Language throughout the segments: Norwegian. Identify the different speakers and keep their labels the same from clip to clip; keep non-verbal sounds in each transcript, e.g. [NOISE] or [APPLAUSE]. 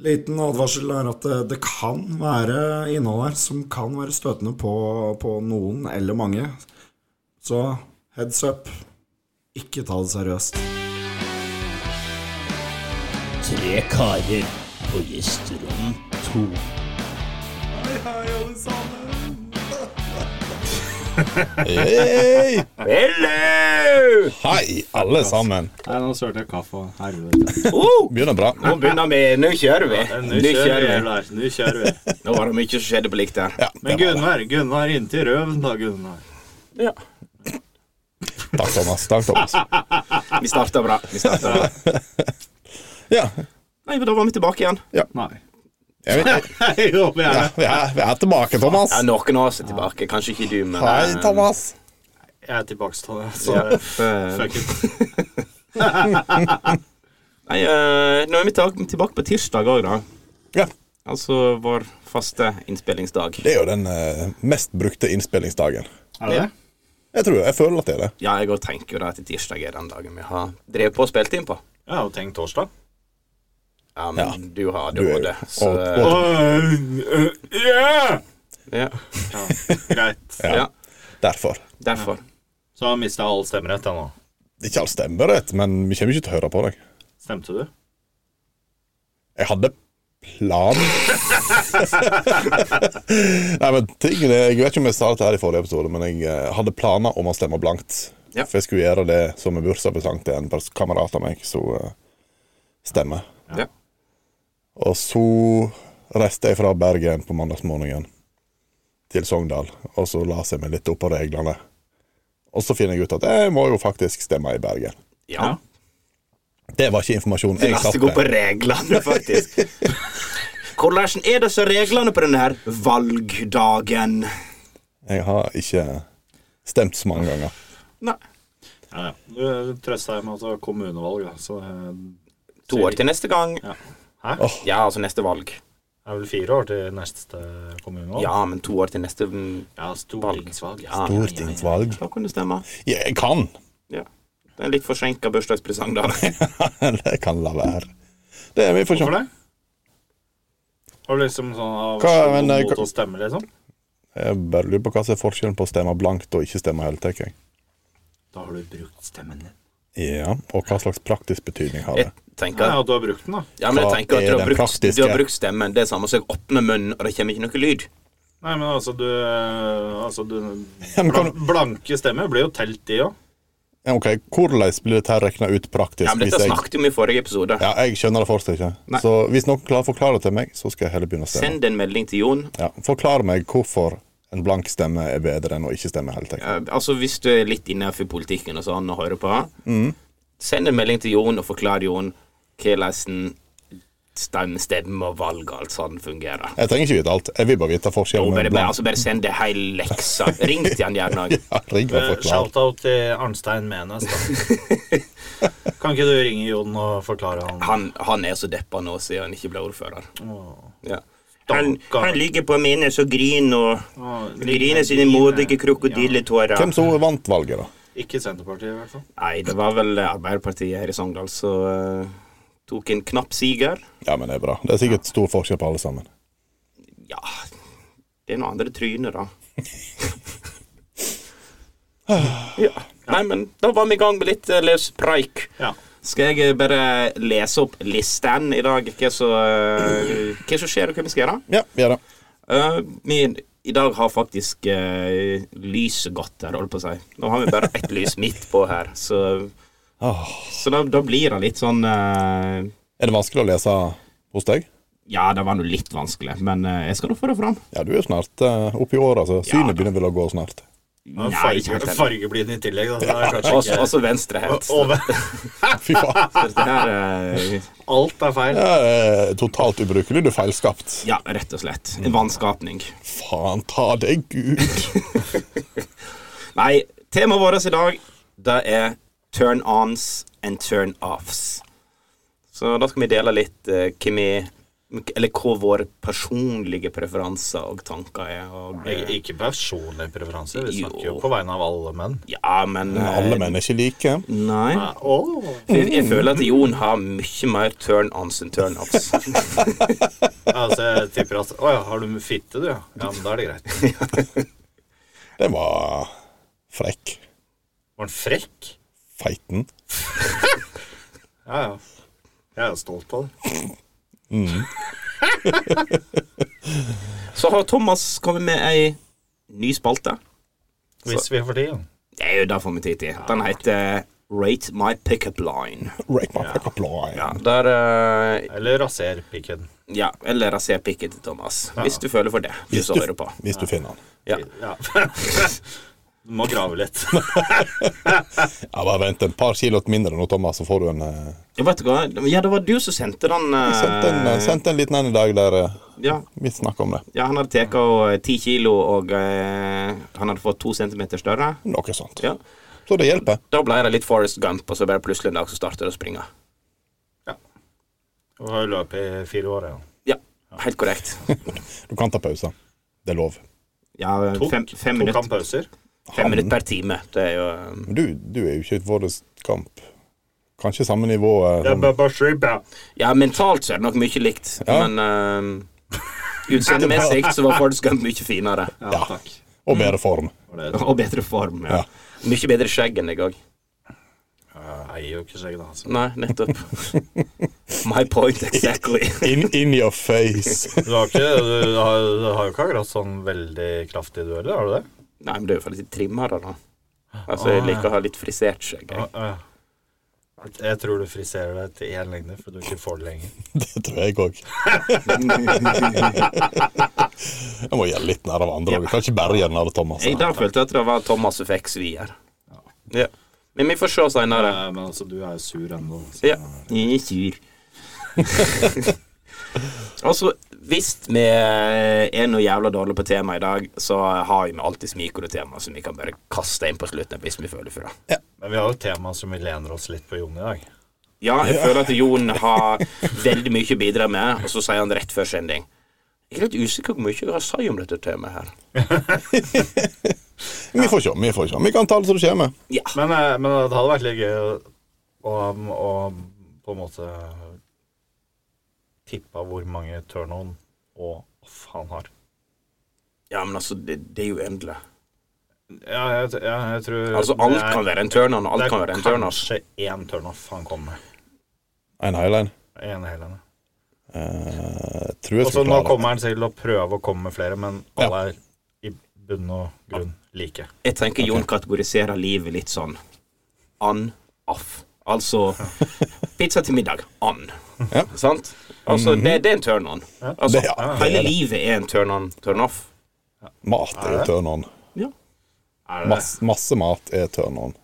Speaker 1: Liten advarsel er at det, det kan være innhold her som kan være støtende på, på noen eller mange. Så heads up. Ikke ta det seriøst.
Speaker 2: Tre karer på gjesterom to.
Speaker 3: Hei!
Speaker 4: Hello!
Speaker 3: Hei, alle sammen.
Speaker 5: Nei, nå sølte jeg kaffe. Helvete.
Speaker 3: Begynner bra.
Speaker 4: Nå begynner vi. Nå kjører vi.
Speaker 5: Nå kjører vi, Lars. Nå kjører vi.
Speaker 4: Nå var det mye som skjedde på likt der.
Speaker 3: Ja, det
Speaker 5: Men
Speaker 3: var det.
Speaker 5: Gunnar, Gunnar inntil røven da, Gunnar. [LAUGHS]
Speaker 4: Ja.
Speaker 3: Takk, Thomas. Takk, Thomas.
Speaker 4: Vi starta bra. Vi starta bra.
Speaker 3: Ja,
Speaker 4: Nei, men Da var vi tilbake igjen.
Speaker 5: Nei.
Speaker 3: jeg vet,
Speaker 5: Hei, nå blir
Speaker 3: ja,
Speaker 5: jeg-
Speaker 3: vi, er, vi er tilbake, Thomas.
Speaker 4: Ja, Noen av oss er tilbake. Kanskje ikke du, men
Speaker 3: Hei,
Speaker 4: eh,
Speaker 3: Thomas.
Speaker 5: Jeg er tilbake til det, så
Speaker 4: eh,
Speaker 5: fuck it.
Speaker 4: Nei, eh, nå er vi tilbake- tilbake på tirsdag òg, da.
Speaker 3: Ja,
Speaker 4: Altså vår faste innspillingsdag.
Speaker 3: det er jo den eh, mest brukte innspillingsdagen.
Speaker 5: Er det?
Speaker 3: Jeg tror, jeg føler at det er det.
Speaker 4: Ja, jeg òg tenker jo da at tirsdag er den dagen vi har drevet på og spilt inn på.
Speaker 5: Jeg har jo tenkt torsdag.
Speaker 4: Ja, men
Speaker 3: Ja.
Speaker 4: du har
Speaker 3: Du er jo-
Speaker 4: ADHD, så
Speaker 3: og- og-
Speaker 5: Øh, øh, ja!
Speaker 4: ja.
Speaker 5: Ja, Greit.
Speaker 4: ja.
Speaker 3: Derfor.
Speaker 4: Derfor.
Speaker 5: Så har jeg mista all stemmerett jeg nå.
Speaker 3: Ikke all stemmerett, men vi kommer ikke til å høre på deg.
Speaker 5: Stemte du?
Speaker 3: Jeg hadde plan Nei, men tingen er Jeg vet ikke om jeg sa dette her i forrige episode, men jeg eh, hadde planer om å stemme blankt.
Speaker 4: Ja.
Speaker 3: For jeg skulle gjøre det som en bursdagspresang til en pers- kamerat av meg som eh, stemmer.
Speaker 4: Ja.
Speaker 3: Og så reiste jeg fra Bergen på mandagsmorgenen til Sogndal, og så las jeg meg litt opp på reglene. Og så finner jeg ut at jeg må jo faktisk stemme i Bergen.
Speaker 4: ja.
Speaker 3: Det var ikke informasjon jeg
Speaker 4: Lasse
Speaker 3: satt
Speaker 4: går på
Speaker 3: med.
Speaker 4: reglene,
Speaker 3: [LAUGHS]
Speaker 4: faktisk. Hvordan er disse reglene på denne her valgdagen?
Speaker 3: Jeg har ikke stemt så mange ganger.
Speaker 4: Nei.
Speaker 5: Ja, ja. Du trøsta deg med at det var kommunevalg, da, så eh,
Speaker 4: To år til neste gang.
Speaker 5: ja. Hæ?
Speaker 3: Åh.
Speaker 4: Ja, altså neste valg.
Speaker 5: Det er vel fire år til neste kommunevalg?
Speaker 4: Ja, men to år til neste mm,
Speaker 5: ja stortingsvalg.
Speaker 4: ja, ja, ja, ja.
Speaker 3: Stortingsvalg.
Speaker 4: Da kan du stemme.
Speaker 3: Ja, jeg kan. [LAUGHS]
Speaker 4: Ja. Det er en litt forsinka bursdagspresang, da.
Speaker 3: det kan la være. Det er vi får
Speaker 5: Hvorfor
Speaker 3: se.
Speaker 5: det? Har du liksom sånn av
Speaker 3: Hva, men, eh,
Speaker 5: mot
Speaker 3: hva-
Speaker 5: å stemme, liksom?
Speaker 3: Jeg bare lurer på hva som er forskjellen på å stemme blankt og ikke stemme i hele tatt. jeg.
Speaker 5: Da har du brukt stemmen din.
Speaker 3: Ja, og hva slags praktisk betydning har det?
Speaker 4: Jeg tenker,
Speaker 5: Ja, ja, du har brukt den, da.
Speaker 4: ja, men jeg
Speaker 3: Hva
Speaker 4: tenker at
Speaker 3: er
Speaker 4: du har,
Speaker 3: den
Speaker 4: brukt,
Speaker 3: praktiske?
Speaker 4: du har brukt stemmen. Det er samme som jeg åpner munnen, og det kommer ikke noe lyd.
Speaker 5: Nei, men altså, du, eh, altså, du
Speaker 3: Ja, men kan
Speaker 5: blan- Blanke stemmer blir jo telt, de òg.
Speaker 3: Ja, Ok, Hvordan blir dette regna ut praktisk?
Speaker 4: Ja, men Dette
Speaker 3: hvis jeg...
Speaker 4: snakket vi om i forrige episode.
Speaker 3: Ja, jeg skjønner det fortsatt ikke.
Speaker 4: Nei.
Speaker 3: Så hvis noen klarer å forklare det til meg, så skal jeg heller begynne å stemme.
Speaker 4: Send en melding til Jon.
Speaker 3: Ja, Forklar meg hvorfor en blank stemme er bedre enn å ikke stemme i hele tatt.
Speaker 4: Eh, altså Hvis du er litt innenfor politikken og sånn og hører på, send en melding til Jon og forklar Jon hvordan stemme, stemme og valg og alt sånn fungerer.
Speaker 3: Jeg trenger ikke vite alt. Jeg vil bare vite
Speaker 4: Og
Speaker 3: forskjellen.
Speaker 4: bare,
Speaker 3: mellom
Speaker 4: bare,
Speaker 3: blank.
Speaker 4: altså bare send det hel leksa. Ring til han gjerne òg.
Speaker 3: [LAUGHS] Ja, ring
Speaker 4: Eh,
Speaker 3: og forklar.
Speaker 5: Shout-out til Arnstein Menes, da. kan ikke du ringe Jon og forklare han?
Speaker 4: Han, han er så deppa nå siden han ikke ble ordfører.
Speaker 5: Åh,
Speaker 4: Ja. Han,
Speaker 5: Han- han
Speaker 4: ligger på minnet så grin og
Speaker 5: åh,
Speaker 4: griner sine modige krokodilletårer.
Speaker 3: Hvem som vant valget, da?
Speaker 5: Ikke Senterpartiet, i hvert fall.
Speaker 4: Nei, det var vel Arbeiderpartiet her i Sogndal som eh, tok en knapp siger.
Speaker 3: Ja, men det er bra. Det er sikkert stor forskjell på alle sammen.
Speaker 4: Ja, det er noe andre tryner, da. ja. Nei, men da var vi i gang med litt eh, løs preik.
Speaker 5: Ja.
Speaker 4: Skal jeg eh, bare lese opp listen i dag? Hva som eh, hva som skjer, og hva vi skal gjøre?
Speaker 3: Ja, vi gjør det.
Speaker 4: Eh, vi, I dag har faktisk uh, lyset gått her, holdt på å si. Nå har vi bare ett lys midt på her, så,
Speaker 3: Åh.
Speaker 4: så da, da blir det litt sånn eh,
Speaker 3: Er det vanskelig å lese hos deg?
Speaker 4: Ja, det var nå litt vanskelig, men eh, jeg skal nå få det fram.
Speaker 3: Ja, du er jo snart eh, oppe i åra, så
Speaker 4: Ja,
Speaker 3: synet
Speaker 4: da.
Speaker 3: begynner vel å gå snart. [LAUGHS]
Speaker 5: Men
Speaker 4: Nei, ikke
Speaker 5: Farge,
Speaker 4: helt ennå.
Speaker 5: fargeblind i tillegg, da. så Det er kanskje
Speaker 4: Også,
Speaker 5: ikke
Speaker 4: også venstrehendt.
Speaker 5: Og- og-
Speaker 3: Fy faen.
Speaker 4: Så dette her eh,
Speaker 5: Alt er feil.
Speaker 3: Ja, eh, totalt ubrukelig. Du er feilskapt.
Speaker 4: Ja, rett og slett. En vanskapning.
Speaker 3: Faen ta deg, Gud.
Speaker 4: Nei, temaet vårt i dag, det er turn ons and turn offs. Så da skal vi dele litt eh, hva vi Eller hva våre personlige preferanser og tanker er. Og,
Speaker 5: Ik ikke personlig preferanse. Vi snakker jo
Speaker 4: Jo.
Speaker 5: på vegne av alle menn.
Speaker 4: ja, men eh,
Speaker 3: Men Alle menn er ikke like.
Speaker 4: Nei.
Speaker 5: Oh.
Speaker 4: Jeg, jeg føler at Jon har mye mer turn-ons enn turn-offs.
Speaker 5: Altså, jeg tipper at Å ja, har du fitte, du? Ja, Ja, men da er det greit.
Speaker 3: Det var frekk.
Speaker 5: Var han frekk?
Speaker 3: Feiten.
Speaker 5: Ja, ja. Jeg er stolt av det.
Speaker 4: Så har Thomas kommet med ei ny spalte.
Speaker 5: Hvis vi får tid.
Speaker 4: Det er jo det får vi tid til. Den heter eh, Rate my pickup line.
Speaker 3: Rake my fuck up line.
Speaker 4: Ja, der eh,
Speaker 5: Eller raser pikken.
Speaker 4: Ja, eller raser pikken til Thomas. Hvis du føler for det. Du
Speaker 3: Hvis
Speaker 4: som
Speaker 3: du,
Speaker 4: hører på.
Speaker 3: hvis du finner den.
Speaker 4: Ja.
Speaker 5: Ja. [LAUGHS] Du må grave litt. [LAUGHS]
Speaker 3: Ja, bare vent en par kilo mindre nå, Thomas, så får du en eh,
Speaker 4: Jeg vet ikke hva Ja, det var du som sendte den. eh,
Speaker 3: Sendt en, eh, sendt en liten en i dag der eh,
Speaker 4: ja,
Speaker 3: vi snakker om det.
Speaker 4: ja, han hadde tatt eh, ti kilo, og eh, han hadde fått to centimeter større.
Speaker 3: Noe sånt.
Speaker 4: Ja.
Speaker 3: Så det hjelper.
Speaker 4: Da ble det litt Forest Gump, og så bare plutselig en dag så starter det å springe.
Speaker 5: Du har løpet i fire år, ja.
Speaker 4: Ja, helt korrekt.
Speaker 3: Du kan ta pause. Det er lov.
Speaker 4: Ja,
Speaker 5: Tok,
Speaker 4: fem, fem,
Speaker 5: tok
Speaker 4: minutter,
Speaker 5: han pauser?
Speaker 4: fem minutter per time. Det er jo eh,
Speaker 3: Men du, du er jo ikke i vår kamp. Kanskje samme nivå. eh,
Speaker 5: Ja,
Speaker 3: Ron.
Speaker 5: bare- bare slipp, ja.
Speaker 4: Ja, mentalt så er det nok mye likt,
Speaker 3: Ja.
Speaker 4: men eh, utseendemessig så var Forest Gump mye finere.
Speaker 5: Ja, takk.
Speaker 3: Og bedre form.
Speaker 5: Var det-
Speaker 4: Og bedre form. ja. Mye bedre skjegg enn jeg òg.
Speaker 5: Jeg eier jo ikke skjegg, da. Altså.
Speaker 4: Nei, nettopp. My point exactly.
Speaker 3: In, in your face.
Speaker 5: [LAUGHS]
Speaker 3: [LAUGHS]
Speaker 5: Du har, ikke, du, har, du har jo ikke akkurat sånn veldig kraftig dueller, har du det?
Speaker 4: Nei, men det er jo faktisk trimmere, da. Altså, jeg liker å ha litt frisert skjegg. jeg.
Speaker 5: Ja, ja. Jeg tror du friserer deg til én lengde, for du ikke får det lenger.
Speaker 3: Det tror jeg
Speaker 5: [LAUGHS]
Speaker 3: òg. Jeg må gjøre litt nær av andre òg. Kan ikke bare gjøre nær av Thomas.
Speaker 4: Jeg da følte jeg at det var Thomas som fikk svi her. Ja. Men vi får se seinere.
Speaker 5: Nei, men altså, du er jo sur ennå. altså. så-
Speaker 4: Ja. Jeg er sur. [LAUGHS] altså, hvis vi er noe jævla dårlig på tema i dag, så har vi alltid smikortema som vi kan bare kaste inn på slutten hvis vi føler for det.
Speaker 5: Men vi har jo et tema som vi lener oss litt på Jon i dag.
Speaker 4: Ja, jeg føler at Jon har veldig mye å bidra med, og så sier han rett før sending. Jeg er litt usikker på hvor mye jeg har å si om dette temaet her.
Speaker 3: Vi får se. Vi får se. Vi kan ta det som det kommer.
Speaker 4: Ja.
Speaker 5: Men, eh, men det hadde vært litt gøy å, å, å på en måte tippe hvor mange turn-on og off han har.
Speaker 4: ja, men altså, det, det er jo uendelig.
Speaker 5: Ja, jeg, ja, jeg tror
Speaker 4: Altså,
Speaker 5: det
Speaker 4: alt
Speaker 5: er-
Speaker 4: kan være en turn-on, og
Speaker 5: det
Speaker 4: alt
Speaker 5: er
Speaker 4: kan være en turn-off.
Speaker 5: Kanskje én turn-off han kom med.
Speaker 3: En highline.
Speaker 5: En hel ene.
Speaker 3: Eh, tror jeg
Speaker 5: Og så
Speaker 3: skal
Speaker 5: nå
Speaker 3: klare det.
Speaker 5: kommer han til å prøve å komme med flere, men alle er i bunn og grunn like.
Speaker 4: Jeg tenker Jon kategoriserer livet litt sånn on-off. Altså pizza til middag. On.
Speaker 3: Ja. Mhm.
Speaker 4: Sant? Altså, det, det er en turn-on. Altså,
Speaker 3: Det- ja, det er
Speaker 4: hele
Speaker 3: det.
Speaker 4: livet er en turn-on, turn-off.
Speaker 3: Mat er jo turn on.
Speaker 4: Ja.
Speaker 5: Er det
Speaker 3: Masse, masse mat er turn on.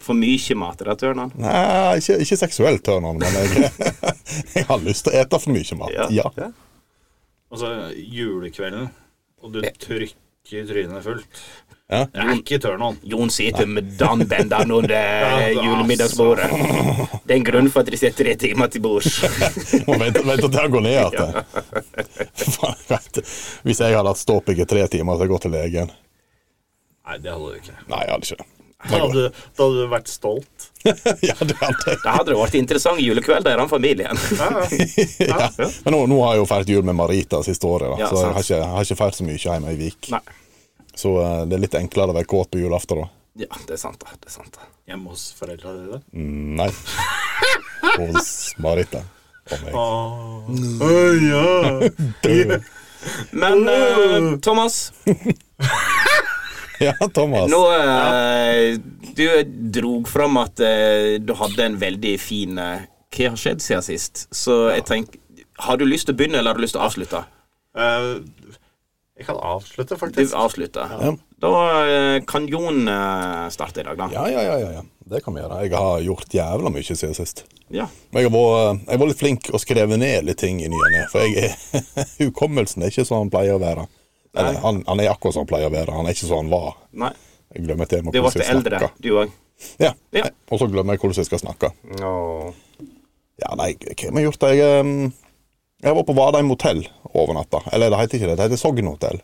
Speaker 4: For mye mat er det turn-on.
Speaker 3: Nei, ikke, ikke seksuell turn on, men jeg, [LAUGHS] jeg har lyst til å ete for mye mat. Ja.
Speaker 5: Altså, julekvelden, og du trykker trynet fullt.
Speaker 3: Ja.
Speaker 5: Det er ikke turn-on.
Speaker 4: Jon sitter med Dan Bendan
Speaker 3: [LAUGHS]
Speaker 4: under
Speaker 3: altså.
Speaker 4: julemiddagsbordet. Det er en grunn for at de sitter tre timer til
Speaker 3: [LAUGHS]
Speaker 4: bords.
Speaker 3: Må vente, vente til han går ned igjen. Faen, jeg vet. Hvis jeg hadde hatt ståpikk i tre timer, så hadde jeg gått til legen.
Speaker 5: Nei, det hadde du ikke.
Speaker 3: Nei, jeg hadde ikke det. [LAUGHS]
Speaker 5: Da hadde, da hadde du vært stolt.
Speaker 3: Ja, det hadde jeg.
Speaker 4: Da hadde det vært interessant julekveld der han familien.
Speaker 5: Ja, ja.
Speaker 3: Ja. Men nå, nå har jeg jo feiret jul med Marita siste året, da.
Speaker 4: Ja,
Speaker 3: så jeg
Speaker 4: sant.
Speaker 3: har ikke, jeg har ikke feiret så mye hjemme i Vik.
Speaker 4: Nei.
Speaker 3: Så eh, det er litt enklere å være kåt på julaften, da.
Speaker 4: Ja, det er sant, da. Det er sant, da.
Speaker 5: Hjemme hos foreldra dine.
Speaker 3: Nei. Hos Marita. Og meg.
Speaker 5: Å ja.
Speaker 4: Men eh,
Speaker 3: Oh.
Speaker 4: Thomas,
Speaker 3: Ja, Thomas.
Speaker 4: nå eh, Du drog fram at eh, du hadde en veldig fin eh, Hva har skjedd siden sist? Så jeg tenker Har du lyst til å begynne, eller har du lyst til å avslutte?
Speaker 5: Eh, jeg kan avslutte,
Speaker 4: Du
Speaker 5: faktisk.
Speaker 4: avslutter.
Speaker 3: Ja.
Speaker 4: Da eh, kan Jon eh, starte i dag, da.
Speaker 3: Ja, ja, ja, ja, ja. Det kan vi gjøre. Jeg har gjort jævla mye siden sist.
Speaker 4: Ja.
Speaker 3: Men jeg var, eh, jeg var litt flink og skrev ned litt ting i ny og ne. For jeg, er- [LAUGHS] hukommelsen er ikke som han pleier å være. Eller, han, han er akkurat som han pleier å være. Han er ikke som han var.
Speaker 4: Nei.
Speaker 3: Jeg glemmer til
Speaker 4: Du ble eldre, du òg.
Speaker 3: Ja.
Speaker 4: Ja.
Speaker 3: Og så glemmer jeg hvordan jeg skal snakke.
Speaker 4: Åh.
Speaker 3: Ja, nei, hva har vi gjort? Jeg, em, Jeg var på Vadheim hotell over natta. Eller det heter ikke det, det heter Sogn hotell.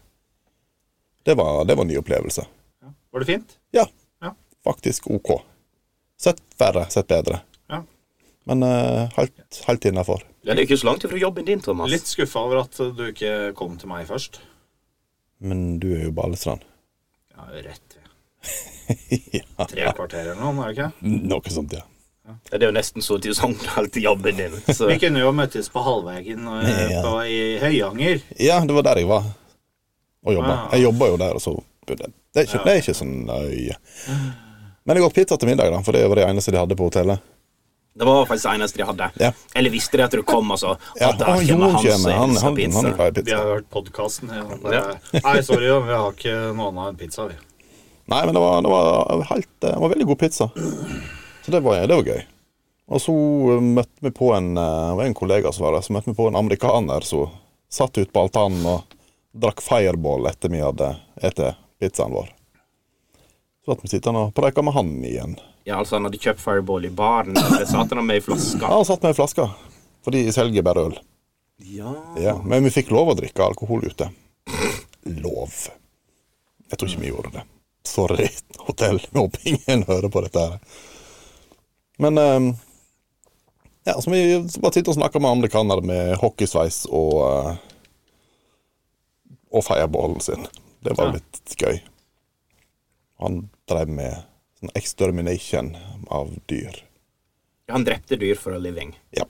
Speaker 3: Det var, det var en ny opplevelse.
Speaker 5: Var det fint?
Speaker 3: Ja,
Speaker 5: Ja.
Speaker 3: faktisk OK. Sett verre, sett bedre.
Speaker 5: Ja.
Speaker 3: Men eh, helt, helt innafor.
Speaker 4: Ja, det er ikke så langt ifra jobben din, Thomas.
Speaker 5: Litt skuffa over at du ikke kom til meg først.
Speaker 3: Men du er jo Balestrand.
Speaker 5: Ja, rett ved.
Speaker 3: [LAUGHS] ja.
Speaker 5: Tre kvarter eller noe, er det ikke?
Speaker 3: Noe sånt, ja.
Speaker 4: Ja, det er jo nesten så til Sogndal til jobben din. Så
Speaker 5: Vi kunne jo møttes på halvveien eh,
Speaker 3: Ja.
Speaker 5: på, i Høyanger.
Speaker 3: Ja, det var der jeg var og jobba.
Speaker 5: Ah.
Speaker 3: Jeg jobba jo der, og så bodde jeg. Det er ikke, det er ikke så nøye. Men jeg åt pizza til middag, da, for det var det eneste de hadde på hotellet.
Speaker 4: det var faktisk det eneste de hadde.
Speaker 3: Ja.
Speaker 4: Eller visste de at du kom, altså?
Speaker 3: Ja,
Speaker 4: At der
Speaker 3: å,
Speaker 4: kommer
Speaker 3: Jon
Speaker 4: han som
Speaker 3: kommer. Han,
Speaker 4: elsker
Speaker 3: han,
Speaker 4: pizza.
Speaker 3: han er glad i
Speaker 5: De
Speaker 3: pizza.
Speaker 5: har hørt podkasten. Nei, sorry, vi har ikke noe annet enn pizza. vi.
Speaker 3: Nei, men det var, det var, helt, det var veldig god pizza. Så det var, det var gøy. Og så eh, møtte vi på en, eh, det var en kollega som var der, så møtte vi på en amerikaner som satt ute på altanen og drakk fireball etter vi hadde spist pizzaen vår. Så ble vi sittende og preika med han igjen.
Speaker 4: Ja, altså Han hadde kjøpt Fireball i baren. Det satt han med i flaska.
Speaker 3: Han satt med ei flaske, for de selger bare øl.
Speaker 4: Ja.
Speaker 3: Ja, men vi fikk lov å drikke alkohol ute. Lov. Jeg tror ikke vi gjorde det. Sorry, hotell. Jeg håper ingen hører på dette her. Men ehm, ja, så vi bare sitter og snakker med amerikanere med hockeysveis og eh, og fireballen sin. Det var litt gøy. Han drev med sånn extermination av dyr.
Speaker 4: Han drepte dyr for a living,
Speaker 3: Ja.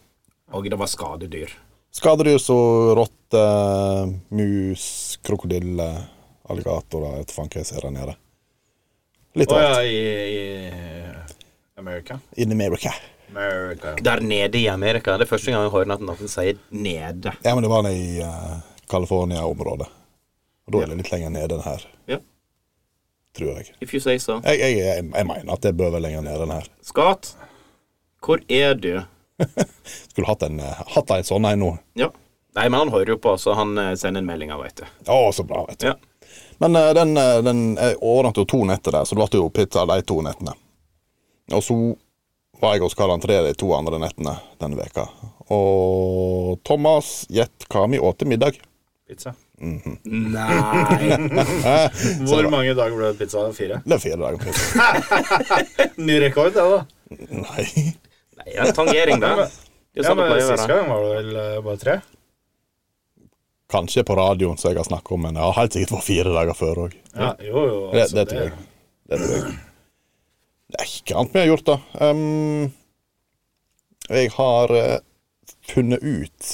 Speaker 4: og det var skadedyr.
Speaker 3: Skadedyr som rotter, mus, krokodiller, alligatorer Jeg vet faen hva jeg ser der nede. Litt
Speaker 5: Å
Speaker 3: av
Speaker 5: ja,
Speaker 3: alt.
Speaker 5: i, i America.
Speaker 3: In America.
Speaker 5: America.
Speaker 4: Der nede i Amerika. Det er første gang jeg hører at noen sier 'nede'.
Speaker 3: Ja, men det var nede i eh, California-området. Og da er det litt lenger nede enn her,
Speaker 4: Ja,
Speaker 3: tror jeg.
Speaker 4: if you say so.
Speaker 3: Jeg, jeg, jeg, jeg mener at det bør være lenger nede enn her.
Speaker 4: Skatt, hvor er du?
Speaker 3: Skulle hatt en, eh, hatt en sånn en nå.
Speaker 4: Ja. Nei, men han hører jo på, så han eh, sender en melding, veit du.
Speaker 3: Å, så bra, vet du.
Speaker 4: Ja.
Speaker 3: Men eh, den, eh, den jeg overnatta jo to netter der, så det ble jo pizza de to nettene. Og så var jeg hos Karl André de to andre nettene denne veka. Og Thomas, gjett hva vi åt til middag?
Speaker 5: Pizza.
Speaker 4: Nei.
Speaker 5: Hvor mange dager ble det pizza? Fire?
Speaker 3: Det er fire dager pizza. [LAUGHS]
Speaker 5: Ny rekord, det, da.
Speaker 3: Nei.
Speaker 4: Nei, [LAUGHS] ja, tangering, da. Det er jo
Speaker 5: Ja,
Speaker 4: sånn det
Speaker 5: men
Speaker 4: pleier å
Speaker 5: Sist
Speaker 4: være.
Speaker 5: gang var det vel eh, bare tre?
Speaker 3: Kanskje på radioen som jeg har snakket om, men jeg har helt sikkert vært fire dager før òg.
Speaker 5: Ja, jo, jo.
Speaker 3: Det,
Speaker 5: altså,
Speaker 3: det tror jeg. Det tror jeg. Det er ikke annet vi har gjort, da. Ehm, jeg har eh, funnet ut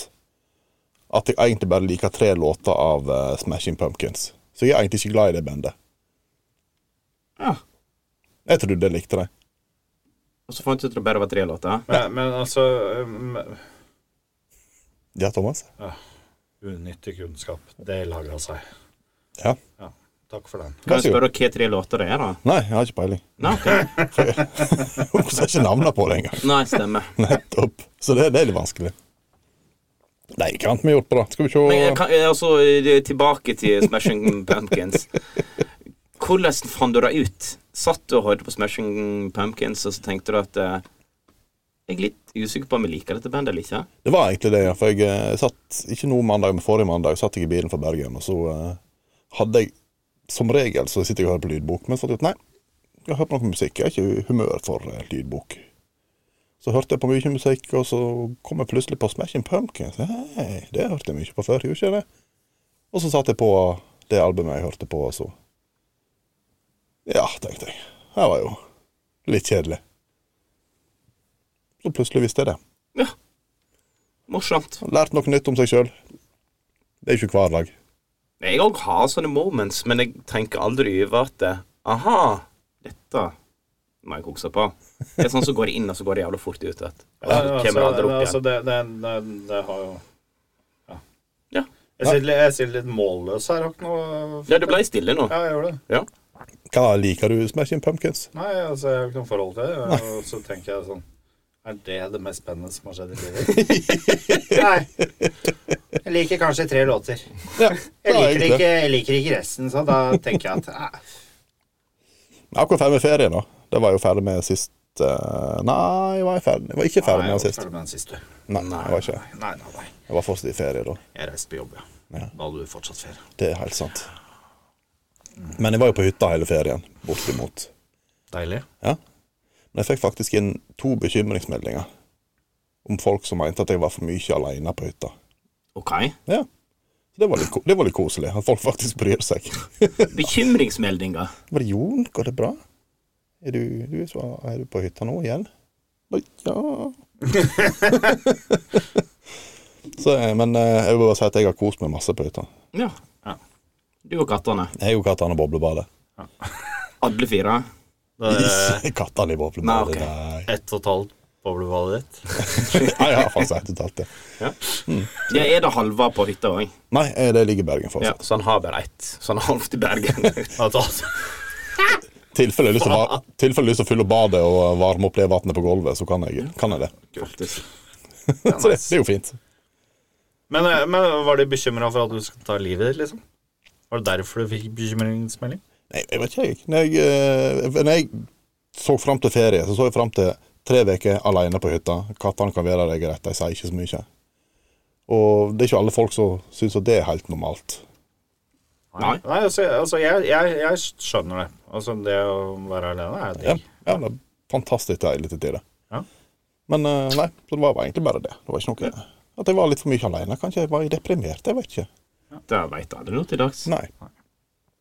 Speaker 3: at jeg egentlig bare liker tre låter av eh, Smashing Pumpkins. Så jeg er egentlig ikke glad i det bandet.
Speaker 4: Ja.
Speaker 3: Jeg trodde jeg likte det.
Speaker 4: Og så fant du ut at det bare var tre låter.
Speaker 5: Men, men altså um,
Speaker 3: Ja, Thomas?
Speaker 5: Unyttig kunnskap. Det laga seg.
Speaker 3: Ja.
Speaker 5: Ja, takk for den.
Speaker 4: Kan
Speaker 3: Vær så
Speaker 4: jeg
Speaker 3: god.
Speaker 4: spørre hva tre låter det er, da?
Speaker 3: Nei, jeg har ikke peiling. [LAUGHS]
Speaker 4: Nei, ok.
Speaker 3: Hvorfor har jeg ikke navnet på det engang?
Speaker 4: Nei stemmer.
Speaker 3: Nettopp. Så det, det er litt vanskelig. Det er ikke annet vi har gjort på det. Skal vi
Speaker 4: Men jeg
Speaker 3: se
Speaker 4: kan, jeg, altså, eh, tilbake til
Speaker 5: [LAUGHS]
Speaker 4: Smashing Pumpkins. Hvordan fant du det ut? Satt du og hørte på Smashing Pumpkins, og så tenkte du at eh, Jeg er litt usikker på om jeg liker dette bandet eller ikke.
Speaker 3: Det var egentlig det, ja. For jeg eh, satt ikke nå mandag, men forrige mandag satt jeg i bilen fra Bergen, og så eh, hadde jeg Som regel så sitter jeg og hører på lydbok, men så fant jeg ut nei, jeg hører på noe musikk. Jeg er ikke i humør for eh, lydbok. Så hørte jeg på mye musikk, og så kom jeg plutselig på Smashing Pumpkins. Hei, det hørte jeg mye på før, gjorde ikke jeg det? Og så satte jeg på det albumet jeg hørte på, og så Ja, tenkte jeg. Det var jo litt kjedelig. Så plutselig visste jeg det.
Speaker 4: Ja. Morsomt.
Speaker 3: Lært noe nytt om seg sjøl. Det er ikke hver dag.
Speaker 4: Jeg òg har sånne moments, men jeg tenker aldri over at eh, Aha, dette må jeg huske på. Det er sånn som går inn, og så går det jævla fort ut igjen. Og
Speaker 5: [LAUGHS]
Speaker 4: så
Speaker 5: Ja, altså,
Speaker 4: kommer det aldri
Speaker 5: det-
Speaker 4: opp
Speaker 5: altså,
Speaker 4: igjen.
Speaker 5: det, det, det, det har jo
Speaker 4: Ja.
Speaker 5: Jeg sitter, litt- jeg sitter litt målløs her. Har ikke noe
Speaker 4: ja, det ble stille nå.
Speaker 5: Ja, jeg gjør det.
Speaker 4: Ja.
Speaker 3: Hva liker du Smashing Pumpkins?
Speaker 5: Nei, altså, jeg har ikke noe forhold til det. Og så tenker jeg sånn Er det det mest spennende som har skjedd i livet? Nei. Jeg liker kanskje tre låter. Jeg liker ikke, jeg liker ikke resten, så da tenker jeg at eh,
Speaker 3: Akkurat ferdig med ferie, da. Det var jeg jo ferdig med sist eh, Nei, jeg var, i ferden. jeg var ikke ferdig med den
Speaker 5: jeg var
Speaker 3: sist.
Speaker 5: ferdig med den siste.
Speaker 3: Nei, jeg var ikke
Speaker 5: Nei, nei, nei, nei.
Speaker 3: Jeg var fortsatt i ferie da.
Speaker 5: Jeg reiste på jobb, ja.
Speaker 3: Ja.
Speaker 5: Da hadde du fortsatt ferie.
Speaker 3: Det er helt sant. Men jeg var jo på hytta hele ferien, bortimot.
Speaker 5: Deilig.
Speaker 3: Ja. Men jeg fikk faktisk inn to bekymringsmeldinger om folk som mente at jeg var for mye alene på hytta.
Speaker 4: OK.
Speaker 3: Ja. Så det var litt, ko- det var litt koselig, at folk faktisk bryr seg.
Speaker 4: Bekymringsmeldinger.
Speaker 3: Bare Jon, går det bra? Er du, du, er så, er du på hytta nå igjen? Nei, ja [LAUGHS] så, eh, Men eh, jeg vil bare si at jeg har kost meg masse på hytta.
Speaker 4: Ja.
Speaker 5: Ja.
Speaker 4: Du og kattene.
Speaker 3: Jeg og kattene og boblebadet.
Speaker 4: Alle fire.
Speaker 5: Da er det
Speaker 3: [LAUGHS] Kattene i boblebadet,
Speaker 4: Nei,
Speaker 3: nei.
Speaker 5: ett og et halvt boblebadet ditt.
Speaker 3: [LAUGHS] Nei, jeg har faktisk helt totalt det.
Speaker 4: Det er det halve på hytta òg.
Speaker 3: Nei, eh, det ligger i Bergen fortsatt.
Speaker 4: så han har bare ett. Så han har halvt i [LAUGHS] Bergen.
Speaker 5: At alt-
Speaker 3: tilfelle jeg har lyst til å va- tilfelle jeg har lyst til å fylle badet og varme opp det vannet på gulvet, så kan jeg, kan jeg det.
Speaker 4: Faktisk.
Speaker 3: [LAUGHS] Så det, det er jo fint.
Speaker 5: Men, eh, men var de bekymra for at du skulle ta livet ditt, liksom? Var det derfor du fikk bekymringsmelding?
Speaker 3: Nei, jeg vet ikke, jeg. Når jeg, eh, når jeg så fram til ferie, så så jeg fram til tre uker alene på hytta. Kattene kan være der jeg er rett, de sier ikke så mye. Og det er ikke alle folk som syns at det er helt normalt.
Speaker 4: Nei.
Speaker 5: Nei, altså, altså jeg, jeg, jeg skjønner det. Altså, det å være alene er
Speaker 3: Ja,
Speaker 5: digg.
Speaker 3: ja det er fantastisk deilig til tider.
Speaker 5: Ja.
Speaker 3: Men eh, nei, så det var egentlig bare det. Det var ikke noe At jeg var litt for mye alene, kanskje. Jeg var deprimert, jeg vet ikke.
Speaker 4: Det veit alle nå til dags.
Speaker 3: Nei. [LAUGHS]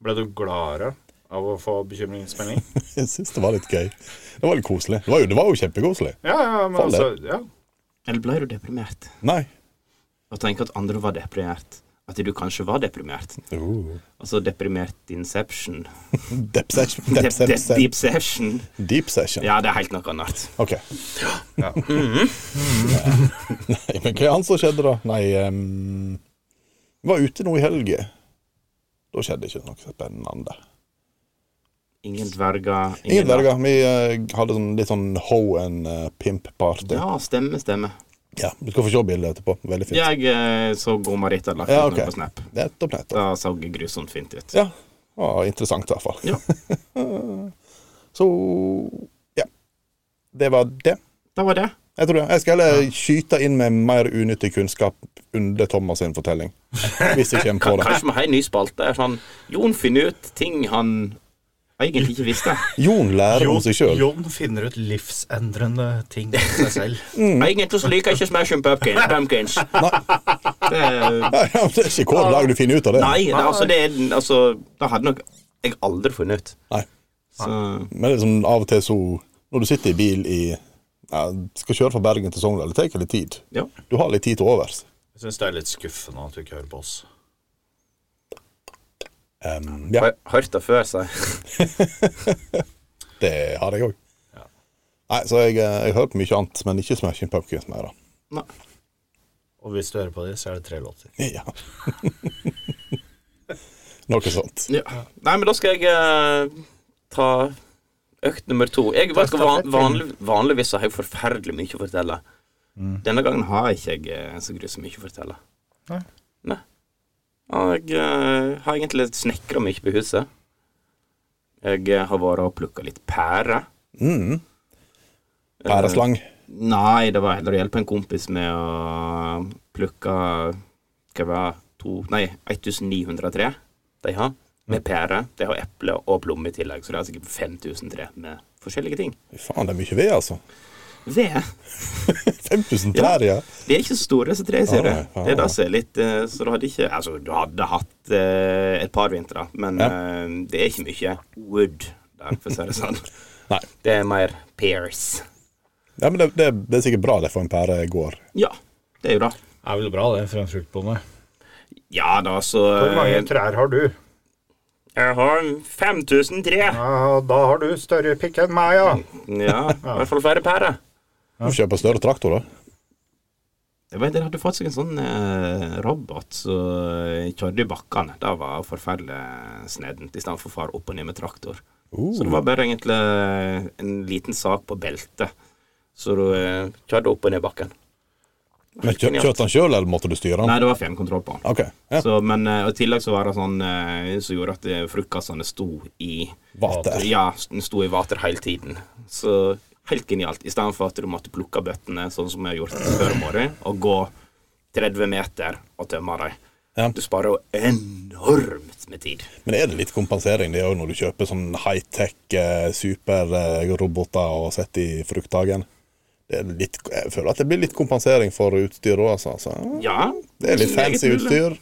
Speaker 5: Ble du gladere av å få bekymringsmelding?
Speaker 4: [LAUGHS]
Speaker 3: Jeg syns det var litt gøy. Det var litt koselig. Det var jo, det var jo kjempekoselig.
Speaker 5: Ja, ja, men
Speaker 3: Faller.
Speaker 5: altså ja.
Speaker 4: Eller ble du deprimert?
Speaker 3: Nei.
Speaker 4: Å tenke at andre var deprimert. At du kanskje var deprimert.
Speaker 3: Uh.
Speaker 4: Altså deprimert inception.
Speaker 3: Deep session. Deep,
Speaker 4: Dep dep
Speaker 3: session.
Speaker 4: deep session.
Speaker 3: Deep session.
Speaker 4: Ja, det er helt noe annet.
Speaker 3: OK. [LAUGHS] Nei, men hva annet som skjedde, da? Nei ehm, jeg Var ute nå i helga. Da skjedde ikke noe spennende.
Speaker 4: Ingen dverger.
Speaker 3: Ingen dverger. Vi eh, hadde sånn, litt sånn ho and eh, pimp-party. Ja.
Speaker 4: Ja, stemme, stemme.
Speaker 3: Du skal få se bildet etterpå. Veldig fint.
Speaker 4: Jeg eh, så Go-Marit hadde lagt
Speaker 3: Ja,
Speaker 4: ut noe
Speaker 3: ok.
Speaker 4: på Snap.
Speaker 3: Nettopp, nettopp.
Speaker 4: Det så grusomt fint ut.
Speaker 3: Ja. Å, interessant, i hvert fall.
Speaker 4: Ja.
Speaker 3: [LAUGHS] Så ja. Det var det.
Speaker 4: Det var det.
Speaker 3: Jeg tror det. Jeg skal heller skyte inn med mer unyttig kunnskap under Thomas sin fortelling. Hvis jeg kommer på
Speaker 4: Ka- [LAUGHS]
Speaker 3: det.
Speaker 4: Kanskje vi har en ny spalte. der Sånn, Jon finner ut ting han egentlig ikke visste.
Speaker 3: Jon lærer om seg sjøl.
Speaker 5: Jon finner ut livsendrende ting om seg selv.
Speaker 4: Egentlig så liker jeg ikke Smashing [LAUGHS] Pumpkin- Pumpkins. Det, er-
Speaker 3: [LAUGHS] Ja, ja, men det er ikke hver dag du finner ut av det.
Speaker 4: nei, det, er altså, det er altså, Det hadde nok jeg aldri funnet ut.
Speaker 3: Nei.
Speaker 4: Så
Speaker 3: Men det er sånn, av og til så Når du sitter i bil i ja, Skal kjøre fra Bergen til Sogndal, det tar litt tid.
Speaker 4: ja.
Speaker 3: Du har litt tid til overs.
Speaker 5: Jeg syns det er litt skuffende at du ikke hører på oss.
Speaker 3: Um, ja,
Speaker 4: Har hørt det før, så
Speaker 3: det har jeg òg. Nei, så jeg, eh, jeg hører på mye annet, men ikke Smashing Pumpkins mer. da. [LAUGHS]
Speaker 4: Nei.
Speaker 5: Og hvis du hører på dem, så er det tre låter.
Speaker 3: Ja. Noe sånt.
Speaker 4: Ja. Nei, men da skal jeg eh, ta økt nummer to. Jeg vet, ikke, van, vanlig, vanligvis så har jeg forferdelig mye å fortelle. Denne gangen har ikke jeg eh, så grusomt mye å fortelle.
Speaker 5: Nei.
Speaker 4: Mm. Nei. Jeg eh, har egentlig snekra mye på huset. Jeg eh, har vært og plukka litt pærer.
Speaker 3: Mm. Pæreslang.
Speaker 4: Nei, det var heller å hjelpe en kompis med å plukke Hva var det? to Nei, 1903 de har. Med pære. De har eple og plomme i tillegg, så det er sikkert 5000 tre med forskjellige ting.
Speaker 3: Fy Faen, det er mye ved, altså.
Speaker 4: Ved.
Speaker 3: 5000 trær, ja.
Speaker 4: De er ikke så store, disse trærne, ser du.
Speaker 3: Ah, ah.
Speaker 4: Det er det som er litt eh, Så du hadde ikke Altså, du hadde hatt eh, et par vintre, men eh, det er ikke mye wood der, for å si det sånn. [LAUGHS]
Speaker 3: Nei.
Speaker 4: Det er mer pears.
Speaker 3: Ja, men det, det, det er sikkert bra det for en pære går.
Speaker 4: Ja, det er jo det.
Speaker 5: Er vel bra, det, for en fruktbonde.
Speaker 4: Ja da, så
Speaker 5: Hvor mange
Speaker 4: eh,
Speaker 5: trær har du?
Speaker 4: Jeg har 5000 tre.
Speaker 5: Ja, da har du større pikk enn meg, ja.
Speaker 4: Ja, i hvert fall færre pærer.
Speaker 3: Du får kjøpe en større traktor, da.
Speaker 4: Jeg vet, Dere hadde fått seg en sånn eh, robot som kjørte i bakkene. Det var forferdelig snedent, i stedet for å fare opp og ned med traktor. Så det var bare egentlig en liten sak på beltet, så du eh, kjørte opp og ned bakken.
Speaker 3: Men kjø, Kjørte han sjøl, eller måtte du styre han?
Speaker 4: Nei, det var fjernkontroll på den.
Speaker 3: OK. Ja.
Speaker 4: Så, men eh, og i tillegg så var det sånn eh, som gjorde at eh, fruktkassene sto i
Speaker 3: Vater.
Speaker 4: Ja, den sto i vater hele tiden. Så Helt genialt. I stedet for at du måtte plukke bøttene, sånn som jeg har gjort før om året, og gå 30 meter og tømme dem.
Speaker 3: Ja.
Speaker 4: Du sparer jo enormt med tid.
Speaker 3: Men er det litt kompensering det òg, når du kjøper sånn high-tech eh, superroboter og setter i frukthagen? Det er litt, jeg føler at det blir litt kompensering for utstyr òg, altså. Så,
Speaker 4: Ja.
Speaker 3: Det er litt fancy
Speaker 4: meget mulig.
Speaker 3: utstyr.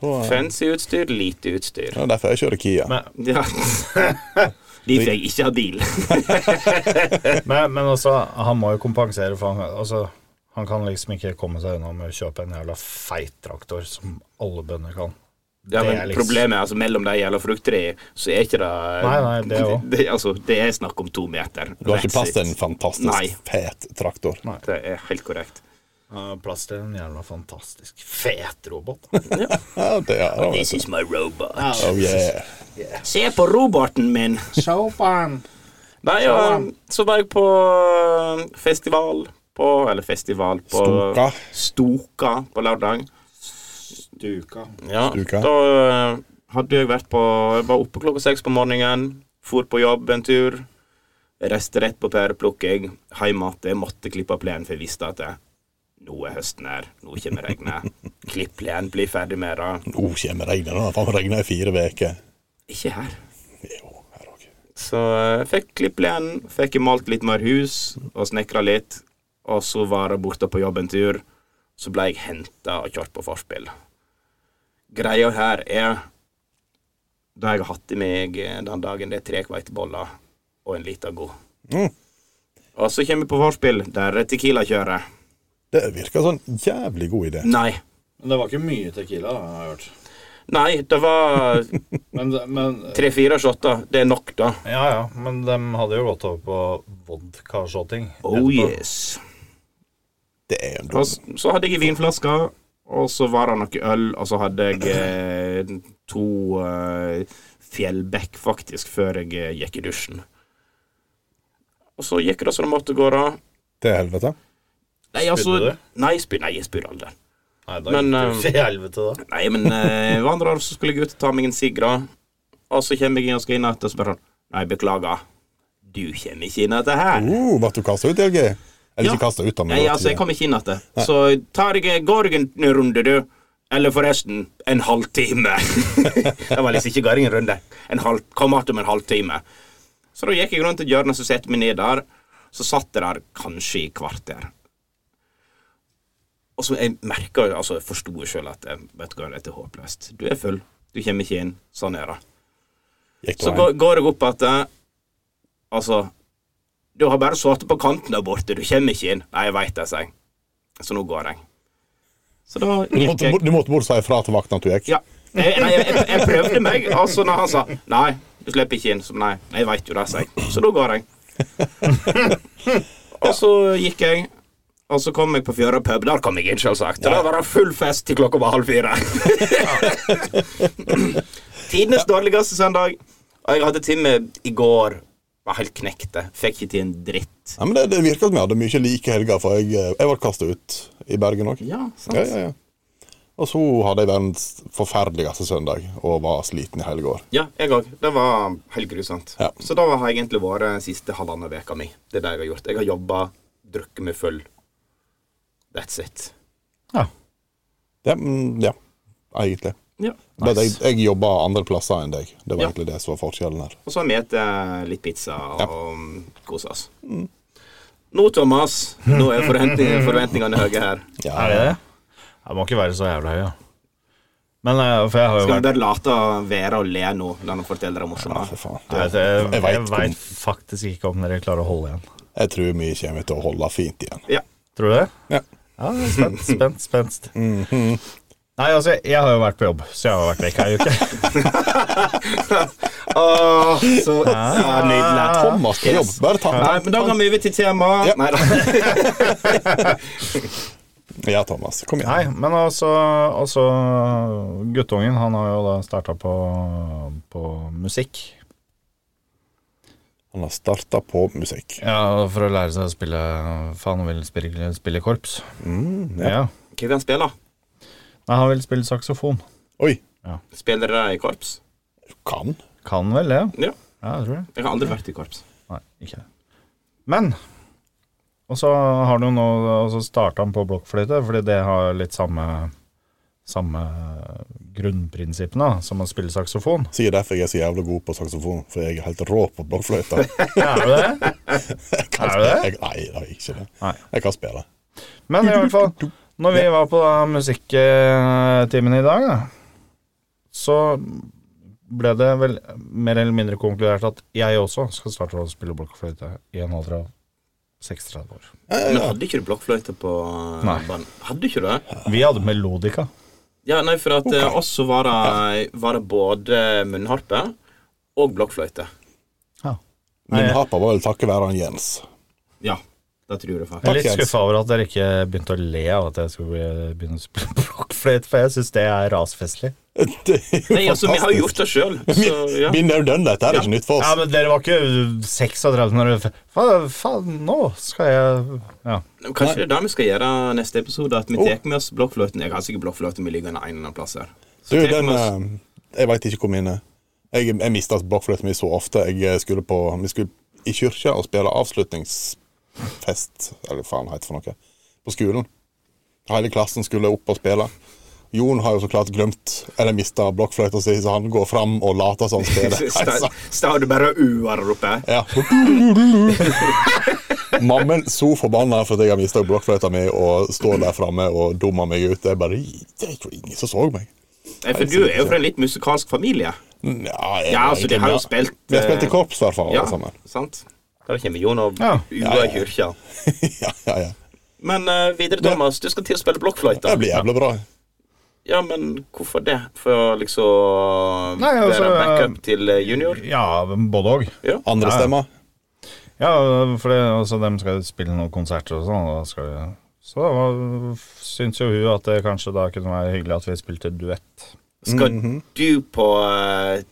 Speaker 3: Da, eh,
Speaker 4: Fancy utstyr, lite utstyr.
Speaker 3: ja, derfor jeg kjører Kia.
Speaker 5: Men,
Speaker 4: Ja. [LAUGHS] Derfor jeg ikke har bil.
Speaker 5: men, men altså, han må jo kompensere, for han, altså, han kan liksom ikke komme seg unna med å kjøpe en jævla feit traktor, som alle bønder kan.
Speaker 4: Ja,
Speaker 5: Det
Speaker 4: men
Speaker 5: er liksom-
Speaker 4: Problemet er altså mellom de gjelder frukttre, så er ikke det
Speaker 5: Nei, nei, det også.
Speaker 4: [LAUGHS] det, altså, det er snakk om to meter.
Speaker 3: Du har ikke
Speaker 4: That's
Speaker 3: plass til
Speaker 4: it.
Speaker 3: en fantastisk
Speaker 4: Nei.
Speaker 3: fet traktor.
Speaker 4: Det er helt korrekt.
Speaker 5: Ja, Plass til en jævla fantastisk fet [LAUGHS] robot.
Speaker 3: Ja, det er det.
Speaker 4: This
Speaker 3: vet du.
Speaker 4: is my robot.
Speaker 3: Oh, yeah.
Speaker 4: Se på roboten min!
Speaker 5: Show på han!
Speaker 4: Nei, ja, så var jeg på um, festival på Eller festival på
Speaker 3: Stoka.
Speaker 4: Stoka på lørdag.
Speaker 5: Duka.
Speaker 4: Ja,
Speaker 3: Stoka.
Speaker 4: Da eh, hadde jeg vært på Jeg var oppe klokka seks på morgenen, for på jobb en tur. Reiste rett på pæreplukking, hjem igjen. Jeg måtte klippe plenen, for jeg visste at det, nå er høsten her, nå kommer regnet. Klipp plenen, bli ferdig med det.
Speaker 3: Nå kommer regnet. Nå har det regna i fire uker.
Speaker 4: Ikke her.
Speaker 3: Jo, her òg.
Speaker 4: Så jeg fikk klippet igjen, fikk jeg malt litt mer hus og snekra litt. Og så var jeg borte på jobb en tur. Så ble jeg henta og kjørt på forspill. Greia her er Det jeg har hatt i meg eh, den dagen, det er tre kveiteboller og en liten god.
Speaker 3: Mm.
Speaker 4: Og så kommer vi på forspill, der er Tequila-kjøret.
Speaker 3: Det virker sånn jævlig god idé.
Speaker 4: Nei.
Speaker 5: Men det var ikke mye Tequila, har jeg hørt.
Speaker 4: Nei, det var
Speaker 5: Men, men
Speaker 4: tre-fire shotter. Det er nok, da.
Speaker 5: Ja ja, men de hadde jo gått over på vodka-shotting.
Speaker 4: Oh yes.
Speaker 3: Det er jo en
Speaker 4: Og
Speaker 3: dum.
Speaker 4: s- så hadde jeg en vinflaske, og så var det noe øl, og så hadde jeg eh, to eh, fjellbekk, faktisk, før jeg eh, gikk i dusjen. Og så gikk det som det måtte gå, da.
Speaker 3: Til helvete.
Speaker 4: Nei, altså,
Speaker 5: Spydde du?
Speaker 4: nei, spy, nei, jeg spydde aldri.
Speaker 5: Nei, da
Speaker 4: Men,
Speaker 5: gikk
Speaker 4: eh,
Speaker 5: det jo til helvete, da.
Speaker 4: Nei, men eh, vandrer, så skulle jeg ut og ta meg en sigg, da. Og så kommer jeg inn og skal inn igjen, og så bare sånn Nei, beklager. Du kommer ikke inn etter her.
Speaker 3: Uh, ble du kasta ut, LG? Eller
Speaker 4: Ja.
Speaker 3: ikke kasta ut, da, men
Speaker 4: Nei, altså, jeg kom ikke inn igjen. Så tar jeg, går jeg en runde, du. Eller forresten, en halvtime. det var liksom ikke gåing en runde. En halv, kom igjen om en halvtime. Så da gikk jeg rundt et hjørne og satte meg ned der. Så satt jeg der kanskje i kvarter. Og så jeg merka jo, altså, jeg forsto jo sjøl at eh, vet du hva, dette er håpløst. Du er full. Du kommer ikke inn. Sånn er det.
Speaker 3: gikk
Speaker 4: Så
Speaker 3: det
Speaker 4: går, går jeg opp at eh, Altså Du har bare sittet på kanten der borte, du kommer ikke inn. Nei, jeg veit det, sier jeg. Så nå går jeg. Så da
Speaker 3: Du
Speaker 4: gikk
Speaker 3: måtte,
Speaker 4: jeg.
Speaker 3: du måtte bare si ifra til vakten at du gikk?
Speaker 4: Ja. Jeg, nei, jeg, jeg prøvde meg, og så når han sa nei, du slipper ikke inn, så nei, nei, jeg veit jo det, sier jeg. Så da går jeg. Og så gikk jeg, og så kom jeg på Fjøra pub. Der kom jeg inn, selvsagt. Og da var det full fest til klokka var halv fire. [LAUGHS] Tidenes dårligste søndag. Og jeg hadde time i går. Var helt knekte. Fikk ikke til en dritt.
Speaker 3: Nei, men det, det virker som jeg hadde mye like helger, for jeg, eh, jeg ble kasta ut i Bergen òg.
Speaker 4: Ja, sant.
Speaker 3: Ja, ja, ja. Og så hadde jeg verdens forferdeligste søndag og var sliten i helga.
Speaker 4: Ja, jeg òg. Det var helt grusomt.
Speaker 3: Ja.
Speaker 4: Så da har jeg egentlig vært siste halvannen veka mi. Det er det jeg har gjort. Jeg har jobba, drukket meg full. That's it.
Speaker 5: Ja.
Speaker 3: Ja, mm, ja, egentlig.
Speaker 4: Ja.
Speaker 3: Men jeg, jeg jobba andre plasser enn deg. Det var
Speaker 4: Ja.
Speaker 3: egentlig det som var forskjellen her.
Speaker 4: Og så har vi spist eh, litt pizza og kosa oss. Nå, Thomas, nå er forventningene, forventningene høye her.
Speaker 3: Ja,
Speaker 5: Er det det? Jeg må ikke være så jævla høy, da. Men eh, for jeg har jo
Speaker 4: Skal vi
Speaker 5: vært
Speaker 4: bare late være og le nå når han forteller det morsomme?
Speaker 3: for faen.
Speaker 5: Nei, det- Jeg,
Speaker 3: Jeg
Speaker 5: jeg,
Speaker 3: vet om-
Speaker 5: veit faktisk ikke om dere klarer å holde igjen.
Speaker 3: Jeg tror vi kommer til å holde fint igjen.
Speaker 4: Ja.
Speaker 5: Tror du det?
Speaker 3: Ja.
Speaker 5: Ja, jeg er spent, spent, spent. Nei, altså, jeg har jo vært på jobb, så jeg har vært vekk ei uke.
Speaker 4: Åh, så ja, nydelig.
Speaker 3: Ah. Thomas på jobb. Bare ta
Speaker 4: Nei, men da går vi over til temaet.
Speaker 3: Ja.
Speaker 4: Nei da.
Speaker 3: Ja, Thomas. Kom igjen.
Speaker 5: Nei, men altså, altså Guttungen, han har jo da starta på, på musikk.
Speaker 3: Han har starta på musikk.
Speaker 5: Ja, for å lære seg å spille Faen, han vil spille, spille korps. ja.
Speaker 4: Hva vil han spille?
Speaker 5: Nei, han vil spille saksofon.
Speaker 3: Oi.
Speaker 4: Spiller dere i korps?
Speaker 3: Du kan.
Speaker 5: Kan vel det?
Speaker 4: Ja.
Speaker 5: Ja, jeg tror det.
Speaker 4: Jeg har aldri vært i korps.
Speaker 5: Nei, ikke det. Men Og så har han jo nå Og så starta han på blokkfløyte, fordi det har litt samme Samme grunnprinsippene da, som å spille saksofon.
Speaker 3: Sikkert derfor jeg er så jævlig god på saksofon, for jeg er helt rå på blokkfløyta.
Speaker 5: Er du [LAUGHS] det?
Speaker 3: Jeg kan
Speaker 5: Er du det?
Speaker 3: Jeg, nei, nei, ikke det.
Speaker 5: Nei.
Speaker 3: Jeg kan spille.
Speaker 5: Men i hvert fall, når vi var på da musikktimen i dag, da, så ble det vel mer eller mindre konkludert at jeg også skal starte å spille blokkfløyte i en alder av 36 år.
Speaker 4: Men hadde ikke du blokkfløyte på eh,
Speaker 5: Nei.
Speaker 4: banen? Hadde ikke du det?
Speaker 5: Vi hadde melodika.
Speaker 4: Ja, nei, for at eh, oss så var det, var det både munnharpe og blokkfløyte.
Speaker 3: Min
Speaker 5: Nei.
Speaker 3: hapa var vel takket være han Jens. [LAUGHS]
Speaker 4: Ja, det tror jeg
Speaker 5: Jeg
Speaker 4: faktisk.
Speaker 5: er litt
Speaker 3: Jens.
Speaker 5: skuffa over at dere ikke begynte å le av at jeg skulle bli- begynne å spille blokkfløyte, for jeg syns det er rasfestlig.
Speaker 3: Det er jo
Speaker 4: Nei, altså, vi har jo gjort det sjøl, så ja.
Speaker 3: Vi er jo done, dette her er ikke nytt for
Speaker 5: Ja,
Speaker 3: oss.
Speaker 5: men dere var ikke 36 når dere Faen, faen, nå skal jeg Ja.
Speaker 4: Kanskje det er det vi skal gjøre neste episode, at vi
Speaker 3: Oh.
Speaker 4: tar med oss blokkfløyten. Jeg har sikkert blokkfløyte, vi ligger en eller annen plass her.
Speaker 3: Du,
Speaker 4: Så sånn tar vi
Speaker 3: den
Speaker 4: med oss-
Speaker 3: eh, Jeg veit ikke hvor min er. Jeg, jeg mista blokkfløyten min så ofte. Jeg eh, skulle på Vi skulle i kirka og spille avslutningsfest, eller hva faen heter det for noe, på skolen. Hele klassen skulle opp og spille. Jon har jo så klart glemt eller mista blokkfløyta si, så han går fram og later som
Speaker 4: [LAUGHS]
Speaker 3: han spiller. Nei,
Speaker 4: Sta-
Speaker 3: så-
Speaker 4: Står du bare og uer der oppe?
Speaker 3: Ja. [LAUGHS] Mammen så forbanna for at jeg har mista blokkfløyta mi og står der framme og dummer meg ut. Det er bare Det er jo ingen som så meg.
Speaker 4: Nei, for du er jo fra en litt musikalsk familie.
Speaker 3: Ja, jeg,
Speaker 4: Ja, altså, de har jo spilt eh,
Speaker 3: Vi har spilt i korps, i hvert fall.
Speaker 4: Ja,
Speaker 3: alle sammen. [LAUGHS]
Speaker 4: sant? Da kommer Jon og
Speaker 5: Ja.
Speaker 4: uer i kirka.
Speaker 3: ja, ja, ja.
Speaker 4: Men eh, videre, Thomas, du skal til å spille blokkfløyte.
Speaker 3: Det blir jævlig bra.
Speaker 4: Ja, men hvorfor det? For å liksom
Speaker 5: Nei, altså,
Speaker 4: være backup til eh, junior?
Speaker 5: Ja, både òg.
Speaker 4: Ja.
Speaker 3: Andre
Speaker 5: Ja.
Speaker 3: stemmer.
Speaker 5: Ja, for det, altså, dem skal jo spille noen konserter og sånn. og Da skal vi, så da var- syns jo hun at det kanskje da kunne være hyggelig at vi spilte duett.
Speaker 4: Skal
Speaker 5: Mhm.
Speaker 4: du på eh,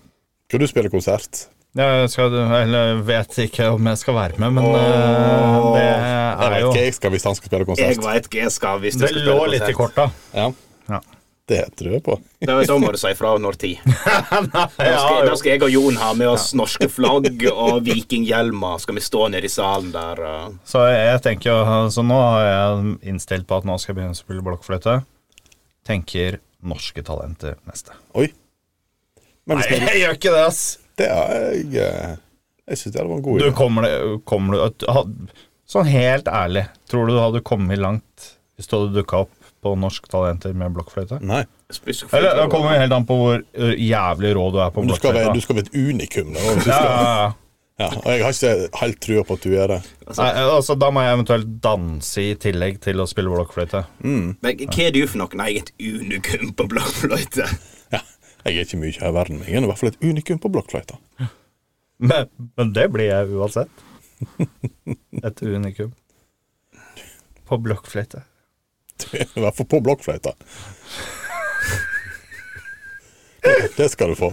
Speaker 3: Skal du spille konsert?
Speaker 5: Jeg skal, eller vet ikke om jeg skal være med, men eh, det
Speaker 3: Jeg
Speaker 5: er
Speaker 3: vet
Speaker 5: jo
Speaker 3: ikke jeg skal hvis han skal spille
Speaker 4: Jeg
Speaker 3: konsert.
Speaker 4: veit hva jeg skal hvis du
Speaker 5: Det
Speaker 4: skal spille
Speaker 5: lå litt i
Speaker 4: konsert.
Speaker 5: korta.
Speaker 3: Ja.
Speaker 5: Ja.
Speaker 3: Det tror jeg på. [LAUGHS]
Speaker 4: Da, da må du si ifra når tid. Da skal,
Speaker 5: [LAUGHS] Ja,
Speaker 4: da skal jeg og Jon ha med oss norske flagg og vikinghjelmer. Skal vi stå nede i salen der eh, og
Speaker 5: Så jeg tenker jo Så nå har jeg innstilt på at nå skal jeg begynne å spille blokkfløyte. Tenker norske talenter neste.
Speaker 3: Oi. Men hvis vi-
Speaker 5: Jeg gjør ikke det, ass!
Speaker 3: det er jeg eh, Jeg syns det var en god
Speaker 5: Du,
Speaker 3: idé.
Speaker 5: kommer du, kommer du at- ha- Sånn helt ærlig, tror du du hadde kommet langt hvis du hadde dukka opp på Norsk Talenter med blokkfløyte?
Speaker 3: Nei.
Speaker 5: Eller det kommer jo helt an på hvor ø, jævlig rå du er på
Speaker 3: Men Du skal, være, du
Speaker 5: blokkfløyte.
Speaker 3: skal være et
Speaker 5: [LAUGHS]
Speaker 3: unikum. Det var det du
Speaker 5: Ja,
Speaker 3: skulle.
Speaker 5: ja, ja.
Speaker 3: Ja, og jeg har ikke helt trua på at du er det.
Speaker 5: Nei, altså, da må jeg eventuelt danse i tillegg til å spille blokkfløyte.
Speaker 4: Men hva er du for noe? Nei, jeg er et unikum på blokkfløyte.
Speaker 3: Ja, jeg er ikke mye her i verden. Jeg er i hvert fall et unikum på blokkfløyta. [LAUGHS]
Speaker 5: Men, men det blir jeg uansett. Et unikum. På blokkfløyte.
Speaker 3: I hvert fall på
Speaker 5: [LAUGHS]
Speaker 3: blokkfløyta. Det- Det skal du få.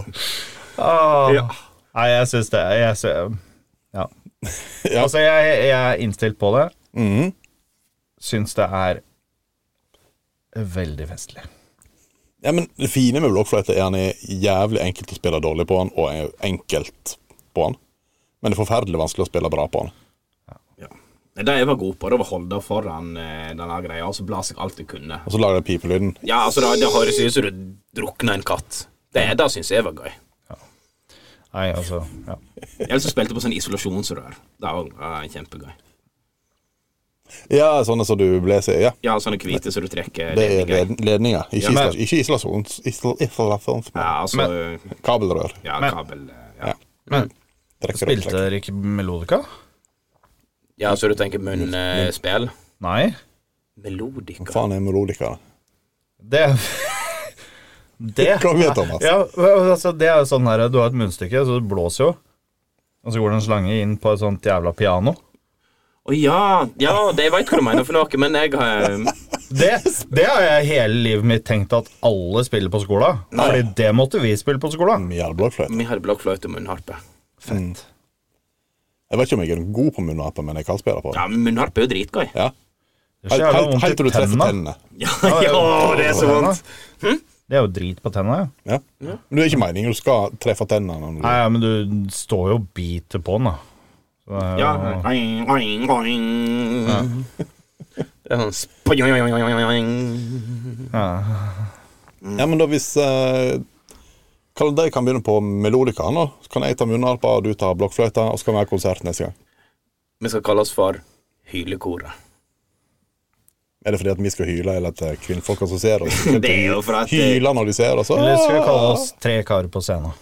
Speaker 5: Åh. Nei, jeg syns det jeg sy- [LAUGHS] ja.
Speaker 3: Ja.
Speaker 5: Altså, jeg, jeg er innstilt på det. Mhm. Syns det er veldig festlig.
Speaker 3: Ja, men Det fine med blokkfløyta er han er jævlig enkelt å spille dårlig på han, og er enkelt på han. Men det er forferdelig vanskelig å spille bra på han.
Speaker 4: Ja. Nei, Det jeg var god på, det var å holde foran eh, denne greia, og så bla seg alt du kunne.
Speaker 3: Og så lager den pipelyden.
Speaker 4: Ja, altså, det, det høres ut som du drukna en katt. Det, det syns jeg var gøy.
Speaker 5: Nei, altså ja.
Speaker 4: Jeg som spilte på sånn isolasjonsrør. Det var eh, kjempegøy.
Speaker 3: Ja, sånne som du leser. Ja,
Speaker 4: Ja, sånne hvite som du trekker.
Speaker 3: det er
Speaker 4: ledninger.
Speaker 3: led- ledninger. Ikke
Speaker 5: Ja, men-
Speaker 3: isla- ikke isolasjons... isla- isolasjons-
Speaker 4: Ja, altså
Speaker 3: Kabelrør.
Speaker 4: Ja,
Speaker 5: Men-
Speaker 4: kabel eh, Ja,
Speaker 3: Ja. Trekker opp,
Speaker 5: Spilte
Speaker 3: trekker.
Speaker 5: dere ikke melodika?
Speaker 4: ja så du tenker eh, munnspill?
Speaker 5: Nei.
Speaker 3: Hva
Speaker 4: Melodika.
Speaker 3: faen er melodika?
Speaker 5: Det [LAUGHS] Det
Speaker 3: Klavier, Thomas.
Speaker 5: Ja, altså, det er jo sånn her Du har et munnstykke, så det blåser jo. Og så går det en slange inn på et sånt jævla piano.
Speaker 4: Å ja, ja, det jeg veit hva du mener for noe, men jeg har
Speaker 5: [LAUGHS] Det, det har jeg hele livet mitt tenkt at alle spiller på skolen. Fordi det måtte vi spille på skolen.
Speaker 3: Mye blokkfløyte. Mm.
Speaker 4: Vi hadde blokkfløyte og munnharpe.
Speaker 5: Mm. Fett.
Speaker 3: Jeg vet ikke om jeg er god på munnharpe, men jeg kan spille på det.
Speaker 4: Ja, men munnharpe er jo dritgøy.
Speaker 3: Ja.
Speaker 5: Det er så
Speaker 3: Helt,
Speaker 5: jævla
Speaker 3: helt, helt
Speaker 5: vondt
Speaker 3: til
Speaker 5: i
Speaker 3: du treffer
Speaker 5: tennene.
Speaker 3: tennene.
Speaker 4: Ja, [LAUGHS] ja, det er så vondt.
Speaker 5: Det er jo drit på tennene. ja.
Speaker 3: Ja. Men det er ikke meningen du skal treffe tennene. Når du...
Speaker 5: Nei, ja, men du står jo og biter på den, da.
Speaker 6: Så det er jo-
Speaker 4: Ja. Oing, oing, oing. Det er sånn sp- oing, oing, oing, oing, oing.
Speaker 6: ja.
Speaker 3: Ja, men da hvis eh, Kalle, de kan begynne på melodikaen, da. Så kan jeg ta munnharpa, og du tar blokkfløyta, og så kan vi ha konsert neste gang.
Speaker 4: Vi skal kalle oss for Hylekoret.
Speaker 3: Er det fordi at vi skal hyle, eller at eh, kvinnfolka som
Speaker 4: [LAUGHS]
Speaker 3: ser oss,
Speaker 4: Det er jo for at eh,
Speaker 3: hyler når de ser oss?
Speaker 6: Eller skal vi
Speaker 3: Ah!
Speaker 6: kalle oss Tre karer på scenen?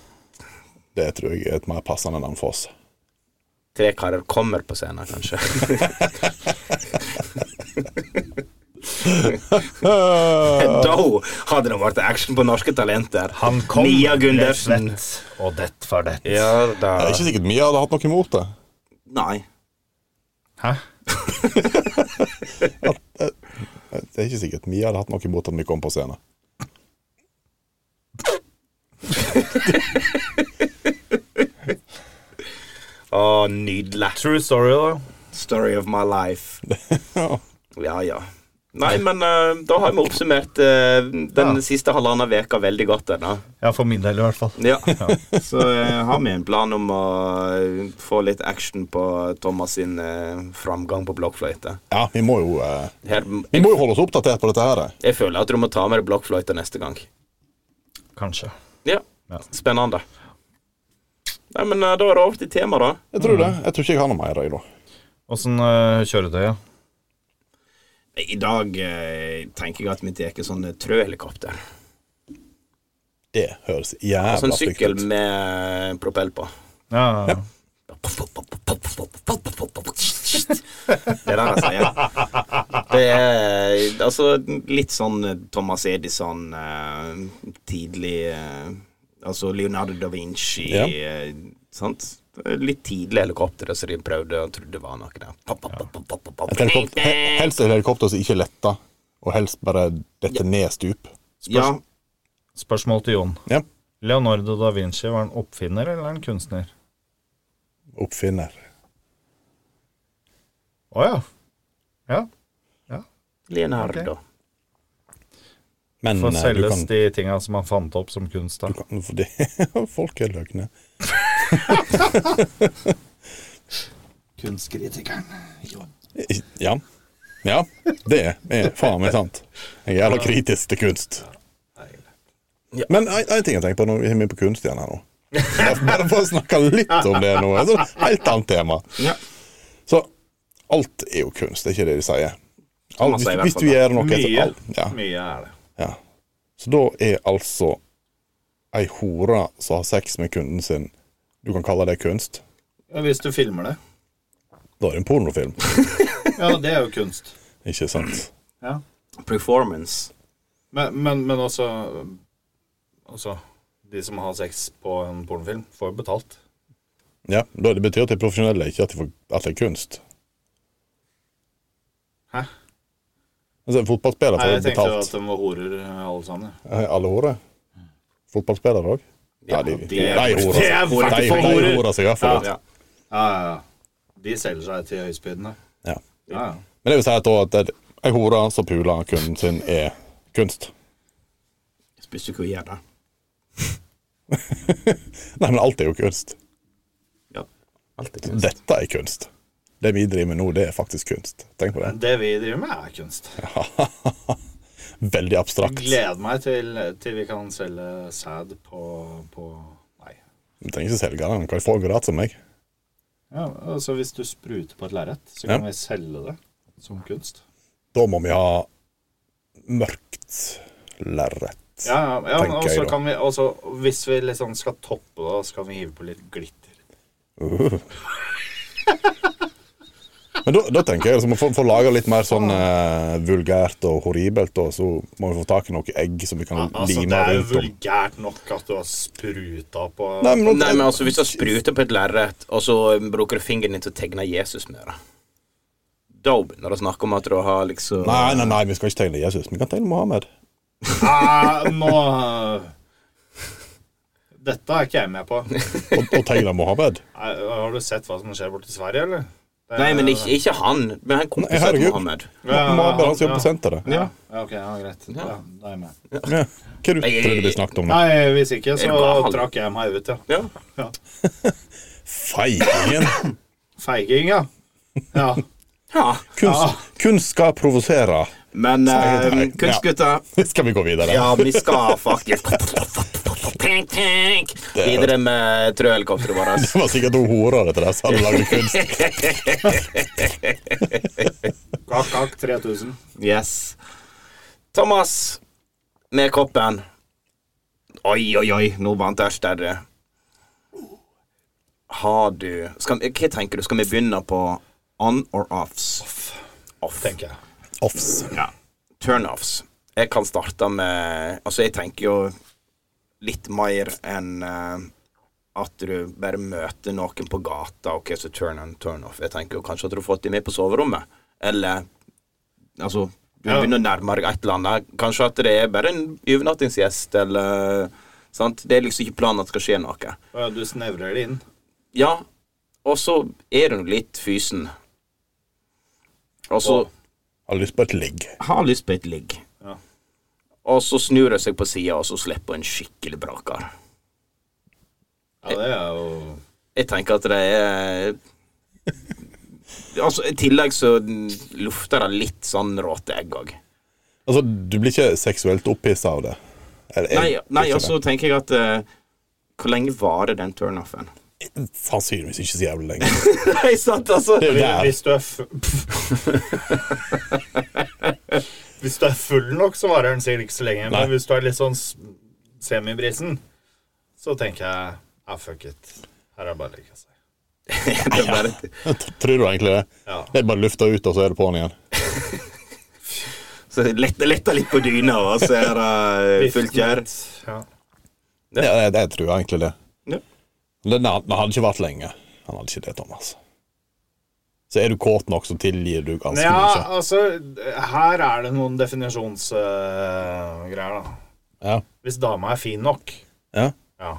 Speaker 3: Det tror jeg er et mer passende navn for oss. [LAUGHS]
Speaker 4: tre karer kommer på scenen, kanskje.
Speaker 6: [LAUGHS]
Speaker 4: Da hadde det vært action på norske talenter.
Speaker 6: Han kom,
Speaker 4: Mia Gundersen.
Speaker 6: og dett var dett.
Speaker 4: Ja da.
Speaker 3: Det er ikke sikkert Mia hadde hatt noe imot det.
Speaker 4: Nei.
Speaker 6: Hæ?
Speaker 3: Det er ikke sikkert Mia hadde hatt noe imot at vi kom på scenen. [LAUGHS]
Speaker 4: Å, nydelig.
Speaker 6: True story, da.
Speaker 4: Story of my life. Ja, ja. Nei, men eh, da har vi oppsummert eh, den
Speaker 6: Ja.
Speaker 4: siste halvannen veka veldig godt. Denne.
Speaker 6: Ja, for min del i hvert fall.
Speaker 4: Ja. [LAUGHS] Så eh, har vi en plan om å eh, få litt action på Thomas sin eh, framgang på blokkfløyte.
Speaker 3: Ja, vi må jo eh,
Speaker 4: Her,
Speaker 3: Vi må jo holde oss oppdatert på dette her. eh.
Speaker 4: jeg føler at du må ta med deg blokkfløyta neste gang.
Speaker 6: Kanskje.
Speaker 4: Ja.
Speaker 6: Ja.
Speaker 4: Spennende. Nei, men eh, da er det over til tema, da.
Speaker 3: Jeg tror det. Jeg tror ikke jeg har noe mer i dag.
Speaker 6: Åssen uh, kjøretøyet?
Speaker 4: I dag eh, tenker jeg at vi tar sånn eh, trøhelikopter.
Speaker 3: Det høres jævla
Speaker 4: Sånn
Speaker 3: stygt
Speaker 4: sykkel
Speaker 3: ut.
Speaker 4: med eh, propell på.
Speaker 6: Ja, ja.
Speaker 4: Det er det han sier. Det er altså litt sånn Thomas Edison, eh, tidlig eh, Altså Leonardo da Vinci,
Speaker 3: Ja.
Speaker 4: eh, sant? Det er Litt tidlig helikopter, så de prøvde og trodde det var noe der. Pop, pop, pop, pop, pop, pop.
Speaker 3: Et helikopter, he- helst et helikopter som ikke letter, og helst bare detter ned stup.
Speaker 4: Ja,
Speaker 6: Spørsmål til Jon.
Speaker 3: Ja.
Speaker 6: Leonardo da Vinci, var han oppfinner eller en kunstner?
Speaker 3: Oppfinner.
Speaker 6: Å ja. Ja.
Speaker 4: Leonardo.
Speaker 3: Men
Speaker 6: For
Speaker 3: eh, du
Speaker 6: selges
Speaker 3: kan,
Speaker 6: de tinga som han fant opp som kunst, da.
Speaker 3: du kan for det, [LAUGHS] Folk er løgne.
Speaker 5: Kunstkritikeren.
Speaker 3: I- Eh, Ja. Ja, det er faen meg sant. Jeg er jævla kritisk til kunst. Men én ting jeg tenker på, nå er vi på kunst igjen her nå. Bare- Bare for å snakke litt om det nå. Et sånt helt annet tema.
Speaker 4: Ja.
Speaker 3: Så alt er jo kunst, det er ikke det de sier. Alt,
Speaker 4: Man
Speaker 3: hvis,
Speaker 4: sier i hvert
Speaker 3: hvis
Speaker 4: fall
Speaker 3: du
Speaker 4: det.
Speaker 3: gjør noe
Speaker 5: Mye.
Speaker 3: alt, ja.
Speaker 5: Mye er det.
Speaker 3: Ja. Så da er altså ei hore som har sex med kunden sin Du kan kalle det kunst.
Speaker 5: Ja, hvis du filmer det.
Speaker 3: Da er det en pornofilm,
Speaker 5: Ja, det er jo kunst.
Speaker 3: ikke sant?
Speaker 5: Ja.
Speaker 4: Performance.
Speaker 5: Men, men, men også Altså, de som har sex på en pornofilm, får jo betalt.
Speaker 3: Ja, da Det betyr at de er profesjonelle, ikke at, de får, at det er kunst.
Speaker 5: Hæ?
Speaker 3: Altså, Fotballspillere
Speaker 5: Nei,
Speaker 3: får
Speaker 5: jeg tenkte jo
Speaker 3: betalt.
Speaker 5: at de var horer, alle sammen. ja.
Speaker 3: Eh, Alle horer? Fotballspillere òg? Ja, de, de,
Speaker 4: er-
Speaker 3: horer
Speaker 5: det er
Speaker 3: seg. De,
Speaker 5: faktisk
Speaker 3: de
Speaker 5: horer.
Speaker 3: horer seg iallfall.
Speaker 4: Ja.
Speaker 5: Ja, ja, ja. De selger seg til høyspydene.
Speaker 3: Ja.
Speaker 5: Ja, ja.
Speaker 3: Men det vil si at, da at det- ei hore som puler kunden sin, er kunst.
Speaker 4: Jeg spiste ikke å gjøre det.
Speaker 3: Nei, men alt er jo kunst.
Speaker 4: Ja. Alt er kunst.
Speaker 3: Dette er kunst. Det vi driver med nå, det er faktisk kunst. Tenk på det.
Speaker 5: Det vi driver med, er kunst.
Speaker 3: Veldig abstrakt. Vi
Speaker 5: Gleder meg til, til vi kan selge sæd på, på Nei.
Speaker 3: trenger ikke selge den, den kan få gratis av meg.
Speaker 5: Ja, altså Hvis du spruter på et lerret, så kan
Speaker 3: Ja.
Speaker 5: vi selge det som kunst.
Speaker 3: Da må vi ha mørkt lerret.
Speaker 5: Ja, ja, ja men
Speaker 3: Tenker jeg
Speaker 5: også
Speaker 3: da.
Speaker 5: kan vi også, Hvis vi liksom skal toppe det, så kan vi hive på litt glitter.
Speaker 3: Men da, da tenker jeg liksom, for, for å lage litt mer sånn eh, vulgært og horribelt, da, så må vi få tak i noe egg som vi kan
Speaker 5: Altså, Det
Speaker 3: lime
Speaker 5: er jo
Speaker 3: rundt om.
Speaker 5: vulgært nok at du har spruta på
Speaker 3: Nei, men,
Speaker 4: Nei, men altså, Hvis du spruter på et lerret, og så bruker du fingeren din til å tegne Jesus med det Da begynner du å snakke om at du har liksom
Speaker 3: nei, nei, nei, vi skal ikke tegne Jesus, vi kan tegne Mohammed.
Speaker 5: Nei, Ah, nå Dette er ikke jeg med på.
Speaker 3: Og, og tegne Mohammed.
Speaker 5: Nei, Har du sett hva som skjer borte i Sverige, eller? Det-
Speaker 4: Nei, men ikke, ikke han. Men han
Speaker 3: Nei,
Speaker 4: kompisen til
Speaker 3: herregud.
Speaker 4: Mohammed.
Speaker 5: [LAUGHS] Ja,
Speaker 3: Mohammed han som
Speaker 5: ja.
Speaker 3: jobber på senteret.
Speaker 5: Ja, ja ok, ja, greit. Ja, da er jeg med.
Speaker 3: Ja. Hva er det du
Speaker 4: Nei,
Speaker 3: trodde vi snakket om nå?
Speaker 5: Nei, hvis ikke,
Speaker 4: Er du gal?
Speaker 5: så trakk jeg meg ut, ja.
Speaker 4: Ja.
Speaker 3: Feiringen!
Speaker 5: Feiging, ja. Ja.
Speaker 4: Ja.
Speaker 3: Kunst, kunst skal provosere. [LAUGHS]
Speaker 4: Men
Speaker 3: Sier
Speaker 4: eh,
Speaker 3: det.
Speaker 4: kunstgutter
Speaker 3: Skal vi gå videre?
Speaker 4: Ja, vi skal faktisk Tenk, tenk Videre med trøhelikopteret vårt.
Speaker 3: [LAUGHS] Det var sikkert to horer etter det som hadde lagd kunst.
Speaker 4: [LAUGHS]
Speaker 5: Kakk, kakk, 3000.
Speaker 4: Yes. Thomas med koppen. Oi, oi, oi, nå vant Ørsted. Har du skal, vi- Hva tenker du? Skal vi begynne på on or offs? Off.
Speaker 5: tenker jeg.
Speaker 3: Offs.
Speaker 4: Ja. Turnoffs. Jeg kan starte med Altså, jeg tenker jo litt mer enn eh, at du bare møter noen på gata, OK, så turn on, turn off. Jeg tenker jo kanskje at du har fått dem med på soverommet, eller Altså, du
Speaker 5: Ja.
Speaker 4: begynner å nærme deg et eller annet. Kanskje at det er bare en overnattingsgjest, eller Sant? Det er liksom ikke planen at det skal skje noe.
Speaker 5: Å ja, du snevrer det inn.
Speaker 4: Ja, og så er hun litt fysen. Og så
Speaker 3: Har lyst på et ligg.
Speaker 4: har lyst på et ligg.
Speaker 5: Ja.
Speaker 4: Og så snur jeg seg på sida, og så slipper jeg en skikkelig brakar.
Speaker 5: Ja, det er jo
Speaker 4: Jeg tenker at det er [LAUGHS] Altså, I tillegg så lufter det litt sånn råteegg òg.
Speaker 3: Altså, du blir ikke seksuelt opphissa av det? Eller, jeg
Speaker 4: Nei, nei
Speaker 3: blir
Speaker 4: og
Speaker 3: ikke
Speaker 4: så tenker jeg at eh, Hvor lenge varer den turnoffen?
Speaker 3: det. Sannsynligvis ikke så jævlig lenge.
Speaker 4: [LAUGHS]
Speaker 3: [LAUGHS]
Speaker 4: Nei, sant, [LAUGHS] altså?
Speaker 3: Det er jo der.
Speaker 5: Hvis du er f... [LAUGHS] Hvis du er full nok, så varer den sikkert ikke så lenge.
Speaker 3: Nei.
Speaker 5: Men hvis du er litt sånn s- semibrisen, så tenker jeg ah, fuck it. Her er det bare å legge seg.
Speaker 4: Det er bare,
Speaker 3: Tror du egentlig det?
Speaker 5: Ja.
Speaker 3: Det er bare lufta ut, og så er det på'n igjen.
Speaker 4: så letter letter litt på dyna, og så er det eh, fullt gjær.
Speaker 5: Ja.
Speaker 3: Ja, det, det tror jeg egentlig det.
Speaker 4: Ja.
Speaker 3: Den, den hadde ikke vært lenge. Han hadde ikke det, Thomas. Så er du kåt nok, så tilgir du ganske
Speaker 5: ja,
Speaker 3: mye.
Speaker 5: altså Her er det noen definisjonsgreier, da.
Speaker 3: Ja.
Speaker 5: Hvis dama er fin nok
Speaker 3: Ja.
Speaker 5: Ja,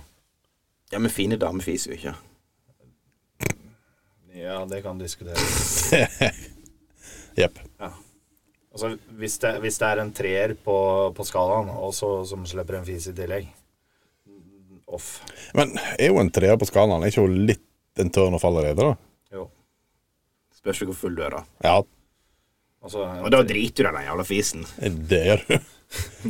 Speaker 4: Ja, men fine damer fiser jo ikke.
Speaker 5: ja det kan diskuteres.
Speaker 3: Jepp.
Speaker 5: Altså, hvis, det, hvis det er en treer på, på skalaen, og så som slipper en fis i tillegg Off.
Speaker 3: Men er jo en treer på skalaen er ikke hun litt en turn off allerede, da?
Speaker 5: Jo.
Speaker 4: Spørs jo hvor full du er, da.
Speaker 3: Ja,
Speaker 5: Altså, en
Speaker 4: Og da
Speaker 5: tre-
Speaker 4: driter du i den jævla fisen.
Speaker 3: det gjør du.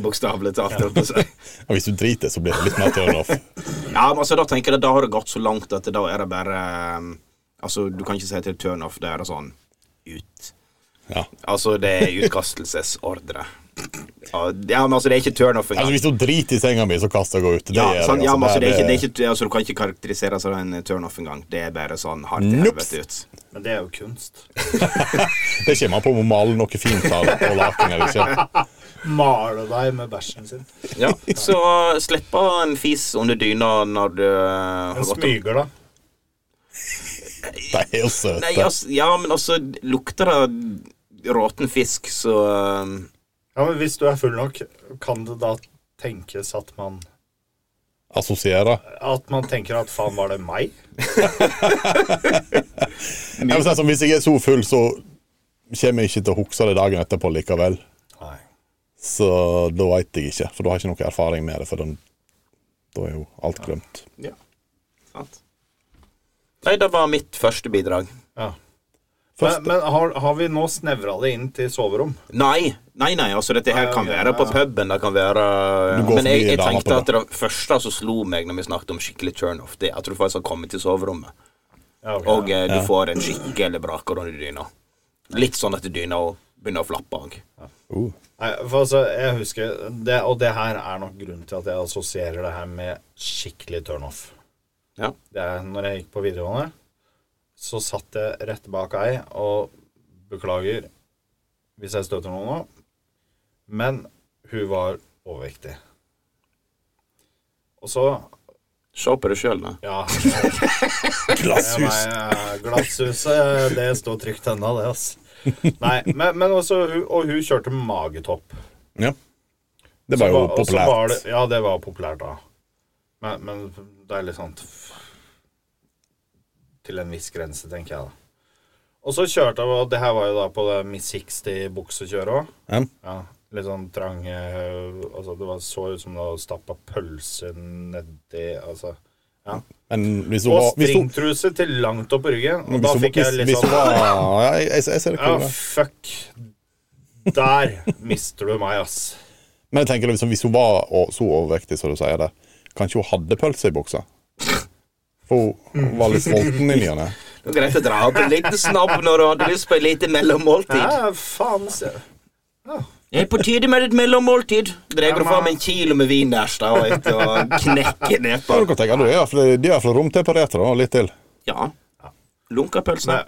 Speaker 4: Bokstavelig talt. holdt jeg på å si.
Speaker 3: Og Hvis du driter, så blir det litt mer
Speaker 4: [LAUGHS]
Speaker 3: turn off.
Speaker 4: Ja, men altså da tenker jeg Da har det gått så langt at da er det bare eh, Altså, du kan ikke si til turnoff, det er det sånn ut.
Speaker 3: Ja.
Speaker 4: Altså, det er utkastelsesordre. Ja, ja, men altså, det er ikke turnoff
Speaker 3: Altså,
Speaker 4: engang.
Speaker 3: hvis hun driter i senga mi, så kaster jeg henne ut. Det
Speaker 4: Ja,
Speaker 3: gjør jeg,
Speaker 4: sant, ja, men altså, det er ikke, det er
Speaker 3: det-
Speaker 4: ikke, altså, du kan ikke karakterisere det som en turnoff engang. Det er bare sånn hardt til
Speaker 3: Nope.
Speaker 4: helvete ut.
Speaker 5: Men det er jo kunst.
Speaker 3: det kommer an på om hun maler noe fint av det på laken eller ikke.
Speaker 5: Male deg med bæsjen sin.
Speaker 4: Ja, så eh, slipp av en fis under dyna når du eh,
Speaker 5: En
Speaker 4: har gått opp.
Speaker 5: smyger, da.
Speaker 3: De er jo søte.
Speaker 4: Nei, altså, ja, men altså, lukter det råten fisk, så eh,
Speaker 5: Ja, men Hvis du er full nok, kan det da tenkes at man
Speaker 3: Assosierer.
Speaker 5: At man tenker at faen, var det meg?
Speaker 3: Jeg vil si sånn, hvis jeg er så full, så kommer jeg ikke til å huske det dagen etterpå likevel.
Speaker 5: Nei.
Speaker 3: Så da veit jeg ikke, for da har jeg ikke noe erfaring med det. For den, da er jo alt glemt.
Speaker 4: Ja. Sant. Nei, det var mitt første bidrag.
Speaker 5: Ja.
Speaker 3: Først-
Speaker 5: Men, men har, har vi nå snevra det inn til soverom?
Speaker 4: Nei, nei, nei, altså dette her
Speaker 5: Nei,
Speaker 4: kan
Speaker 5: ok,
Speaker 4: være på
Speaker 5: ja, ja.
Speaker 4: puben, det kan være
Speaker 3: Du går
Speaker 4: Men jeg,
Speaker 3: forbi
Speaker 4: jeg
Speaker 3: dama på
Speaker 4: tenkte at det første som slo meg når vi snakket om skikkelig turnoff, det er at du faktisk har kommet til soverommet,
Speaker 5: Ja, ok.
Speaker 4: og eh, du får en skikkelig braker under dyna. Litt sånn at dyna begynner å flappe òg.
Speaker 3: Uh.
Speaker 5: Nei, for altså, jeg husker det, Og det her er nok grunnen til at jeg assosierer det her med skikkelig turnoff.
Speaker 4: Ja.
Speaker 5: Det er når jeg gikk på videregående, så satt jeg rett bak ei og beklager hvis jeg støter noen nå, men hun var overvektig. Og så
Speaker 4: Se på det sjøl, da.
Speaker 5: Ja, jeg,
Speaker 3: Glasshus!
Speaker 5: nei, glasshuset, det står trygt ennå, det, altså. Nei, men, men også hun- Og hun kjørte med magetopp.
Speaker 3: Ja. Det var jo
Speaker 5: Så og så var
Speaker 3: populært.
Speaker 5: det- ja, det var populært da. Men, men det er litt sånn Til en viss grense, tenker jeg da. Og så kjørte jeg og Det her var jo da på det Miss 60-buksekjøret òg.
Speaker 3: Ja.
Speaker 5: Ja, litt sånn trang eh, altså Det var, så ut som det hadde stappa pølse nedi Altså, ja.
Speaker 3: Men hvis hun
Speaker 5: Og
Speaker 3: var hvis hun,
Speaker 5: stringtruse til langt opp på ryggen. Og
Speaker 3: hvis
Speaker 5: da
Speaker 3: hun,
Speaker 5: fikk jeg
Speaker 3: hvis-
Speaker 5: litt
Speaker 3: hvis hun
Speaker 5: sånn
Speaker 3: var, ja, jeg, jeg, jeg ser det
Speaker 5: Ja,
Speaker 3: ikke.
Speaker 5: fuck. Der mister du meg, ass.
Speaker 3: Men jeg tenker liksom, hvis hun var o- så overvektig som du sier det, kanskje hun hadde pølse i buksa? For hun var litt sulten i ny og ne.
Speaker 4: Det var greit å dra opp en liten snabb når du hadde lyst på et lite mellommåltid.
Speaker 5: Ja, faen. se.
Speaker 4: Det er på tide med et mellommåltid. Drar du fram en kilo med wienerst da, og et og knekker
Speaker 3: Da
Speaker 4: nedpå.
Speaker 3: kan du tenke, du er iallfall- De er iallfall romtempererte, da, og litt til.
Speaker 4: Ja. Lunkapølse.
Speaker 5: Men,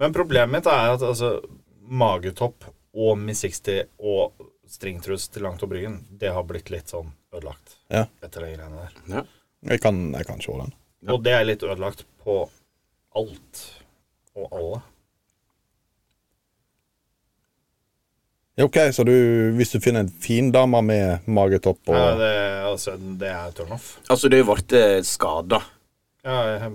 Speaker 5: men problemet mitt er at altså, magetopp og Mi 60 og stringtrus til langt opp ryggen, det har blitt litt sånn ødelagt
Speaker 3: Ja.
Speaker 5: etter de greiene der.
Speaker 4: Ja.
Speaker 3: Jeg kan, jeg kan se den.
Speaker 5: Og det er litt ødelagt på alt og alle.
Speaker 3: Ja, OK, så du, hvis du finner en fin dame med magetopp
Speaker 5: Ja,
Speaker 3: og
Speaker 5: det, altså, det er turnoff.
Speaker 4: Altså, du ble skada.
Speaker 5: Ja, jeg,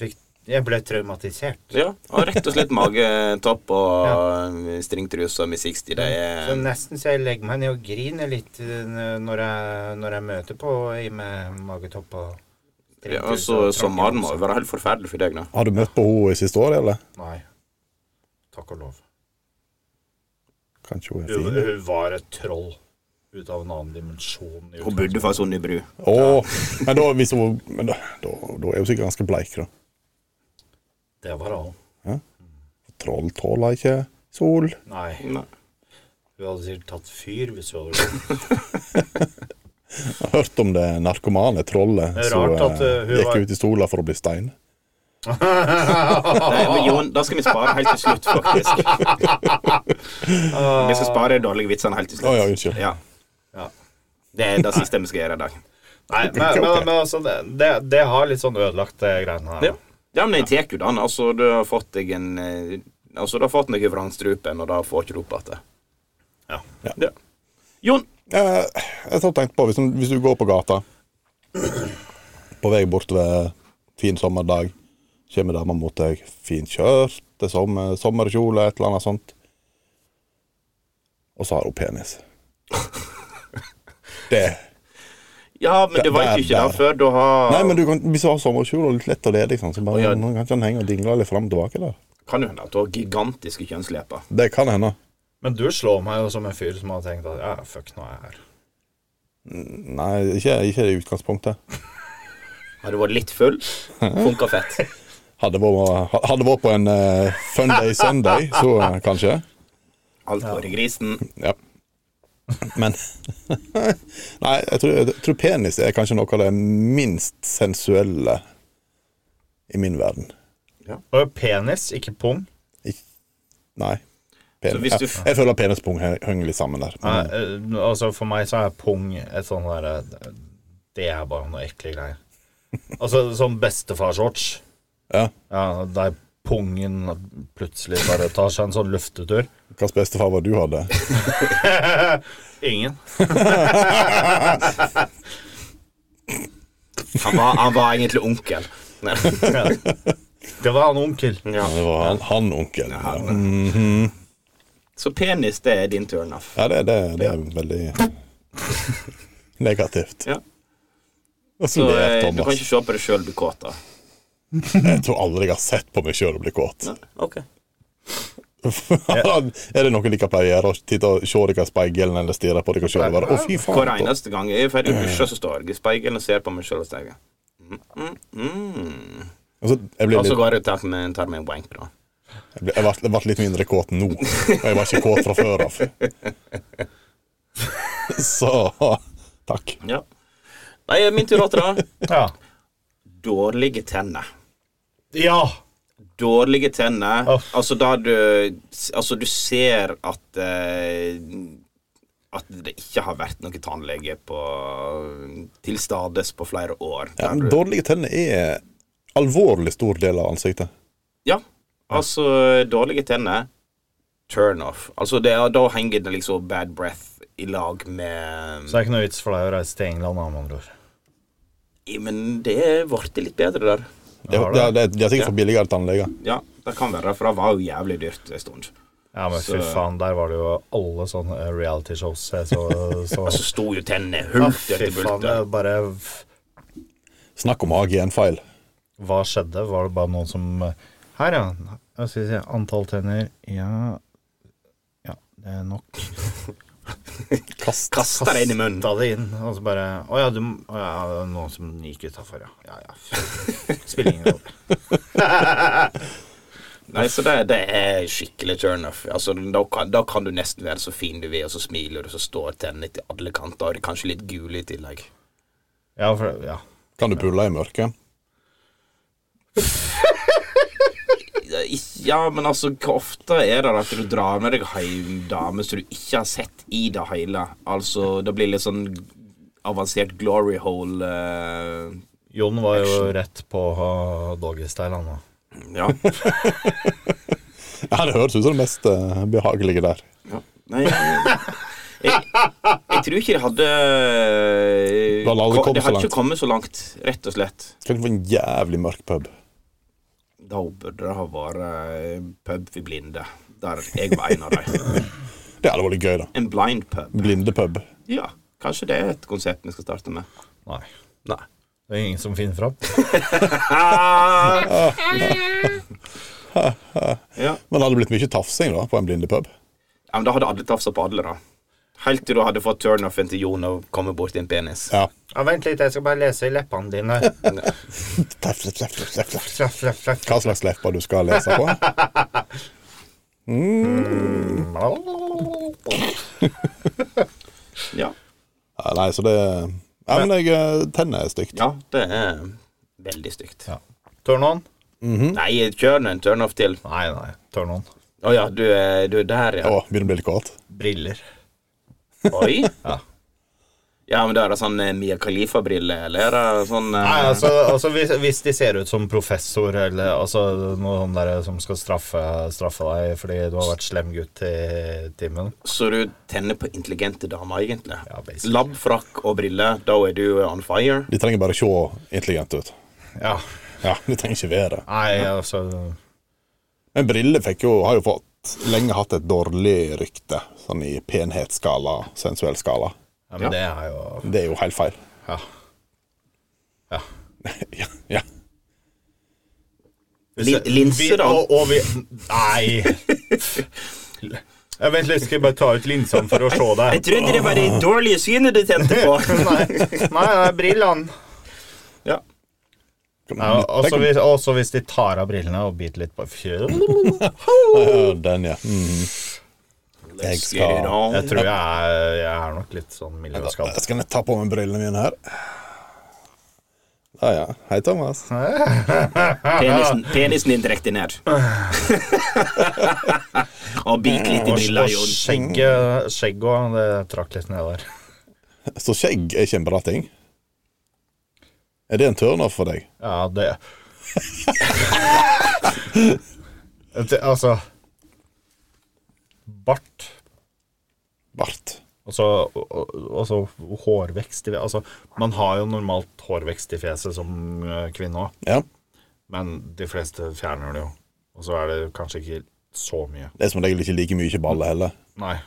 Speaker 5: fikk, jeg ble traumatisert.
Speaker 4: Ja, og rett og slett magetopp og stringtruse og med 60. Det
Speaker 5: Så
Speaker 3: sånn
Speaker 4: er
Speaker 5: nesten så jeg legger meg ned og griner litt eh, når jeg, når jeg møter på i med magetopp og
Speaker 4: ja, altså, Sommeren må jo være helt forferdelig for deg, da.
Speaker 3: Har du møtt på henne i siste år, eller?
Speaker 5: Nei. Takk og lov.
Speaker 3: Kanskje hun er
Speaker 5: Hun,
Speaker 3: fin?
Speaker 5: hun var et troll ut av en annen dimensjon. i
Speaker 4: Hun bodde faktisk under bru.
Speaker 3: Å, men da, hvis hun, men da, da, da er hun sikkert ganske bleik, da.
Speaker 5: utgangspunktet. Det var han.
Speaker 3: Troll tåler ikke sol.
Speaker 5: Nei.
Speaker 4: Nei.
Speaker 5: Hun hadde sikkert tatt fyr hvis hun hadde gjort det.
Speaker 3: Jeg har hørt om det narkomane trollet
Speaker 5: Det er
Speaker 3: som
Speaker 5: rart at,
Speaker 3: eh,
Speaker 5: uh, hun
Speaker 3: gikk
Speaker 5: var-
Speaker 3: ut i stola for å bli stein. Ah.
Speaker 4: Nei, men Jon, da skal vi spare helt til slutt, faktisk. Vi skal spare de dårlige vitsene helt til
Speaker 3: Å
Speaker 4: slutt.
Speaker 3: Ah. ja, unnskyld.
Speaker 4: Ja.
Speaker 5: Ja.
Speaker 4: Det er det siste vi skal gjøre i dag.
Speaker 5: Nei, men, men, men altså, det, det, det har litt sånn ødelagt det greiene her.
Speaker 4: Ja, ja men jeg tar jo den. Altså, du har fått deg en eh, Altså, du har fått noe vrangstrupen, og da får ikke du opp igjen.
Speaker 5: Ja.
Speaker 4: Ja. Jon,
Speaker 3: Eh, Jeg har tenkt på, hvis, du- hvis du går på gata På vei bort ved fin sommerdag Kommer dama mot deg Fint kjørt, det er sommer, sommerkjole Et eller annet sånt Og så har hun penis Det
Speaker 4: ja, men det var
Speaker 3: Der,
Speaker 4: jo ikke
Speaker 3: der.
Speaker 4: det før. Du har
Speaker 3: Nei, men du kan, hvis du har sommerkjole og litt lett og ledig sånn, Så bare,
Speaker 4: ja.
Speaker 3: kan ikke han henge og dingle litt frem og tilbake der
Speaker 4: Kan jo hende at du har gigantiske kjønnsleper.
Speaker 3: Det kan hende
Speaker 5: Men du slår meg jo som en fyr som har tenkt at ja, fuck, nå er jeg her.
Speaker 3: Nei, ikke, ikke i utgangspunktet
Speaker 4: Har du vært litt full?
Speaker 3: [LAUGHS]
Speaker 4: Funka fett.
Speaker 3: Hadde vært, hadde vært på en eh, fun day Sunday Så eh, kanskje
Speaker 4: Alt går i grisen.
Speaker 3: Ja. Men [LAUGHS] Nei, jeg tror, jeg tror penis er kanskje noe av det minst sensuelle i min verden.
Speaker 5: Og penis, ikke pung.
Speaker 3: Nei.
Speaker 4: Så
Speaker 3: Pen,
Speaker 4: hvis du-
Speaker 3: jeg, jeg føler penispung he- henger litt sammen der.
Speaker 5: Nei,
Speaker 3: Men,
Speaker 5: eh, altså For meg så er pung et sånn derre Det er bare noe ekle greier. Altså sånn bestefar-shorts.
Speaker 3: ja.
Speaker 5: Ja, der pungen plutselig bare tar seg en sånn luftetur.
Speaker 3: Hvilken bestefar var du hadde?
Speaker 5: Ingen.
Speaker 4: Han var, han var egentlig onkel.
Speaker 3: [LAUGHS]
Speaker 4: Nei.
Speaker 5: Det var han onkel.
Speaker 4: Ja.
Speaker 3: Det var han, han onkelen. Ja,
Speaker 4: Så penis, det er din turnoff.
Speaker 3: ja det, det, det er veldig
Speaker 4: [LAUGHS]
Speaker 3: negativt.
Speaker 4: Ja.
Speaker 3: Og
Speaker 4: Så
Speaker 3: så
Speaker 4: eh,
Speaker 3: ler
Speaker 4: du kan
Speaker 3: Thomas.
Speaker 4: ikke se på deg sjøl bli kåt, da.
Speaker 3: Jeg tror aldri jeg har sett på meg sjøl og blitt kåt.
Speaker 4: Nei, Ok.
Speaker 3: [LAUGHS] er det noe dere pleier å gjøre? Titte og se dere i speilet eller stirre på dere sjøl? Å, fy faen.
Speaker 4: Hver eneste gang jeg er ferdig å dusje, så står jeg i speilet og ser på meg sjøl og tenker mm, mm, mm.
Speaker 3: Altså, jeg ble
Speaker 4: Og så
Speaker 3: litt,
Speaker 4: går jeg og tar meg, tar meg en wank, da.
Speaker 3: jeg ble, jeg ble, jeg ble litt mindre kåt nå. Og jeg var ikke kåt fra før av. [LAUGHS] Så takk.
Speaker 4: Ja. Nei, min tur åtte,
Speaker 3: [LAUGHS]
Speaker 4: da.
Speaker 5: Ja.
Speaker 4: Dårlige tenner.
Speaker 5: ja.
Speaker 4: Dårlige tenner.
Speaker 5: Uff.
Speaker 4: Altså da du Altså, du ser at eh, At det ikke har vært noen tannlege på til stades på flere år.
Speaker 3: Ja,
Speaker 4: Der
Speaker 3: men
Speaker 4: du-
Speaker 3: dårlige tenner er alvorlig stor del av ansiktet.
Speaker 4: Ja, altså dårlige tenner Turn off. Altså det, er- Da henger det liksom bad breath i lag med
Speaker 5: Så det er ikke noe vits for deg å reise til England, da, med andre ord.
Speaker 4: Ja, Men det ble litt bedre der.
Speaker 3: Det, det, det, de er sikkert for billigere tannleger.
Speaker 4: Ja, det kan være, for det var jo jævlig dyrt en stund.
Speaker 5: Ja, men fy
Speaker 4: Så-
Speaker 5: faen, der var det jo alle sånne reality-shows jeg så. så.
Speaker 4: [LAUGHS] Så sto jo tennene
Speaker 5: Ja,
Speaker 4: hulter
Speaker 5: fy
Speaker 4: til
Speaker 5: faen, det
Speaker 4: bulter.
Speaker 5: er bare
Speaker 3: Snakk om å ha genfeil.
Speaker 5: Hva skjedde? Var det bare noen som eh, Her, ja. Hva skal vi si? Antall tenner. Ja Ja, det er nok.
Speaker 3: Kast.
Speaker 4: Kaster det inn i munnen.
Speaker 5: Ta det inn, og så bare Å ja, du m- å, ja, det er noen som gikk utafor, ja. Ja ja.
Speaker 4: [LAUGHS]
Speaker 5: Spiller ingen rolle.
Speaker 4: Nei, så det, det er skikkelig turnoff. Altså, da, kan- da kan du nesten være så fin du vil, og så smiler du, og så står tennene til alle kanter, og det er kanskje litt gule i tillegg.
Speaker 5: Ja, for ja.
Speaker 3: Kan du pulle i mørket?
Speaker 4: Ja, men altså, hvor ofte er det at du drar med deg hjem damer som du ikke har sett i det hele? Altså, det blir litt sånn avansert glory hole eh,
Speaker 5: Jon var jo rett på uh, doggystyle, han da.
Speaker 3: [LAUGHS]
Speaker 4: Ja.
Speaker 3: Ja, det høres ut som det mest eh, behagelige der.
Speaker 4: ja. Nei, jeg, jeg, jeg tror ikke det hadde eh,
Speaker 3: Det hadde aldri
Speaker 4: ko-
Speaker 3: kommet
Speaker 4: Det
Speaker 3: så
Speaker 4: hadde
Speaker 3: langt.
Speaker 4: ikke kommet så langt, rett og slett.
Speaker 3: Kan du få en jævlig mørk pub?
Speaker 4: Da burde det ha vært pub for blinde, der jeg var en av dem.
Speaker 3: Det hadde vært gøy, da.
Speaker 4: En blind pub.
Speaker 3: Blindepub.
Speaker 4: Ja, kanskje det er et konsept vi skal starte med.
Speaker 5: Nei.
Speaker 4: Nei.
Speaker 5: Det er ingen som finner fram.
Speaker 4: Ja.
Speaker 3: Men det hadde blitt mye tafsing da, på en blindepub.
Speaker 4: Ja, men da hadde alle tafsa på alle, da. Helt til du hadde fått turnoffen til Jon og komme bort til en penis.
Speaker 3: Ja.
Speaker 7: Ja, vent litt, jeg skal bare lese i leppene dine. Flaff,
Speaker 3: Tef, tef, tef, tef, tef, tef.
Speaker 7: flaff, flaff, flaff.
Speaker 3: Hva slags lepper du skal lese på?
Speaker 4: Ja,
Speaker 3: Ja, nei, så det Ja, men jeg eh, Tennene er stygt.
Speaker 4: ja det er veldig stygt.
Speaker 5: Ja. Turn on?
Speaker 4: Nei, kjør nå en turnoff til.
Speaker 5: Nei, nei. Turn on.
Speaker 4: Å ja, du er, du er der, ja.
Speaker 3: Å, begynner å bli litt kåt.
Speaker 5: Briller.
Speaker 4: Oi.
Speaker 5: Ja.
Speaker 4: Ja, men da er det sånn eh, Mia Khalifa-brille, eller er det sånn eh,
Speaker 5: Nei, altså, altså hvis, hvis de ser ut som professor eller altså, noen der som skal straffe, straffe deg fordi du har vært slem gutt i timen
Speaker 4: Så du tenner på intelligente damer, egentlig?
Speaker 5: Ja, basically.
Speaker 4: Labbfrakk og briller, da er du on fire?
Speaker 3: De trenger bare se intelligente ut.
Speaker 5: Ja.
Speaker 3: Ja, De trenger ikke være det.
Speaker 5: Nei, altså
Speaker 3: Men briller fikk jo, har jo fått lenge hatt et dårlig rykte, sånn i penhetsskala, sensuell skala.
Speaker 5: ja, Men det er jo
Speaker 3: Det er jo helt feil. [LAUGHS]
Speaker 5: Ja. ja.
Speaker 3: ja, ja.
Speaker 4: Lin- linse, da.
Speaker 5: Vi, og, og vi Nei! [LAUGHS] Jeg vent litt, skal jeg bare ta ut linsene for å se
Speaker 4: Jeg
Speaker 5: deg?
Speaker 4: trodde det var det dårlige synet du tente på.
Speaker 7: Nei, nei, nei, brillene.
Speaker 4: ja.
Speaker 5: Ja, også, hvis, også hvis de tar av brillene og biter litt på Jeg
Speaker 3: Ja, Den, ja. Mm. Mhm. Jeg
Speaker 4: Let's get it
Speaker 3: skal,
Speaker 4: on.
Speaker 5: tror jeg er, jeg er nok litt sånn miljøskadd.
Speaker 3: jeg skal nett ta på meg brillene mine her. Ja, ja. Hei, Thomas.
Speaker 4: Penisen, penisen din direkte ned. og bit litt i brilla,
Speaker 5: Og
Speaker 4: Jon.
Speaker 5: skjegget skjegget òg, det trakk litt ned der.
Speaker 3: Så skjegg er ikke en bra ting. Er det en turnoff for deg?
Speaker 5: Ja, det Det- Altså Bart,
Speaker 3: Bart.
Speaker 5: og så og- og så altså hårvekst i Altså, man har jo normalt hårvekst i fjeset som eh, kvinne òg,
Speaker 3: Ja.
Speaker 5: men de fleste fjerner det jo. Og så er det kanskje ikke så mye.
Speaker 3: Det er som regel ikke like mye baller heller.
Speaker 5: Nei.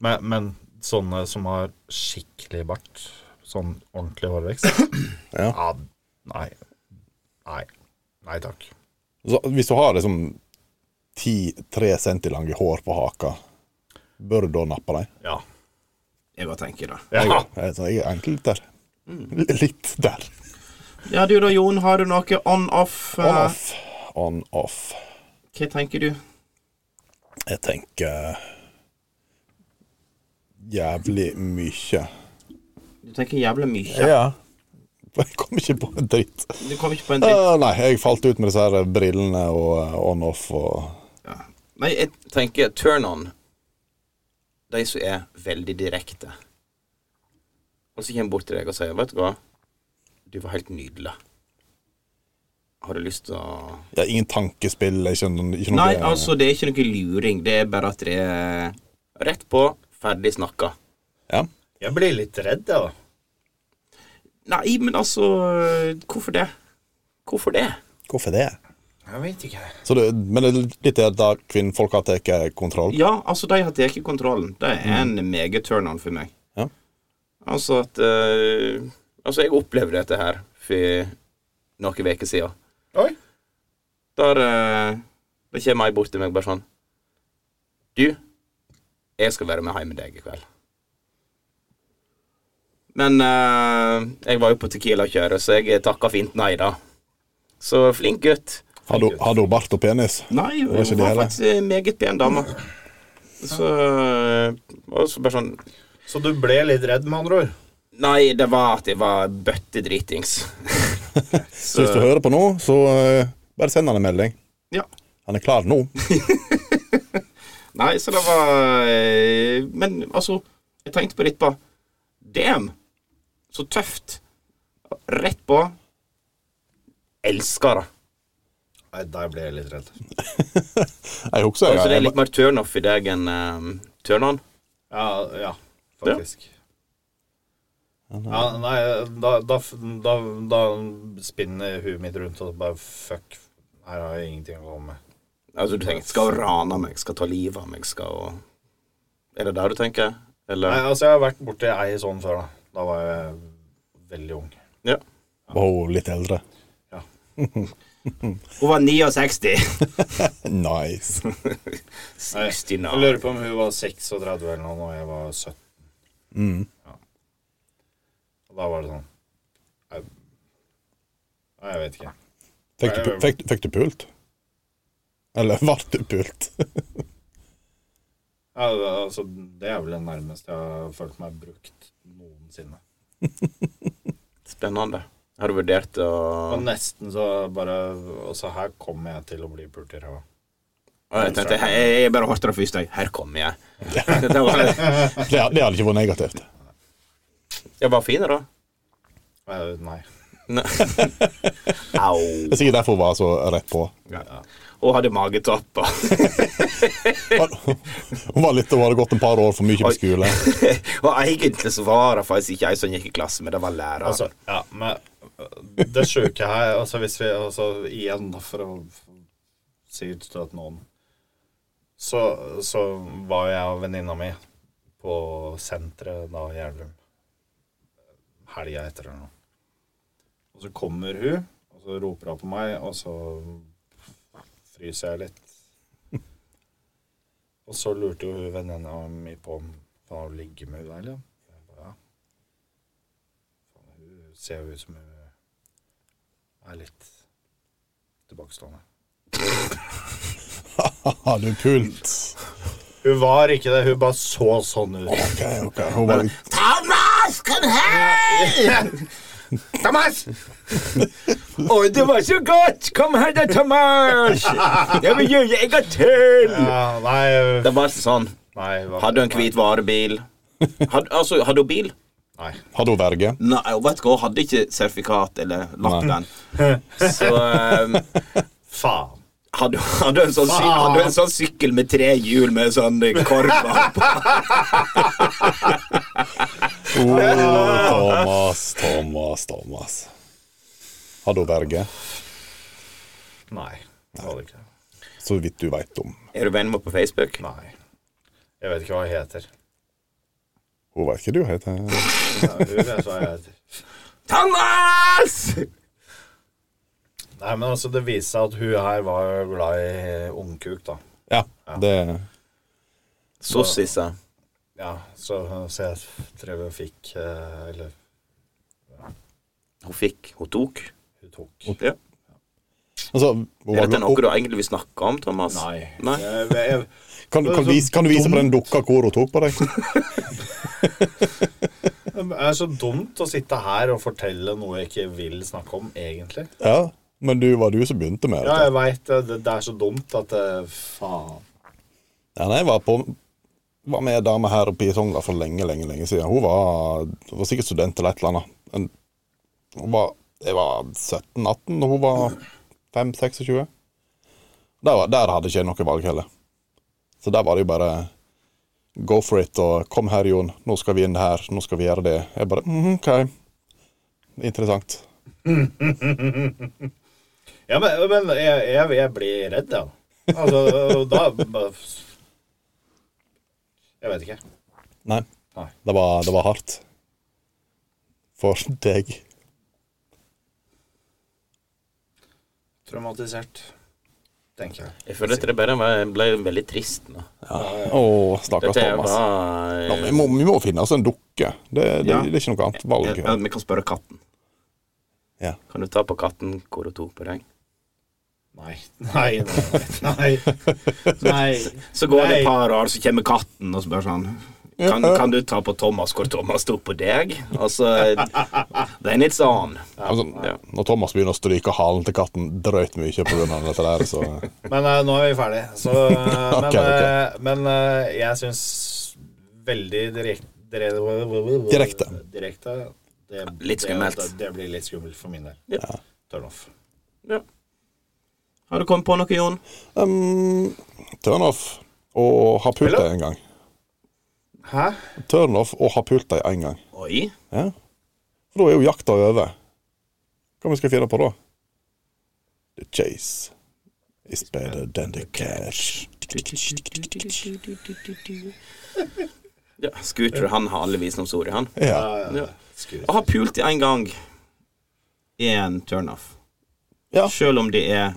Speaker 5: Men, men sånne som har skikkelig bart, sånn ordentlig hårvekst
Speaker 3: [CLEARS THROAT] Ja.
Speaker 5: Nei. Nei. Nei takk.
Speaker 3: Så hvis du har liksom 10-3 cm lange hår på haka, bør du da nappe dem?
Speaker 5: Ja.
Speaker 4: Jeg bare tenker det.
Speaker 5: Ja.
Speaker 3: Jeg, så jeg er egentlig litt der. Litt der.
Speaker 4: Ja, du da, Jon. Har du noe on-off? eh,
Speaker 3: On off. On off.
Speaker 4: Hva tenker du?
Speaker 3: Jeg tenker jævlig mye.
Speaker 4: Du tenker jævlig mye.
Speaker 3: Ja. Jeg kom ikke på en dritt.
Speaker 4: Du kom ikke på en dritt.
Speaker 3: Eh, nei, jeg falt ut med disse her brillene og eh, on-off og
Speaker 4: Ja. Nei, jeg tenker turn-on. De som er veldig direkte. Og så kommer bort til deg og sier, vet du hva, du var helt nydelig. Har du lyst til å
Speaker 3: ja, Ingen tankespill. Jeg skjønner ikke noe
Speaker 4: Nei, altså, det er ikke noe luring. Det er bare at det er rett på, ferdig snakka.
Speaker 3: ja.
Speaker 7: Jeg blir litt redd, jeg, da.
Speaker 4: Nei, men altså Hvorfor det? Hvorfor det?
Speaker 3: Hvorfor det?
Speaker 7: Jeg vet ikke.
Speaker 3: Så det, men det er litt det da kvinnfolk har tatt kontroll? Mm.
Speaker 4: Ja, altså, de har tatt kontrollen. Det er en meget turn-on for meg.
Speaker 3: Ja.
Speaker 4: Altså at eh, Altså, jeg opplevde dette her vi noen uker siden.
Speaker 5: Oi.
Speaker 4: Der eh, Da kommer ei bort til meg bare sånn Du, jeg skal være med hjem med deg i kveld. Men eh, jeg var jo på Tequila-kjøret, så jeg takka fint nei, da. Så flink gutt.
Speaker 3: Hadde hun- hadde hun bart og penis?
Speaker 4: Nei, hun
Speaker 3: var ikke
Speaker 4: var,
Speaker 3: det heller.
Speaker 4: faktisk en meget pen dame. Så Og så bare sånn
Speaker 5: Så du ble litt redd, med andre ord?
Speaker 4: Nei, det var at jeg var bøttedritings.
Speaker 3: Så hvis du hører på nå, så eh, bare send han en melding.
Speaker 4: Ja.
Speaker 3: Han er klar nå.
Speaker 4: [LAUGHS] Nei, så det var eh, Men altså, jeg tenkte på det etterpå. Damn! Så tøft. Rett på. Elsker det.
Speaker 5: Nei, der ble jeg litt redd.
Speaker 3: [LAUGHS] Jeg husker
Speaker 4: Altså, det er
Speaker 3: jeg,
Speaker 4: litt mer turnoff i deg enn um, turn-on.
Speaker 5: Ja, ja faktisk. Ja, nei, da, da, da, da spinner huet mitt rundt og bare fuck. Her har jeg ingenting å komme med.
Speaker 4: Altså, du tenker skal rane meg, skal ta livet av meg, skal Er det det du tenker?
Speaker 5: Nei,
Speaker 4: Eller
Speaker 5: altså, jeg har vært borti ei sånn før, da. Da var jeg veldig ung.
Speaker 4: Ja.
Speaker 3: var hun litt eldre.
Speaker 4: Hun var 69.
Speaker 3: Nice.
Speaker 4: 69.
Speaker 5: Jeg lurer på om hun var 36 eller noe, og jeg var 17.
Speaker 3: Mm.
Speaker 5: Ja. Og da var det sånn Nei, nei, jeg vet ikke.
Speaker 3: Fikk du, pu- fikk, fikk du pult? Eller ble du pult? [LAUGHS]
Speaker 5: Ja, altså, det er vel det nærmeste jeg har følt meg brukt noensinne.
Speaker 4: Spennende. Har du vurdert å
Speaker 5: Og nesten så bare Altså, her kommer jeg til å bli pult i ræva.
Speaker 4: Å, Jeg tenkte, jeg, jeg bare hørte det først, jeg. Her kommer jeg. Det var,
Speaker 3: Det, det hadde ikke vært negativt.
Speaker 4: jeg var fin, da.
Speaker 5: Eh, Nei.
Speaker 4: Ne- Au.
Speaker 3: Det er sikkert derfor hun var så rett
Speaker 4: [LAUGHS]
Speaker 3: på.
Speaker 4: Og hadde magetapper. [LAUGHS]
Speaker 3: Hun var litt, hun hadde gått et par år for mye på skole.
Speaker 4: Og egentlig så var det faktisk ikke jeg som gikk i klasse, men det var læreren.
Speaker 5: Altså, ja, men det sjuke her Altså, hvis vi Altså, igjen, da, for å si ut til at noen så, så var jeg og venninna mi på senteret da i Gjerdrum. Helga etter eller noe. Og så kommer hun, og så roper hun på meg, og så fryser jeg litt. Og så lurte jo hun venninna mi på om faen har du ligget med hun der, eller? Jeg ba, Ja. Hun ser jo ut som hun er litt tilbakestående.
Speaker 3: Har du pult?
Speaker 5: Hun var ikke det, hun bare så sånn ut.
Speaker 3: Ok, ok. Hun var litt
Speaker 4: Thomas, kom her! Thomas! Oi, det var så godt! Kom her da, Thomas! Jeg vil gjøre en gang til!
Speaker 5: Ja, nei,
Speaker 4: Det var sånn.
Speaker 5: nei hun var,
Speaker 4: Hadde hun hvit varebil? Hadde, altså, hadde hun bil?
Speaker 5: Nei.
Speaker 3: Hadde hun verge?
Speaker 4: Nei, jeg vet ikke, hun hadde ikke sertifikat eller lappen. Så um,
Speaker 5: Faen.
Speaker 4: hadde, hadde, hun sånn, syk- hadde hun en sånn sykkel med tre hjul med sånn korv bak.
Speaker 3: Oh, Thomas, Thomas, Thomas. Hadde hun verge?
Speaker 5: Nei. Det var det ikke.
Speaker 3: Så vidt du veit om.
Speaker 4: Er du venn med henne på Facebook?
Speaker 5: Nei. Jeg vet ikke hva hun heter.
Speaker 3: Hun veit ikke du heter
Speaker 5: Ja, Hun vet hva jeg heter.
Speaker 4: Thomas!
Speaker 5: Nei, men altså, det viste seg at hun her var jo glad i ungkuk, da.
Speaker 3: Ja, det
Speaker 4: Sossisa.
Speaker 5: Ja, så, så jeg tror hun fikk eh, Eller
Speaker 4: Hun fikk, hun tok.
Speaker 5: hun tok.
Speaker 4: Ja.
Speaker 3: Altså, hun
Speaker 4: Er dette
Speaker 3: var,
Speaker 4: noe du egentlig vil snakke om, Thomas?
Speaker 5: Nei.
Speaker 4: Nei?
Speaker 5: Jeg, jeg,
Speaker 3: kan, kan, du vise, kan du vise på den dukka hvor hun tok på deg?
Speaker 5: Det er så dumt å sitte her og fortelle noe jeg ikke vil snakke om, egentlig.
Speaker 3: Ja, men du var du som begynte med det.
Speaker 5: Ja, jeg veit det. Det det er så dumt at eh, Faen.
Speaker 3: Ja, nei, jeg var, på, var med ei dame her oppe i Sogndal for lenge, lenge lenge siden. Hun var, var sikkert student eller et eller annet. Men hun var, jeg var 17-18, og hun var 5-26. Der, var- der hadde ikke jeg noe valg heller. Så der var det jo bare Go for it, og kom her, Jon. Nå skal vi inn her. Nå skal vi gjøre det. Jeg bare mm, OK. Interessant.
Speaker 5: Ja, men, men jeg, jeg, jeg blir redd, jeg. Ja. Altså, og da bare- Jeg vet ikke.
Speaker 3: Nei.
Speaker 5: Nei.
Speaker 3: Det var, det var hardt. For deg.
Speaker 5: traumatisert, tenker jeg.
Speaker 4: Jeg føler at det bare var- ble veldig trist nå.
Speaker 3: Å, stakkars
Speaker 4: Dette eh, er
Speaker 3: Thomas. Ja,
Speaker 4: bare
Speaker 3: vi, må, vi må finne oss en dukke. Det, det,
Speaker 4: Ja.
Speaker 3: det er ikke noe annet valg.
Speaker 4: Ja, Vi kan spørre katten.
Speaker 3: Ja.
Speaker 4: Kan du ta på katten kode to på deg?
Speaker 5: Nei. Nei, nei, [LAUGHS] nei.
Speaker 8: Nei.
Speaker 4: Så går det
Speaker 5: Nei.
Speaker 4: et par år, så kommer katten og spør sånn kan, kan du ta på Thomas hvor Thomas tok på deg? Altså, then it's on.
Speaker 3: Altså,
Speaker 4: Ja.
Speaker 3: når Thomas begynner å stryke halen til katten drøyt mye pga. dette der, så
Speaker 5: Men eh, nå er vi ferdig. Så, eh,
Speaker 3: [LAUGHS]
Speaker 5: men
Speaker 3: Ok, ok.
Speaker 5: eh, men eh, jeg syns veldig direkt, dire,
Speaker 3: Direkte.
Speaker 5: direkte det,
Speaker 4: Litt skummelt.
Speaker 5: Det, det blir litt skummelt for min del.
Speaker 4: Ja.
Speaker 5: Turn off.
Speaker 4: Ja. Har du kommet på noe, Jon?
Speaker 3: um, Turn off og ha pult deg en gang.
Speaker 5: Hæ?
Speaker 3: Turn off og ha pult deg en gang.
Speaker 4: Oi.
Speaker 3: Ja. For da er jo jakta over. Hva vi skal finne på da? The chase is better than the cash.
Speaker 4: Ja, Scooter han har alle visdomsord i han.
Speaker 3: Ja,
Speaker 4: Ja. Jeg har pult i en gang én turnoff.
Speaker 3: Ja.
Speaker 4: Selv om det er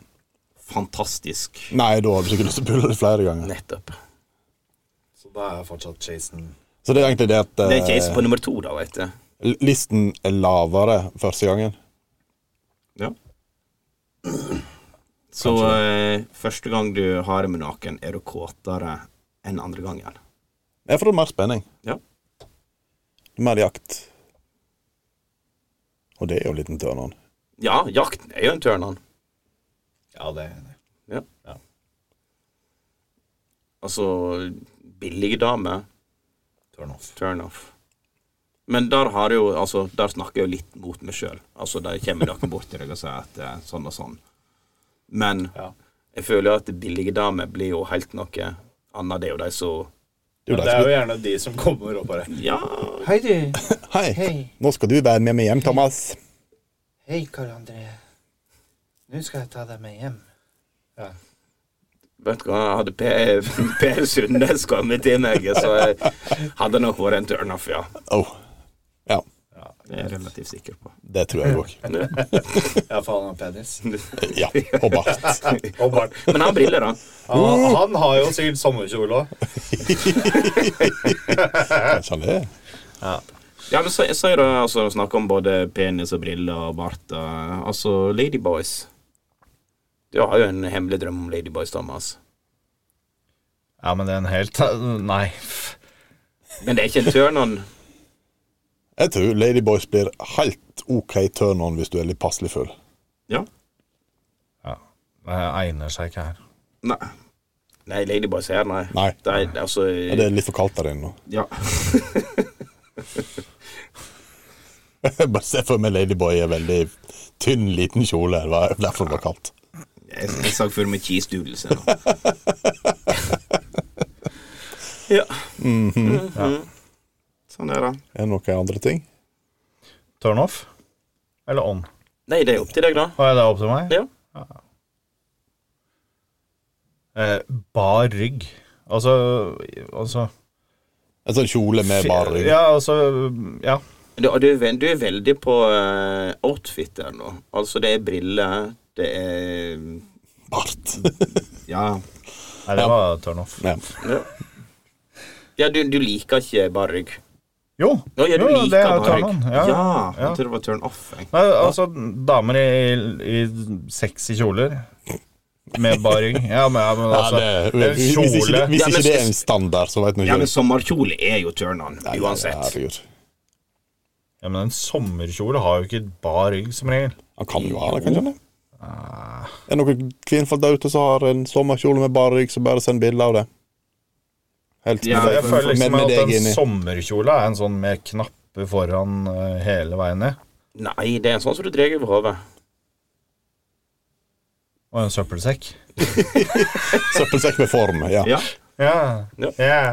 Speaker 4: fantastisk.
Speaker 3: Nei, da har du sikkert lyst til å pule det flere ganger.
Speaker 4: Nettopp.
Speaker 5: Så da er fortsatt chasen
Speaker 3: Så det er egentlig det at
Speaker 4: Det er
Speaker 3: eh,
Speaker 4: case på nummer to, da, veit du.
Speaker 3: listen er lavere første gangen.
Speaker 4: Ja. Så eh, første gang du har det med noen, er du kåtere enn andre gangen.
Speaker 3: Jeg får mer spenning.
Speaker 4: Ja.
Speaker 3: Mer jakt. Og det er jo en liten turn-on.
Speaker 4: Ja, jakten er jo en turn-on.
Speaker 5: Ja, det er enig.
Speaker 4: Ja.
Speaker 5: Ja.
Speaker 4: Altså Billige dame,
Speaker 5: Turn off.
Speaker 4: turn-off. Men der har jeg jo Altså, der snakker jeg jo litt mot meg sjøl. Altså, der kommer noen bort til deg og sier at eh, sånn og sånn. Men
Speaker 5: Ja.
Speaker 4: jeg føler jo at billige damer blir jo helt noe annet. Det er jo de som
Speaker 3: Det er jo
Speaker 5: Det er
Speaker 3: derfor
Speaker 5: jo gjerne de som kommer og bare
Speaker 4: Ja,
Speaker 8: Hei, du.
Speaker 3: du- Hei, nå skal du være med meg hjem, Thomas.
Speaker 8: Hei, Karl André. Nå skal jeg ta deg med hjem.
Speaker 4: vet du hva, hadde Per, [LAUGHS] per Sundnes kommet til meg, så jeg hadde det nok vært en turn-off, ja.
Speaker 3: Åh. Ja,
Speaker 4: Det er jeg relativt sikker på.
Speaker 3: det tror jeg òg.
Speaker 5: Ja, faen, han har penis.
Speaker 3: Ja, og bart.
Speaker 5: Og bart.
Speaker 4: Men han har briller, da.
Speaker 5: Han, han har jo sikkert sommerkjole òg.
Speaker 3: Kanskje han det?
Speaker 4: Ja, men så, så er det altså snakk om både penis og briller og bart og Altså Ladyboys. Du har jo en hemmelig drøm om Ladyboys, Thomas.
Speaker 5: Ja, men det er en helt Nei.
Speaker 4: Men det er ikke en turn-on.
Speaker 3: Jeg tror Ladyboys blir helt OK turn-on hvis du er litt passelig full.
Speaker 4: Ja.
Speaker 5: Ja. Det Eh, egner seg ikke her.
Speaker 4: Nei. Nei, Ladyboys her, nei.
Speaker 3: Nei.
Speaker 4: Det er, altså
Speaker 3: Ja, det er litt for kaldt der inne nå. [LAUGHS]
Speaker 4: Ja.
Speaker 3: Jeg Bare se for meg Ladyboy i en veldig tynn, liten kjole. Det var derfor det var kaldt.
Speaker 4: Jeg, jeg sa før med cheese doodles. jeg, da. [LAUGHS] ja. Mhm. Sånn er det.
Speaker 3: Er det noen andre ting?
Speaker 5: Turn off? Eller on?
Speaker 4: Nei, det er opp til deg, da.
Speaker 5: Å, er det opp til meg?
Speaker 4: Ja.
Speaker 5: Eh, bar rygg. Altså, altså
Speaker 3: En sånn kjole med bar rygg.
Speaker 5: Ja, altså Ja.
Speaker 4: Du, og du, er vel- du er veldig på eh, outfit der nå. Altså, det er briller, det er
Speaker 3: Bart. [LAUGHS]
Speaker 4: Ja.
Speaker 5: Nei, det var turn off.
Speaker 3: Ja.
Speaker 4: Ja, ja du, du liker ikke bare rygg.
Speaker 5: Jo,
Speaker 4: Ja, ja, du
Speaker 5: jo
Speaker 4: liker
Speaker 5: det er
Speaker 4: bare
Speaker 5: turn
Speaker 4: rygg.
Speaker 5: on.
Speaker 4: Ja,
Speaker 5: Ja.
Speaker 4: Jeg trodde det var turn off. Jeg.
Speaker 5: Nei, altså, damer i, i sexy kjoler med bar rygg. Ja, men, ja, men
Speaker 3: Ja,
Speaker 5: altså
Speaker 3: det,
Speaker 5: en
Speaker 3: hvis, hvis, ikke,
Speaker 5: Kjole
Speaker 3: hvis
Speaker 4: Ja,
Speaker 3: ikke
Speaker 4: men-
Speaker 3: det er en standard, så veit vi
Speaker 4: Ja,
Speaker 3: ikke.
Speaker 4: men sommerkjole er jo turn on,
Speaker 3: Nei,
Speaker 4: uansett.
Speaker 3: Herregud.
Speaker 5: Ja, men en sommerkjole har jo ikke bar rygg, som regel.
Speaker 3: Han kan jo ha det, kanskje? han Det?
Speaker 5: Ah.
Speaker 3: Er det noen kvinnfolk der ute som har en sommerkjole med bar rygg, så bare send bilde av det. Helt
Speaker 4: Ja,
Speaker 5: Jeg
Speaker 3: med,
Speaker 5: føler liksom
Speaker 3: med, med
Speaker 5: at
Speaker 3: deg
Speaker 5: en
Speaker 3: inni.
Speaker 5: sommerkjole er en sånn med knapper foran eh, hele veien ned,
Speaker 4: Nei, det er en sånn som du drar over hodet.
Speaker 5: og en søppelsekk.
Speaker 3: Søppelsekk med form. Ja.
Speaker 4: Ja.
Speaker 5: Ja.
Speaker 4: Ja.
Speaker 5: ja.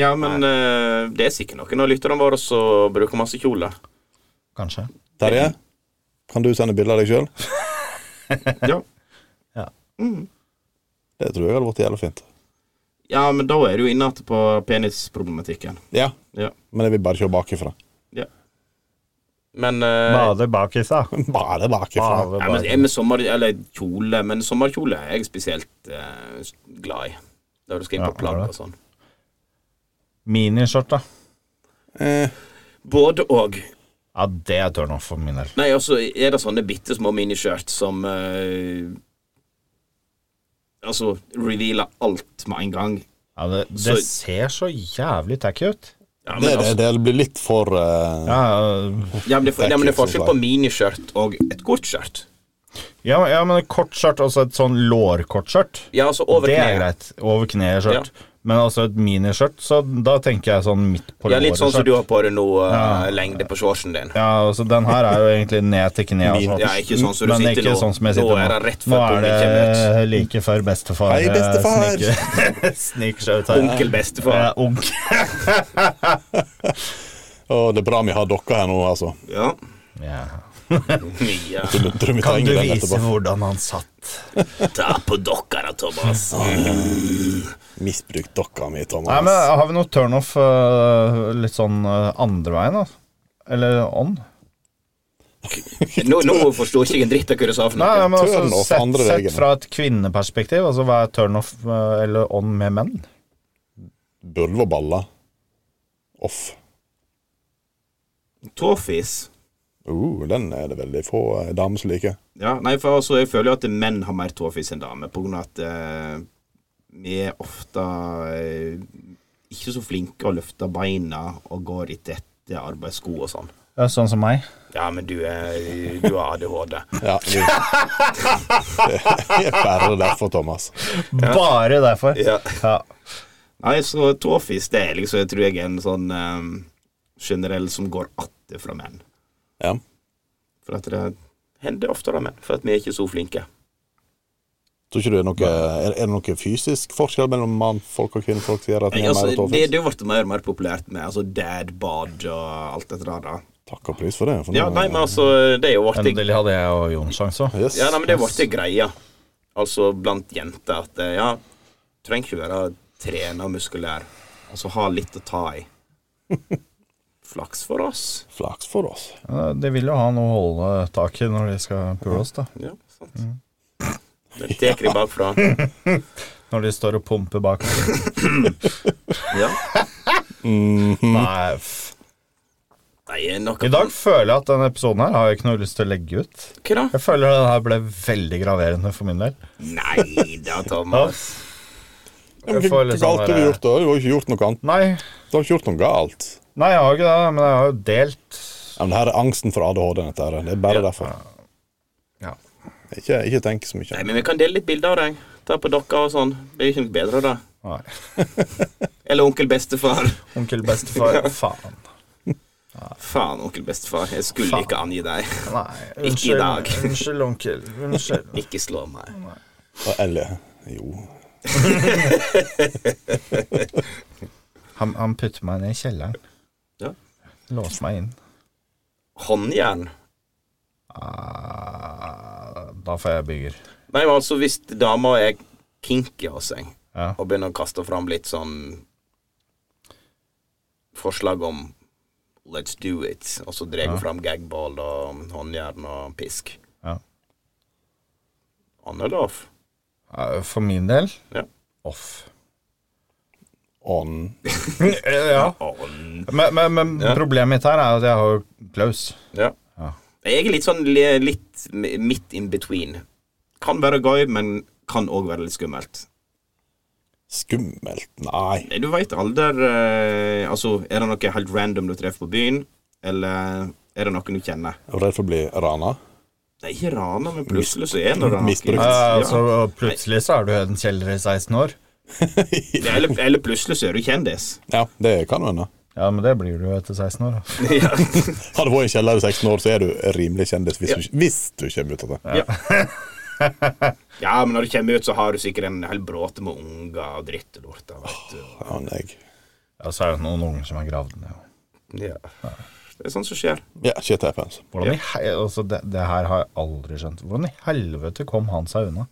Speaker 4: Ja, men eh, det er sikkert noen av lytterne våre som bruker masse kjoler.
Speaker 5: Kanskje.
Speaker 3: Terje, kan du sende bilde av deg sjøl?
Speaker 4: Ja.
Speaker 3: Det tror jeg hadde vært jævlig fint.
Speaker 4: ja, men da er du inne igjen på penisproblematikken.
Speaker 3: Ja,
Speaker 4: Ja.
Speaker 3: men jeg vil bare se bakifra.
Speaker 4: ja. Men eh,
Speaker 5: Bade bakis, da.
Speaker 3: [LAUGHS] Bare bakifra.
Speaker 5: Bade
Speaker 4: Nei, men
Speaker 5: bakis.
Speaker 4: jeg med sommer, eller kjole, men sommerkjole er jeg spesielt eh, glad i. Da du skal inn
Speaker 5: Ja,
Speaker 4: på plagg
Speaker 5: er det?
Speaker 4: og sånn.
Speaker 5: Miniskjørt, da.
Speaker 3: Eh,
Speaker 4: Både og.
Speaker 5: Ja, det er turn off for min del.
Speaker 4: Nei, altså, er det sånne bitte små miniskjørt som eh, Altså, revealer alt med en gang.
Speaker 5: Ja, det det
Speaker 4: Så-
Speaker 5: ser så jævlig tacky ut.
Speaker 4: Ja, men,
Speaker 3: det, er det,
Speaker 4: altså,
Speaker 3: det blir litt for eh,
Speaker 5: Ja, ja,
Speaker 4: ja, men det, er for- ja, men det er forskjell
Speaker 3: Tacky,
Speaker 4: på miniskjørt og et kort skjørt.
Speaker 5: ja, ja men et kort skjørt, også et sånn lårkort skjørt,
Speaker 4: Ja, altså over
Speaker 5: det er
Speaker 4: kneet.
Speaker 5: greit. Over kneet-skjørt. Men altså et miniskjørt, så da tenker jeg sånn midt på
Speaker 4: Ja, litt sånn som
Speaker 5: låret-skjørt.
Speaker 4: du har på deg nå, eh, lengde på shortsen din.
Speaker 5: Ja, altså den her er jo egentlig ned til kneet. Altså.
Speaker 4: Ja, ikke sånn som du
Speaker 5: Men det er
Speaker 4: sitter
Speaker 5: ikke
Speaker 4: nå.
Speaker 5: sånn som jeg
Speaker 4: nå
Speaker 5: sitter
Speaker 4: er
Speaker 5: nå.
Speaker 4: det rett
Speaker 5: Nå
Speaker 4: før
Speaker 5: er
Speaker 4: pungen kommer ut.
Speaker 5: det like før bestefar
Speaker 3: Hei,
Speaker 5: eh,
Speaker 3: bestefar.
Speaker 5: sniker- [LAUGHS] sniker seg ut her.
Speaker 4: Onkel
Speaker 5: Eh,
Speaker 4: bestefar.
Speaker 5: onkel.
Speaker 3: Å, det er bra vi har dere her nå, altså.
Speaker 4: Ja.
Speaker 5: Ja.
Speaker 4: Mye.
Speaker 3: Tror du- tror du vi
Speaker 5: Kan
Speaker 3: trenger
Speaker 5: du
Speaker 3: den
Speaker 5: vise
Speaker 3: etterpå?
Speaker 5: hvordan han satt?
Speaker 4: Ta på dokkara, Thomas.
Speaker 3: Misbrukt dokka mi, Thomas.
Speaker 5: Nei, men Har vi noe turnoff eh, litt sånn eh, andre veien, da? Eller ånd?
Speaker 4: Nå, nå forsto ikke jeg en dritt av hva du sa for
Speaker 5: Nei, nei,
Speaker 4: noe.
Speaker 5: men altså,
Speaker 3: Turn-off
Speaker 5: sett,
Speaker 3: andre
Speaker 5: sett
Speaker 3: veien.
Speaker 5: fra et kvinneperspektiv, altså hva er turnoff eh, eller ånd med menn?
Speaker 3: Bulv og baller. Off.
Speaker 4: Tåfis.
Speaker 3: Uh, den er det veldig få eh, damer som liker.
Speaker 4: Ja, nei, for altså, jeg føler jo at menn har mer tåfis enn damer, på grunn av at eh, vi er ofte eh, ikke så flinke å løfte beina og går i tette arbeidssko og sånn.
Speaker 5: Ja, sånn som meg.
Speaker 4: Ja, men du, er, du har ADHD.
Speaker 3: Ja, vi... [LAUGHS] Det er bare derfor, Thomas.
Speaker 5: Bare derfor.
Speaker 4: Ja.
Speaker 5: Ja.
Speaker 4: Nei, så tåfis, det er liksom, jeg tror jeg er en sånn eh, generell som går atter fra menn.
Speaker 3: Ja.
Speaker 4: For at det hender oftere med, for at vi er ikke så flinke.
Speaker 3: Tror ikke du det er noe Er, er det noe fysisk forskjell mellom mannfolk og kvinnfolk som gjør at vi
Speaker 4: Nei,
Speaker 3: er
Speaker 4: altså,
Speaker 3: mer
Speaker 4: det
Speaker 3: tåfis?
Speaker 4: det har blitt mer og mer populært med altså dad bod og alt dette der. da.
Speaker 3: Takk og pris for det. For
Speaker 4: Ja,
Speaker 3: nå-
Speaker 4: nei, men altså, det er jo blitt
Speaker 5: Endelig hadde jeg og Jon sjanse òg.
Speaker 3: yes.
Speaker 4: ja, nei, men det ble greia, altså blant jenter, at eh, ja, trenger ikke være trena og muskulær. Altså ha litt å ta i. [LAUGHS] Flaks for oss.
Speaker 3: Flaks for oss.
Speaker 5: De vil jo ha noe å holde tak i når de skal pule oss, da.
Speaker 4: Ja, sant. Den tar de bakfra.
Speaker 5: Når de står og pumper bak.
Speaker 4: [LAUGHS] Ja.
Speaker 5: Nei, f-
Speaker 4: Nei, noe
Speaker 5: I dag føler jeg at denne episoden her har jeg ikke noe lyst til å legge ut.
Speaker 4: Hva da?
Speaker 5: Jeg føler den her ble veldig graverende for min del.
Speaker 4: Nei da, Thomas.
Speaker 3: Ja, men
Speaker 5: Jeg
Speaker 3: Hva
Speaker 5: får
Speaker 3: hva
Speaker 5: litt
Speaker 3: galt
Speaker 5: sånn
Speaker 3: har du
Speaker 5: der-
Speaker 3: gjort, da? Du har ikke gjort noe annet.
Speaker 5: Nei,
Speaker 3: Du har ikke gjort noe galt.
Speaker 5: nei, jeg har ikke det, men jeg har jo delt.
Speaker 3: Ja, men det her er angsten for ADHD. Dette her. Det er bare derfor.
Speaker 5: Ja.
Speaker 3: Ikke, ikke tenk så mye.
Speaker 4: Nei, men vi kan dele litt bilder av deg. Ta på dokka og sånn. Det er jo ikke noe bedre, da.
Speaker 5: Nei.
Speaker 4: Eller onkel bestefar.
Speaker 5: Onkel
Speaker 4: [LAUGHS]
Speaker 5: bestefar. Faen.
Speaker 4: Faen, onkel bestefar. Jeg skulle
Speaker 5: Faen.
Speaker 4: ikke angi
Speaker 5: [LAUGHS]
Speaker 4: deg.
Speaker 5: Nei,
Speaker 4: i
Speaker 5: unnskyld.
Speaker 4: dag.
Speaker 5: [LAUGHS] Unnskyld, onkel.
Speaker 4: [LAUGHS]
Speaker 5: Unnskyld.
Speaker 4: Ikke slå meg.
Speaker 3: Eller jo.
Speaker 5: Han, han putter meg ned i kjelleren.
Speaker 4: Ja.
Speaker 5: Låser meg inn.
Speaker 4: Håndjern.
Speaker 5: Ah, Da får jeg bygger.
Speaker 4: Nei, men altså, hvis dama er kinky av seg,
Speaker 5: Ja.
Speaker 4: og begynner å kaste fram litt sånn Forslag om let's do it, og så drar hun fram gagball og håndjern og pisk.
Speaker 5: Ja.
Speaker 4: Annet lov.
Speaker 5: Eh, For min del
Speaker 4: Ja.
Speaker 5: off.
Speaker 3: On.
Speaker 5: Eh, ja.
Speaker 4: On.
Speaker 5: Men, men, men
Speaker 4: Ja.
Speaker 5: problemet mitt her er at jeg har jo klaus.
Speaker 4: Ja.
Speaker 5: Ja.
Speaker 4: Jeg er litt sånn li- litt midt in between. Kan være gøy, men kan òg være litt skummelt.
Speaker 3: Skummelt. Nei.
Speaker 4: Nei, Du veit alder eh, Altså, er det noe helt random du treffer på byen, eller er det noen du kjenner?
Speaker 3: Jeg er redd for å bli rana.
Speaker 4: Det er ikke rana, men plutselig så er det det.
Speaker 3: Misbrukt.
Speaker 5: Eh,
Speaker 4: Ja.
Speaker 5: Så plutselig så er du i en kjeller i 16 år.
Speaker 4: Ja, Eller, eller plutselig så er du kjendis.
Speaker 3: Ja, det kan jo hende.
Speaker 5: Ja, men det blir du jo etter 16 år. da.
Speaker 4: ja.
Speaker 3: Har du vært i en kjeller i 16 år, så er du rimelig kjendis hvis, du, hvis du kommer ut av det.
Speaker 4: ja, men når du kommer ut, så har du sikkert en hel bråte med unger og dritt og lort. da, vet du.
Speaker 3: Ja, men jeg-
Speaker 5: [LAUGHS] Ja, så er det noen unger som er gravd ned.
Speaker 4: Ja. Det er sånt som skjer.
Speaker 3: Ja, shit happens.
Speaker 5: Hvordan i hel... Altså, det, det her har jeg aldri skjønt. Hvordan i helvete kom han seg unna?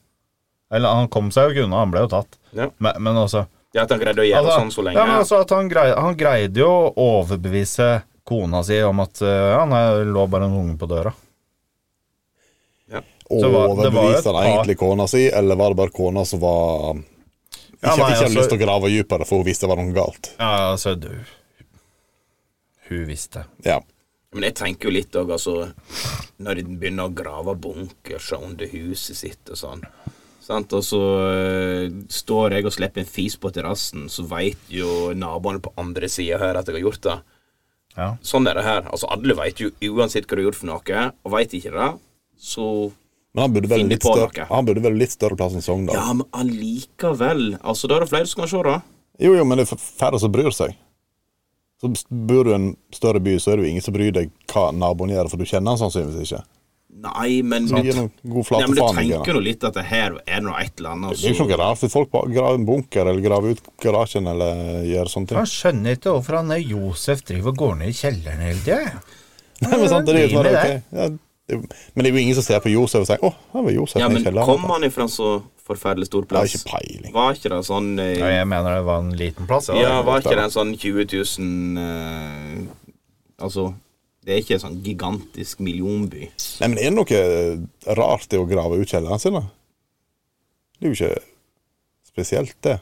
Speaker 5: Eller han kom seg jo ikke unna, han ble jo tatt.
Speaker 4: Ja.
Speaker 5: Men, men altså,
Speaker 4: Ja, At han greide å gjøre
Speaker 5: altså,
Speaker 4: sånn så
Speaker 5: ja,
Speaker 4: lenge.
Speaker 5: men altså at han, greide, han greide jo å overbevise
Speaker 6: kona si om at eh, ja, nei, det lå bare en unge på døra. det var- det var jo et
Speaker 3: Overbeviste han
Speaker 6: par-
Speaker 3: egentlig kona si, eller var det bare kona som var Ikke
Speaker 6: Ja, nei,
Speaker 3: at ikke hadde
Speaker 6: altså-
Speaker 3: lyst til å grave dypere, for hun visste det var noe galt.
Speaker 6: Ja, altså, du Hun visste.
Speaker 3: Ja.
Speaker 4: Men jeg tenker jo litt òg, altså Når de begynner å grave bunkers og under huset sitt og sånn. Sant? Og så eh, står jeg og slipper en fis på terrassen, så veit jo naboene på andre sida her at jeg har gjort det.
Speaker 6: Ja.
Speaker 4: Sånn er det her. Altså, alle veit jo uansett hva du har gjort for noe, og veit ikke det, så
Speaker 3: Men han burde vel
Speaker 4: Finne
Speaker 3: litt
Speaker 4: på
Speaker 3: større,
Speaker 4: noe.
Speaker 3: han burde vel litt større plass enn Sogndal.
Speaker 4: Ja, men allikevel. Altså, da er det flere som kan se det.
Speaker 3: Jo, jo, men det er færre som bryr seg. Så Bor du i en større by, så er det jo ingen som bryr deg hva naboen gjør, for du kjenner han sannsynligvis ikke.
Speaker 4: Nei, men
Speaker 3: Så gir noen god
Speaker 4: Nei,
Speaker 3: flate
Speaker 4: men du
Speaker 3: faen i
Speaker 4: tenker
Speaker 3: henne.
Speaker 4: jo litt at det her er noe et eller annet.
Speaker 3: Det er jo ikke
Speaker 4: så-
Speaker 3: noe rart, for folk bare graver en bunker eller graver ut garasjen eller gjør sånne ting.
Speaker 6: Jeg skjønner ikke hvorfor han der Josef driver og går ned i kjelleren hele tida.
Speaker 3: Nei, [LAUGHS] men sant, det er jo
Speaker 6: Driv med
Speaker 3: bare, ok. ja, det, men det er jo ingen som ser på Josef og sier 'Å, her var Josef
Speaker 4: ja, men
Speaker 3: nede i kjelleren'.
Speaker 4: kom han ifra en så forferdelig stor
Speaker 3: Jeg har
Speaker 4: plass?
Speaker 3: ikke peiling.
Speaker 4: Var ikke det sånn eh,
Speaker 6: Ja, jeg mener det var en liten plass.
Speaker 4: Ja, var ikke
Speaker 3: det.
Speaker 4: det en sånn 20 000 eh, Altså, det er ikke en sånn gigantisk millionby.
Speaker 3: Nei, men er det noe eh, rart i å grave ut kjelleren sin, da? Det er jo ikke spesielt, det.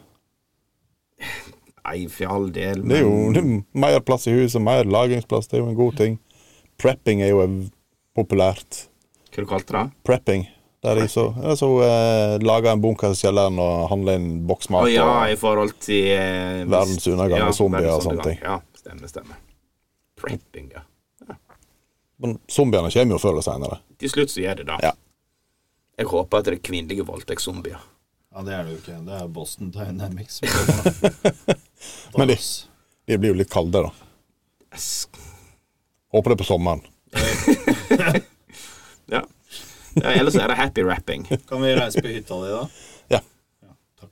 Speaker 4: Nei, for all del,
Speaker 3: Det er jo
Speaker 4: men
Speaker 3: det er mer plass i huset, mer lagringsplass, det er jo en god ting. Prepping er jo ev- populært.
Speaker 4: Hva du kalte du det?
Speaker 3: Prepping. Der de så, ja, så eh, lager en bunker i kjelleren og handler inn
Speaker 4: Å
Speaker 3: boksmat.
Speaker 4: ja,
Speaker 3: og,
Speaker 4: i forhold til eh, hvis-
Speaker 3: Verdens undergang og zombier og
Speaker 4: verdens
Speaker 3: sånne
Speaker 4: undergang.
Speaker 3: ting.
Speaker 4: Ja, stemmer, stemmer. Prepping, ja.
Speaker 3: men zombiene kommer jo før eller seinere.
Speaker 4: Til slutt så gjør det det.
Speaker 3: Ja.
Speaker 4: Jeg håper at det er kvinnelige voldtektszombier.
Speaker 5: Ja, det er det jo ikke. Det er Boston Dynamics.
Speaker 3: [LAUGHS] Men de, de blir jo litt kalde, da.
Speaker 4: Yes.
Speaker 3: Håper det er på sommeren.
Speaker 4: Ja. ja. Ellers er det happy rapping.
Speaker 5: Kan vi reise på hytta di, da?
Speaker 3: Ja,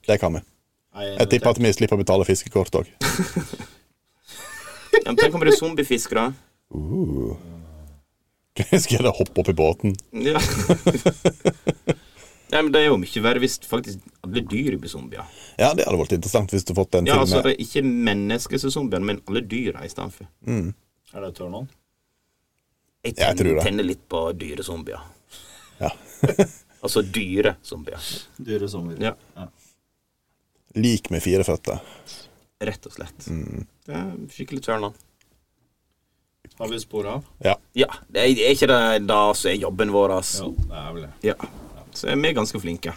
Speaker 3: det kan vi.
Speaker 5: Nei,
Speaker 3: Jeg tipper at vi slipper å betale fiskekort òg.
Speaker 4: Ja, men tenk om det er zombiefiskere.
Speaker 3: [LAUGHS] Skal jeg da hoppe opp i båten?
Speaker 4: Ja. [LAUGHS] Nei, men Det er jo mye verre hvis faktisk alle dyr blir zombier.
Speaker 3: Ja, det hadde vært interessant hvis du fått en
Speaker 4: Ja,
Speaker 3: film
Speaker 4: altså
Speaker 3: med
Speaker 4: det er Ikke mennesker som er zombier, men alle dyra istedenfor.
Speaker 5: Er det turn on?
Speaker 4: Jeg
Speaker 3: Jeg
Speaker 4: tenner,
Speaker 3: tror det.
Speaker 4: tenner litt på dyrezombier.
Speaker 3: Ja.
Speaker 4: [LAUGHS] altså dyre zombier.
Speaker 5: Dyre sommer.
Speaker 4: Ja,
Speaker 3: lik med fire føtter.
Speaker 4: rett og slett.
Speaker 3: Mm.
Speaker 4: Det er skikkelig turn on.
Speaker 5: Har vi spor av?
Speaker 3: Ja.
Speaker 4: Ja, det er, er ikke det da som er jobben vår, ass.
Speaker 5: Jo, det er vel det.
Speaker 4: Ja. Så er vi ganske flinke.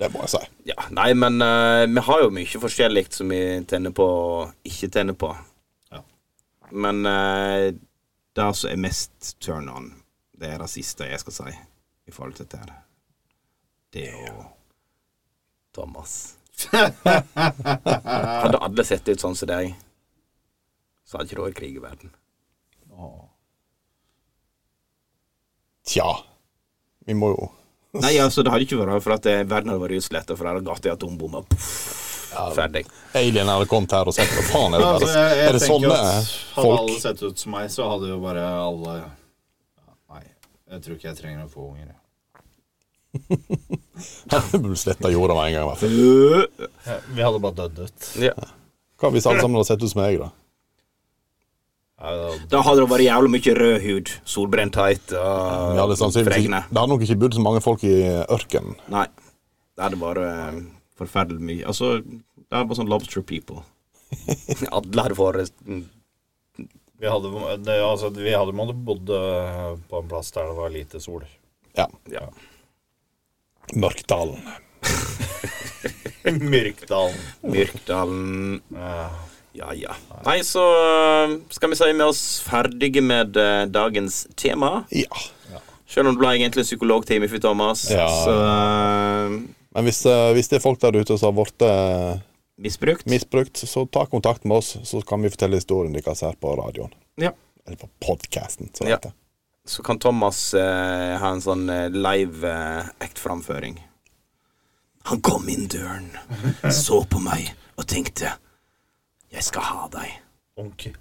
Speaker 3: Det må jeg si.
Speaker 4: Ja, nei, men eh, vi har jo mye forskjellig som vi tenner på og ikke tenner på.
Speaker 5: Ja.
Speaker 4: Men eh, det som er mest turn on, det er det siste jeg skal si i forhold til dette her. Det og Thomas. [LAUGHS] Hadde alle sett ut sånn som deg, så hadde ikke det vært krig i verden.
Speaker 3: Tja. Vi må jo
Speaker 4: Nei, altså, det hadde ikke vært for at eh, verden hadde vært utsletta, for der hadde gata i atombomber. Pff, Ferdig.
Speaker 3: Alien hadde kommet her og sett hva faen er det
Speaker 5: Altså,
Speaker 3: der?
Speaker 5: jeg, jeg
Speaker 3: er det
Speaker 5: tenker
Speaker 3: sånne
Speaker 5: at Hadde
Speaker 3: folk?
Speaker 5: alle
Speaker 3: [LAUGHS]
Speaker 5: sett ut som meg, så hadde jo bare alle ja, Nei, jeg tror ikke jeg trenger å få unger. jeg.
Speaker 3: Sletta jorda med en gang. i hvert fall.
Speaker 6: Vi hadde bare dødd ut.
Speaker 4: Ja.
Speaker 3: Hva hvis alle sammen hadde sett ut som meg, da?
Speaker 4: Da hadde det vært jævlig mye rød hud, solbrenthet og
Speaker 3: Vi hadde sannsynligvis
Speaker 4: fregne.
Speaker 3: ikke, det hadde nok ikke bodd så mange folk i ørkenen.
Speaker 4: Nei. Det hadde bare eh, forferdelig mye Altså, det er bare sånn lobster people. [LAUGHS] Alle hadde vært mm,
Speaker 6: Vi hadde, det, altså, vi hadde måttet bodd øh, på en plass der det var lite sol. [LAUGHS]
Speaker 3: Ja.
Speaker 4: Ja.
Speaker 3: Mørkdalen.
Speaker 6: Myrkdalen.
Speaker 4: Myrkdalen
Speaker 6: Ja.
Speaker 4: Ja, ja. Nei, så eh, skal vi si med oss ferdige med eh, dagens tema.
Speaker 3: Ja.
Speaker 4: Selv om det ble egentlig en psykologtime for Thomas,
Speaker 3: Ja.
Speaker 4: så eh,
Speaker 3: Men hvis, eh, hvis det er folk der ute som har blitt eh,
Speaker 4: misbrukt.
Speaker 3: misbrukt, så ta kontakt med oss, så kan vi fortelle historien deres her på radioen.
Speaker 4: Ja.
Speaker 3: Eller på podkasten, som
Speaker 4: Ja.
Speaker 3: det heter.
Speaker 4: så kan Thomas eh, ha en sånn eh, live eh, act-framføring. Han kom inn døren, så på meg og tenkte Jeg skal ha deg,
Speaker 6: Onkel.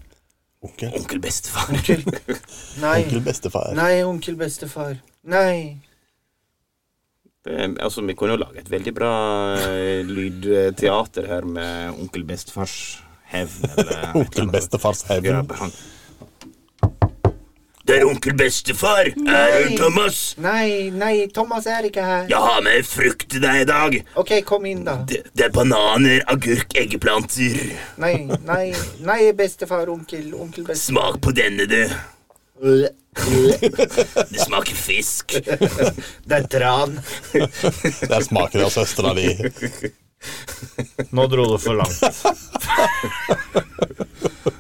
Speaker 3: Onkel,
Speaker 4: onkel bestefar. [LAUGHS]
Speaker 5: Nei,
Speaker 3: onkel bestefar.
Speaker 5: nei, onkel bestefar. Nei.
Speaker 4: Eh, altså, vi kunne jo lage et veldig bra eh, lydteater her med onkel bestefars hevn, eller
Speaker 3: Onkel bestefars hevn.
Speaker 4: Grabber han.
Speaker 2: Det er onkel bestefar. Er du Thomas?
Speaker 5: Nei, nei, Thomas er ikke her.
Speaker 2: Jeg har med frukt til deg i dag.
Speaker 5: Ok, kom inn, da.
Speaker 2: Det, det er bananer, agurk, eggeplanter.
Speaker 5: Nei, nei, nei, bestefar, onkel, onkel bestefar.
Speaker 2: Smak på denne, du. Det smaker fisk.
Speaker 5: Det er tran.
Speaker 3: Der smaker det av søstera di.
Speaker 6: Nå dro du for langt.
Speaker 5: [LAUGHS]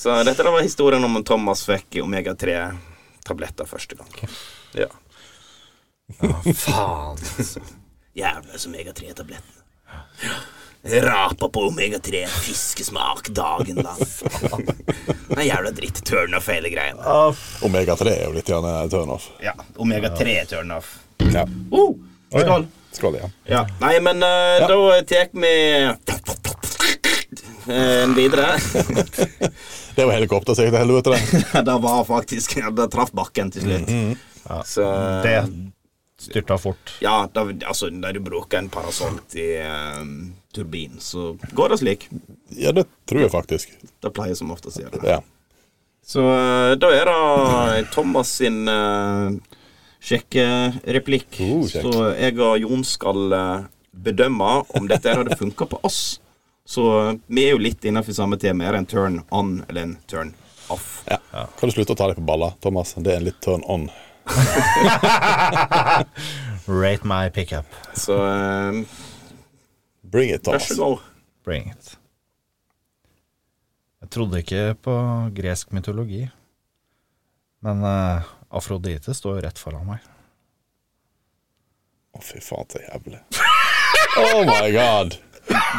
Speaker 4: Så dette da var historien om Thomas fikk omega-3-tabletter første gang.
Speaker 6: Ja.
Speaker 5: Faen.
Speaker 4: Altså.
Speaker 2: Jævla omega-3-tabletten. Rapa på omega-3, fiskesmak dagen lang. Den jævla dritt turn-off hele greia.
Speaker 3: Omega-3 er jo litt grann eh, turn-off.
Speaker 4: Ja, omega-3 turn-off.
Speaker 3: Ja.
Speaker 2: Uh!
Speaker 4: Oh, skål.
Speaker 3: Skål igjen.
Speaker 4: Ja. Nei, men eh, da tar vi eh, en videre.
Speaker 3: Det var helikopter, sikkert. til Helvete, [LAUGHS] det.
Speaker 4: [LAUGHS] det var faktisk ja, Det traff bakken til slutt.
Speaker 3: Mm,
Speaker 4: Så
Speaker 6: Det styrta fort.
Speaker 4: Ja, da, altså, når du bruker en parasoll til eh, turbin, så går det slik.
Speaker 3: Ja, det tror jeg faktisk.
Speaker 4: Det pleier som oftest å gjøre det.
Speaker 3: Ja.
Speaker 4: Så eh, da er det Thomas sin uh, sjekkereplikk.
Speaker 3: Uh, sjekk.
Speaker 4: Så jeg og Jon skal eh, bedømme om dette her hadde funka på oss. Så eh, vi er jo litt innafor samme tema. Er det en turn on eller en turn off?
Speaker 3: Ja. Kan du slutte å ta deg på balla, Thomas? Det er en litt turn on.
Speaker 6: Rate my pickup.
Speaker 4: Så eh,
Speaker 3: Bring it,
Speaker 4: vær
Speaker 3: Thomas.
Speaker 4: så god.
Speaker 6: Bring it. Jeg trodde ikke på gresk mytologi, men eh, Afrodite står jo rett foran meg.
Speaker 3: Å, fy faen, så jævlig. Oh my god.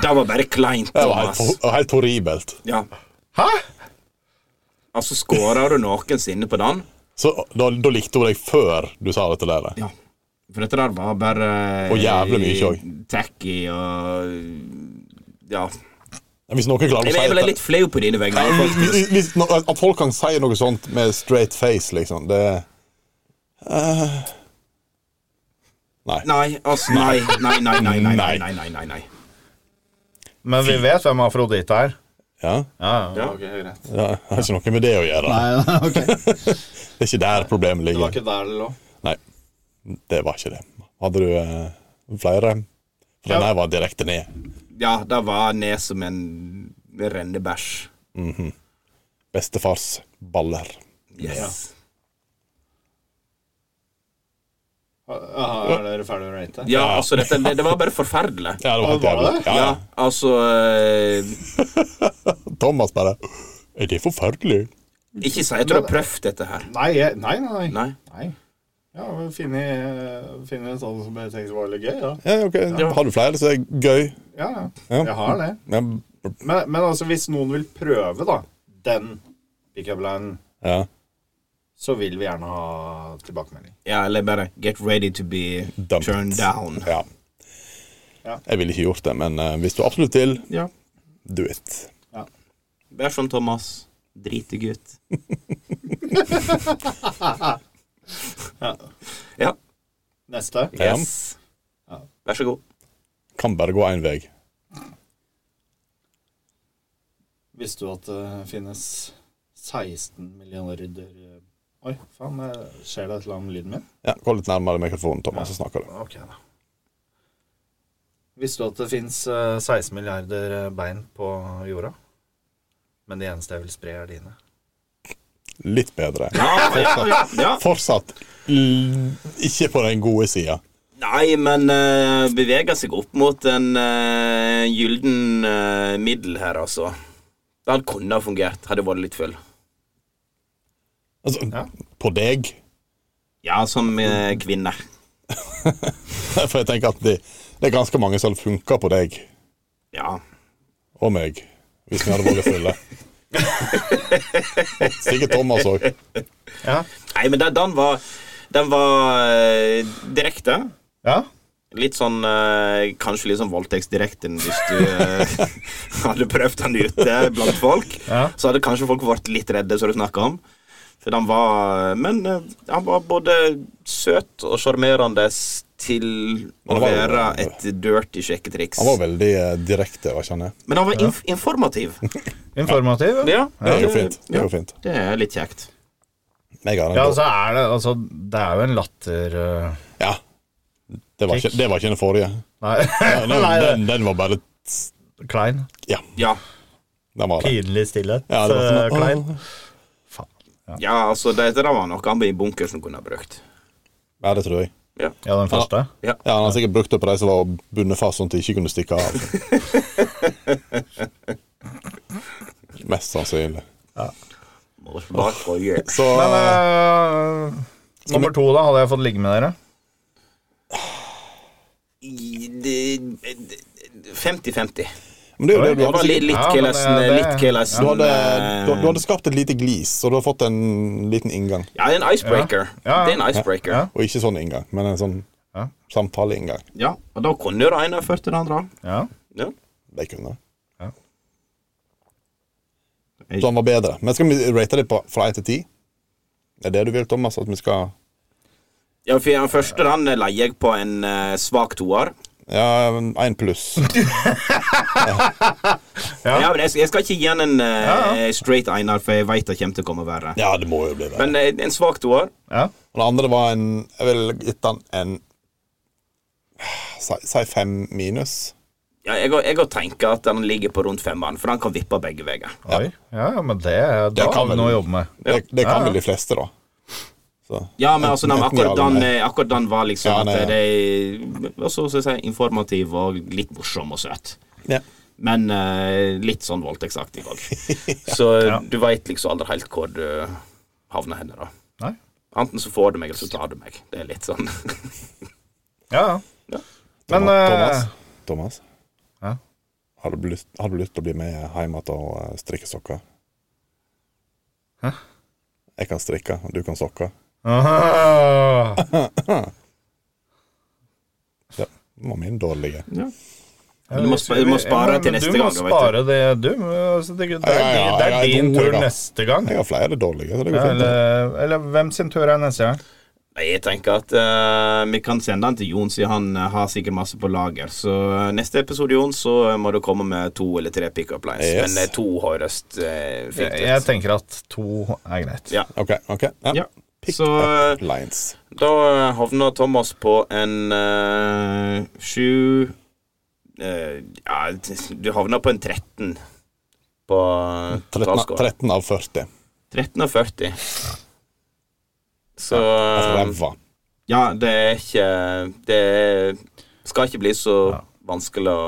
Speaker 4: Det var bare kleint,
Speaker 3: Det var
Speaker 4: Thomas.
Speaker 3: helt, helt horribelt.
Speaker 4: Ja. Hæ? Altså, skåra du noensinne på den?
Speaker 3: Så da, da likte hun deg før du sa dette der.
Speaker 4: Ja. For dette der var bare eh,
Speaker 3: Og jævlig mye òg.
Speaker 4: Tacky og Ja.
Speaker 3: Hvis noen klarer å
Speaker 4: Jeg,
Speaker 3: si
Speaker 4: jeg ble
Speaker 3: dette
Speaker 4: litt flau på dine vegne. faktisk.
Speaker 3: hvis, hvis, no- At folk kan si noe sånt med straight face, liksom, det Eh, Nei.
Speaker 4: Nei, altså Nei, nei, nei, nei, nei, nei, nei, nei, nei, nei.
Speaker 6: Men vi vet hvem Afrodite er.
Speaker 3: Ja?
Speaker 6: Ja, ja.
Speaker 4: Ja.
Speaker 5: Ok, greit.
Speaker 3: ja? Det har ikke noe med det å gjøre.
Speaker 5: Nei, ok.
Speaker 3: [LAUGHS] Det er ikke der problemet
Speaker 5: Det var
Speaker 3: ligger.
Speaker 5: ikke der det lå.
Speaker 3: Nei, det var ikke det. Hadde du eh, flere? For den her var direkte ned.
Speaker 4: Ja, det var ned som en rennebæsj.
Speaker 3: Bestefars baller.
Speaker 4: Yes.
Speaker 5: Ah, er dere ferdig å rate?
Speaker 4: Ja, altså, dette, det, det var bare forferdelig.
Speaker 3: Ja, det var helt
Speaker 5: Var det
Speaker 3: jævlig. Ja,
Speaker 4: Ja, altså eh,
Speaker 3: ja. Thomas bare Er det forferdelig?
Speaker 4: Ikke si at du har prøvd dette her.
Speaker 5: Nei, jeg- nei, nei. nei.
Speaker 4: Nei.
Speaker 5: nei. Ja, finne, finne sånn som jeg tenkte var litt gøy, da.
Speaker 3: Ja, ok. Har du flere, så er det gøy.
Speaker 5: Ja, ja.
Speaker 3: Ja.
Speaker 5: Jeg har det.
Speaker 3: Ja.
Speaker 5: Men, men altså, hvis noen vil prøve, da, den pickup-linen,
Speaker 3: ja.
Speaker 5: så vil vi gjerne ha tilbakemelding.
Speaker 4: Ja, eller bare Get ready to be
Speaker 3: Dumped.
Speaker 4: turned down.
Speaker 3: ja.
Speaker 5: Ja.
Speaker 3: Jeg ville ikke gjort det, men eh, hvis du absolutt vil,
Speaker 4: Ja.
Speaker 3: do it.
Speaker 4: Vær som Thomas. Dritegutt. ja.
Speaker 5: Neste.
Speaker 3: Ja.
Speaker 4: Yes. Vær så god.
Speaker 3: Kan bare gå én vei.
Speaker 5: Visste du at det finnes 16 millioner dør... Oi, faen, eh, skjer det et eller annet med lyden min?
Speaker 3: Ja, Gå litt nærmere mikrofonen, Thomas, så snakker du.
Speaker 5: Ok, da. Visste du at det fins 16 milliarder eh, bein på jorda? Men det eneste jeg vil spre, er dine.
Speaker 3: Litt bedre.
Speaker 4: Ja, ja, ja, ja.
Speaker 3: Fortsatt l- ikke på den gode sida.
Speaker 4: Nei, men uh, beveger seg opp mot en uh, gylden eh, middel her, altså. Det hadde kunne ha fungert, hadde jeg vært litt full.
Speaker 3: Altså, på deg. [LAUGHS]
Speaker 4: Ja, som eh, kvinne.
Speaker 3: For jeg tenker at det, det er ganske mange som funker på deg
Speaker 4: Ja.
Speaker 3: og meg, hvis vi hadde vært fulle. Sikkert Thomas òg.
Speaker 6: Ja.
Speaker 4: Nei, men den, den var, den var eh, direkte.
Speaker 6: ja.
Speaker 4: Litt sånn eh, Kanskje litt sånn voldtektsdirekten hvis du eh, [LAUGHS] hadde prøvd den ute blant folk.
Speaker 6: Ja.
Speaker 4: Så hadde kanskje folk vært litt redde, som du snakka om. For den var Men eh, han var både søt og sjarmerende til å
Speaker 3: Han var jo-
Speaker 4: være et dirty sjekketriks.
Speaker 3: Han var veldig eh, direkte, hva kjenner jeg.
Speaker 4: Men han var inf
Speaker 3: [LAUGHS]
Speaker 4: informativ.
Speaker 6: Informativ. ja.
Speaker 4: Ja,
Speaker 3: Det er jo fint. Det er jo fint.
Speaker 4: det er litt kjekt.
Speaker 3: Men jeg har
Speaker 6: Ja,
Speaker 3: en
Speaker 6: så er det Altså, det er jo en latter øh,
Speaker 3: Ja. Det var, ikke, det var ikke den forrige.
Speaker 6: Nei, [LAUGHS]
Speaker 3: Den, den, den var bare
Speaker 6: klein.
Speaker 3: Ja,
Speaker 4: Ja.
Speaker 3: den var det.
Speaker 6: Pinlig stillhet.
Speaker 3: Ja, det var sånn,
Speaker 6: øh,
Speaker 3: åh.
Speaker 6: klein.
Speaker 4: ja, altså, det, det der var noe han i bunkers som kunne ha brukt.
Speaker 3: Ja, det tror jeg.
Speaker 6: Ja, den første.
Speaker 3: Ja, Han har sikkert brukt det på de som var bundet fast sånn at de ikke kunne stikke av. Mest sannsynlig.
Speaker 4: Må bare få gjøre det.
Speaker 3: Så
Speaker 6: Men
Speaker 5: eh,
Speaker 6: øh, nummer to, da? Hadde jeg fått ligge med dere?
Speaker 4: I- det- det- 50-50.
Speaker 3: Men det er jo det du
Speaker 4: Det var
Speaker 3: hadde
Speaker 4: li-
Speaker 3: sikkert
Speaker 4: litt
Speaker 6: Ja, men,
Speaker 4: Kellersen,
Speaker 6: eh, det-
Speaker 4: litt
Speaker 3: du
Speaker 4: Kellersen
Speaker 3: hadde,
Speaker 4: eh,
Speaker 3: du, du hadde skapt et lite glis, og du har fått en liten inngang.
Speaker 4: Ja, det er en icebreaker.
Speaker 6: Ja, ja.
Speaker 4: Det er en icebreaker.
Speaker 6: Ja.
Speaker 4: Ja,
Speaker 3: Og ikke sånn inngang, men en sånn
Speaker 6: Ja.
Speaker 3: samtaleinngang.
Speaker 4: Og da kunne jo det ene ført til det andre.
Speaker 6: Ja.
Speaker 4: Ja.
Speaker 3: Det kunne
Speaker 6: Ja.
Speaker 3: Så han var bedre. Men skal vi rate det på, fra 1 til 10? Er det du vil, Thomas? At vi skal
Speaker 4: ja, for den første den leier jeg på en eh, svak toer.
Speaker 3: Ja, 1 pluss.
Speaker 4: Ja. men jeg, jeg skal ikke gi den en eh, straight einer, for jeg veit det kommer til å komme verre.
Speaker 3: [LAUGHS] Ja, det må jo bli det.
Speaker 4: Men eh, en svak toer.
Speaker 6: ja.
Speaker 3: Og det andre var en Jeg ville gitt han en Si si fem minus.
Speaker 4: Ja, jeg, jeg har tenkt at den ligger på rundt femmeren, for den kan vippe begge veier.
Speaker 6: Oi. Ja, ja, men det, da
Speaker 3: kan
Speaker 6: har vi
Speaker 3: vel-
Speaker 6: noe å jobbe med.
Speaker 3: Det, det kan
Speaker 6: Ja, ja.
Speaker 3: vel de fleste, da. Så.
Speaker 4: Ja, men altså, den,
Speaker 3: Enten ja
Speaker 4: akkurat,
Speaker 3: eller
Speaker 4: den,
Speaker 3: nei.
Speaker 4: eh, akkurat den var liksom
Speaker 3: Ja,
Speaker 4: at
Speaker 3: nei, ja.
Speaker 4: det er også, så å si, informativ og litt morsom og søt.
Speaker 3: Ja.
Speaker 4: Men eh, litt sånn voldtektsaktig òg.
Speaker 3: [LAUGHS]
Speaker 4: Så du veit liksom aldri helt hvor du havner hen. da.
Speaker 6: Nei.
Speaker 4: Enten så får du meg, eller så tar du meg. Det er litt sånn.
Speaker 6: Ja,
Speaker 4: Ja.
Speaker 6: ja. Men
Speaker 3: Thomas,
Speaker 6: øh,
Speaker 4: eh,
Speaker 3: Thomas, Thomas?
Speaker 6: Ja?
Speaker 3: Har du lyst, har du lyst til å bli med hjem igjen og eh, strikke sokker?
Speaker 6: Hæ?
Speaker 3: Jeg kan strikke, og du kan sokker.
Speaker 6: Aha.
Speaker 3: Ja, det var min dårlige.
Speaker 4: [LAUGHS] Du må, spa- du må spare til neste gang.
Speaker 6: Du
Speaker 4: da,
Speaker 6: må
Speaker 4: vet du.
Speaker 6: spare det, du. Altså, det, det,
Speaker 3: Ja, ja,
Speaker 6: er din-
Speaker 3: ja,
Speaker 6: det er
Speaker 3: jeg er
Speaker 6: din
Speaker 3: dum,
Speaker 6: tur
Speaker 3: da.
Speaker 6: neste gang.
Speaker 3: Jeg har flere dårlige, så det går fint.
Speaker 6: Eller, eller hvem sin tur er neste gang?
Speaker 4: Nei, Jeg tenker at eh, vi kan sende den til Jon, siden han eh, har sikkert masse på lager. Så eh, neste episode, Jon, så eh, må du komme med to eller tre pickup lines.
Speaker 3: Yes.
Speaker 4: Men eh, to høres eh, fint
Speaker 6: Jeg, jeg
Speaker 4: ut.
Speaker 6: tenker at to er greit.
Speaker 4: Ja.
Speaker 3: OK. ok ja.
Speaker 4: Ja.
Speaker 3: Pick
Speaker 4: Så eh,
Speaker 3: up lines.
Speaker 4: da eh, havner Thomas på en eh, sju eh, Ja, du havner på en 13 på
Speaker 3: 13, av-
Speaker 4: totalscore.
Speaker 3: 13 av 40.
Speaker 4: 13 og 40. Så
Speaker 3: Altså,
Speaker 4: Um, eh,
Speaker 3: Ræva.
Speaker 4: Ja, det er ikke Det er- skal ikke bli så vanskelig å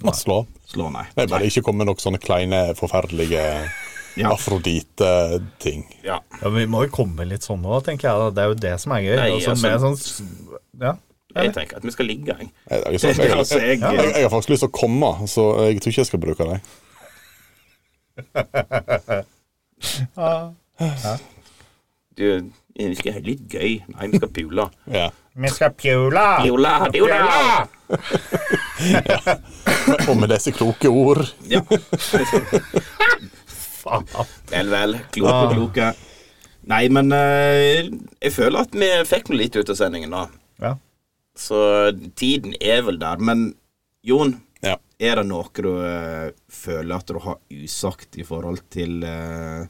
Speaker 3: Må slå.
Speaker 4: slå, nei.
Speaker 3: Det er bare ikke kommet noen sånne kleine, forferdelige
Speaker 4: Ja.
Speaker 3: afrodite-ting.
Speaker 4: Ja.
Speaker 6: Ja, men vi må jo komme litt sånn nå, tenker jeg. da. Det er jo det som er gøy.
Speaker 4: Nei,
Speaker 6: altså,
Speaker 4: altså-
Speaker 6: med sånn s- ja.
Speaker 4: Jeg tenker at vi skal ligge, jeg.
Speaker 3: Jeg, jeg,
Speaker 4: Det
Speaker 3: jeg,
Speaker 4: er altså
Speaker 3: jeg,
Speaker 4: jeg
Speaker 3: jeg, jeg har faktisk lyst til å komme, så jeg tror ikke jeg skal bruke dem.
Speaker 4: du, Vi skal ha litt gøy. Nei, vi skal pule.
Speaker 3: Ja.
Speaker 6: Vi skal pjula!
Speaker 4: Pule, pule!
Speaker 3: Og med disse kloke ord
Speaker 4: Ja. Vel, vel. Kloke, kloke. Nei, men eh, jeg føler at vi fikk noe litt ut av sendingen, da.
Speaker 6: Ja.
Speaker 4: Så tiden er vel der. Men Jon,
Speaker 3: Ja.
Speaker 4: er det noe du eh, føler at du har usagt i forhold til eh,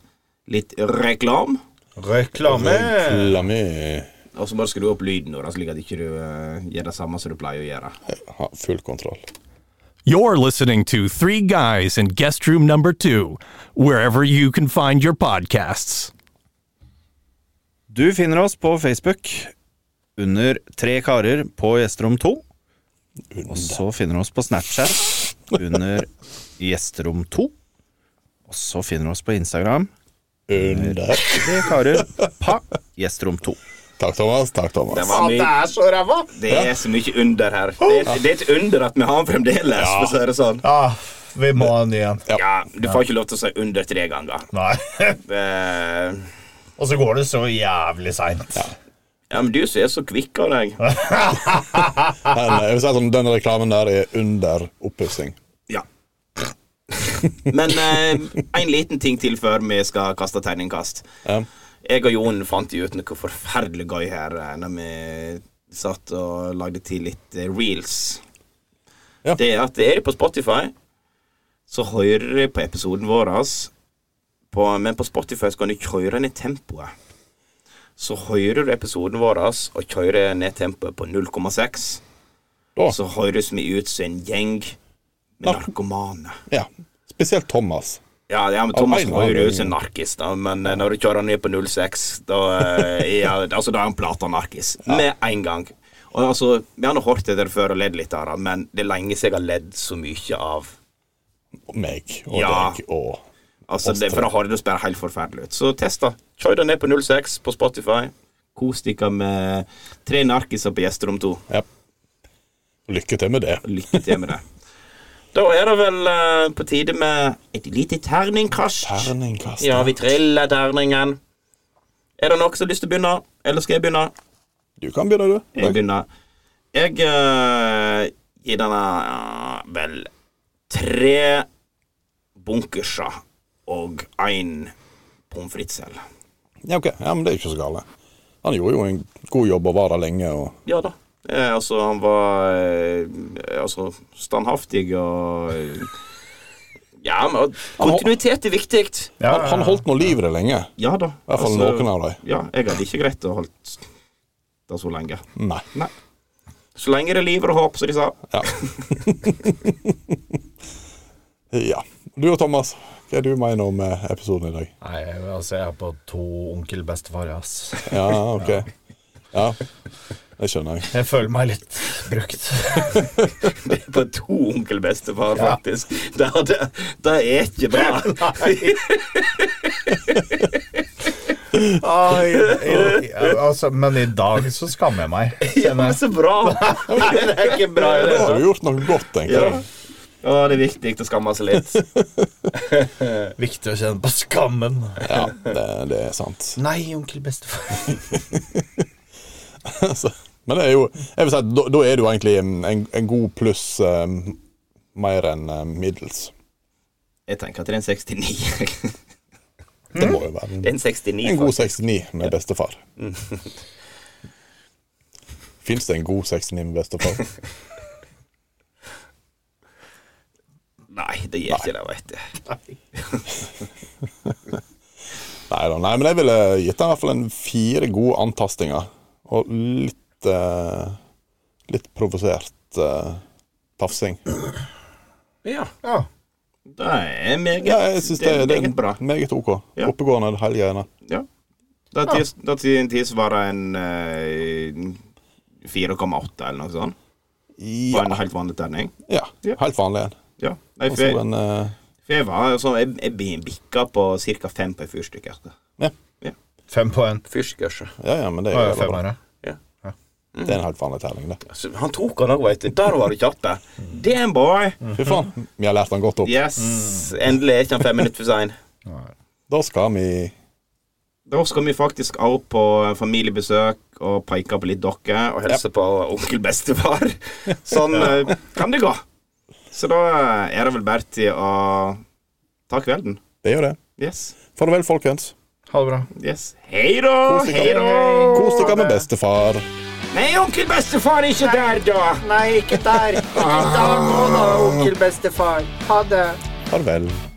Speaker 4: litt reklame?
Speaker 6: Reklame!
Speaker 3: Reklame.
Speaker 4: Og så bare skru opp lyden, nå, da, slik at ikke du eh, gjør det samme som du pleier å gjøre.
Speaker 3: Ha full kontroll.
Speaker 9: You're listening to Three Guys in Guest Room Number Two, wherever you can find your podcasts.
Speaker 5: Du finner oss på Facebook under Tre karer på gjesterom 2. Og så finner du oss på Snapchat under Gjesterom 2. Og så finner du oss på Instagram
Speaker 3: Under.
Speaker 5: Tre karer pa gjesterom 2.
Speaker 3: Takk, Thomas. Takk, Thomas.
Speaker 4: Det, var mye,
Speaker 6: er så ræva!
Speaker 4: det er så mye under her. Det er, det er et under at vi har den fremdeles, for å si det sånn.
Speaker 6: Ja, Ah, vi må ha en ny en.
Speaker 4: Ja, du får ikke lov til å si under tre ganger.
Speaker 6: Nei. [LAUGHS]
Speaker 4: Eh,
Speaker 6: Og så går det så jævlig seint.
Speaker 4: ja, men du som er så kvikk av deg.
Speaker 3: Men jeg vil si at sånn, Den reklamen der er under oppussing.
Speaker 4: Ja. [LAUGHS] Men eh, en liten ting til før vi skal kaste terningkast.
Speaker 3: Ja.
Speaker 4: Jeg og Jon fant jo ut noe forferdelig gøy her eh, Når vi satt og lagde til litt eh, reels.
Speaker 3: Ja.
Speaker 4: Det er at er du på Spotify, så hører du på episoden vår, ass. på, men på Spotify så kan du ikke høre ned tempoet. så hører du episoden vår og kjører ned tempoet på 0,6.
Speaker 3: Da.
Speaker 4: Så høres vi ut som en gjeng med narkomane.
Speaker 3: Ja. Spesielt Thomas.
Speaker 4: Ja, ja men Thomas
Speaker 3: Av en
Speaker 4: hører
Speaker 3: eller
Speaker 4: ut som en narkis, da, men eh, når du kjører ned på 06, da eh, ja, altså, da er han plata narkis. Med en gang. Og altså, Vi har nå hørt det der før og ledd litt av det, men det er lenge siden jeg har ledd så mye av
Speaker 3: Og meg og
Speaker 4: Ja.
Speaker 3: deg og
Speaker 4: Altså, det, for da høres det bare helt forferdelig ut. Så test, da. Kjør det ned på 06 på Spotify. Kos dere med tre narkiser på gjesterom to.
Speaker 3: Ja. Lykke til med det.
Speaker 4: Lykke til med det. Da er det vel eh, på tide med et lite terningkast.
Speaker 3: Terningkast.
Speaker 4: Ja, vi triller terningen. Er det noen som har lyst til å begynne, eller skal jeg begynne?
Speaker 3: Du kan begynne, du.
Speaker 4: Jeg begynner. Jeg eh, gir denne eh, vel tre bunkerser og én pommes frites-selv.
Speaker 3: Ja, ok. Ja, men det er ikke så gale. Han gjorde jo en god jobb og var der lenge. Og...
Speaker 4: Ja da. Eh, altså, han var eh, altså, standhaftig og eh, Ja, men kontinuitet er viktig.
Speaker 3: han, han holdt nå liv i det lenge.
Speaker 4: Ja da. altså,
Speaker 3: I hvert fall noen av dem.
Speaker 4: Ja, jeg hadde ikke greit å holdt det så lenge.
Speaker 3: Nei.
Speaker 4: Nei. Så lenge det er liv og håp, som de sa.
Speaker 3: Ja. ja. Du og Thomas, hva er du mener om eh, episoden i dag?
Speaker 6: Nei, altså, jeg er på to onkel bestefar, ass.
Speaker 3: Ja, ok. Ja, det skjønner jeg.
Speaker 6: Jeg føler meg litt brukt.
Speaker 4: Det er på to onkel bestefar, faktisk. Det, det, det er ikke bra. [LAUGHS]
Speaker 6: Ah, i, i, i, altså, men i dag så skammer jeg meg.
Speaker 4: Ja, men så bra! Nei, det er ikke bra. i det
Speaker 3: Da
Speaker 4: hele
Speaker 3: har
Speaker 4: tatt.
Speaker 3: du gjort noe godt, tenker
Speaker 4: Ja.
Speaker 3: jeg.
Speaker 4: Å, det er viktig å skamme seg litt.
Speaker 6: Viktig å kjenne på skammen.
Speaker 3: Ja, det, det er sant. [LAUGHS]
Speaker 6: Nei, onkel bestefar.
Speaker 3: Altså, men det er jo Jeg vil si at da, da er du egentlig en, en, en god pluss eh, mer enn eh, middels.
Speaker 4: Jeg tenker at det er en 69.
Speaker 3: Det må jo være
Speaker 4: [LAUGHS]
Speaker 3: en,
Speaker 4: Mm. Det er en 69,
Speaker 3: en god
Speaker 4: faktisk.
Speaker 3: 69
Speaker 4: [LAUGHS]
Speaker 3: med bestefar. Fins det en god 69 med bestefar?
Speaker 4: Nei, det gjør ikke det, veit du.
Speaker 3: Nei da, nei, men jeg ville gitt den i hvert fall en fire gode antastinger. Og litt eh, Litt provosert eh, tafsing.
Speaker 4: Ja,
Speaker 6: Ja.
Speaker 4: det er meget,
Speaker 3: Ja, jeg syns det, det er
Speaker 4: meget bra.
Speaker 3: meget OK.
Speaker 4: Ja.
Speaker 3: Oppegående hele greiene.
Speaker 4: Ja. Da tis- da til en tis var det en eh, 4,8 eller noe sånt. På
Speaker 3: Ja,
Speaker 4: en helt vanlig terning.
Speaker 3: ja.
Speaker 4: Ja.
Speaker 3: Helt vanlig en.
Speaker 4: Ja. Nei,
Speaker 3: Og
Speaker 4: for
Speaker 3: så
Speaker 4: jeg,
Speaker 3: en eh,
Speaker 4: for jeg var sånn Jeg, jeg bi- bikka på ca. fem på altså. ei fyrstikker.
Speaker 3: ja.
Speaker 6: Fem på en.
Speaker 4: Fyrstikker,
Speaker 3: ja, ja, men det
Speaker 6: Å,
Speaker 3: er,
Speaker 6: ja,
Speaker 3: jo bra.
Speaker 6: femmere.
Speaker 3: det er en helt vanlig terning, det.
Speaker 4: altså, Han tok han òg, veit du. Der var du kjapp, der. Damn, boy!
Speaker 6: Mm.
Speaker 3: Fy faen, vi har lært den godt opp.
Speaker 4: Yes. Mm. Endelig er ikke han fem minutter for sein.
Speaker 3: Da skal vi
Speaker 4: Da skal vi faktisk også på familiebesøk og peke på litt dokker og hilse på onkel [LAUGHS] bestefar. Sånn eh, kan det gå. Så da er det vel bare til å ta kvelden.
Speaker 3: Det er jo det.
Speaker 4: Yes.
Speaker 3: Farvel, folkens.
Speaker 6: Ha det bra.
Speaker 4: yes. Hei da! Hei da!
Speaker 3: Kos dere med bestefar.
Speaker 4: Nei, onkel bestefar er ikke der, da!
Speaker 5: Nei, ikke der. Ikke der nå, da, onkel bestefar. Ha det.
Speaker 3: Farvel.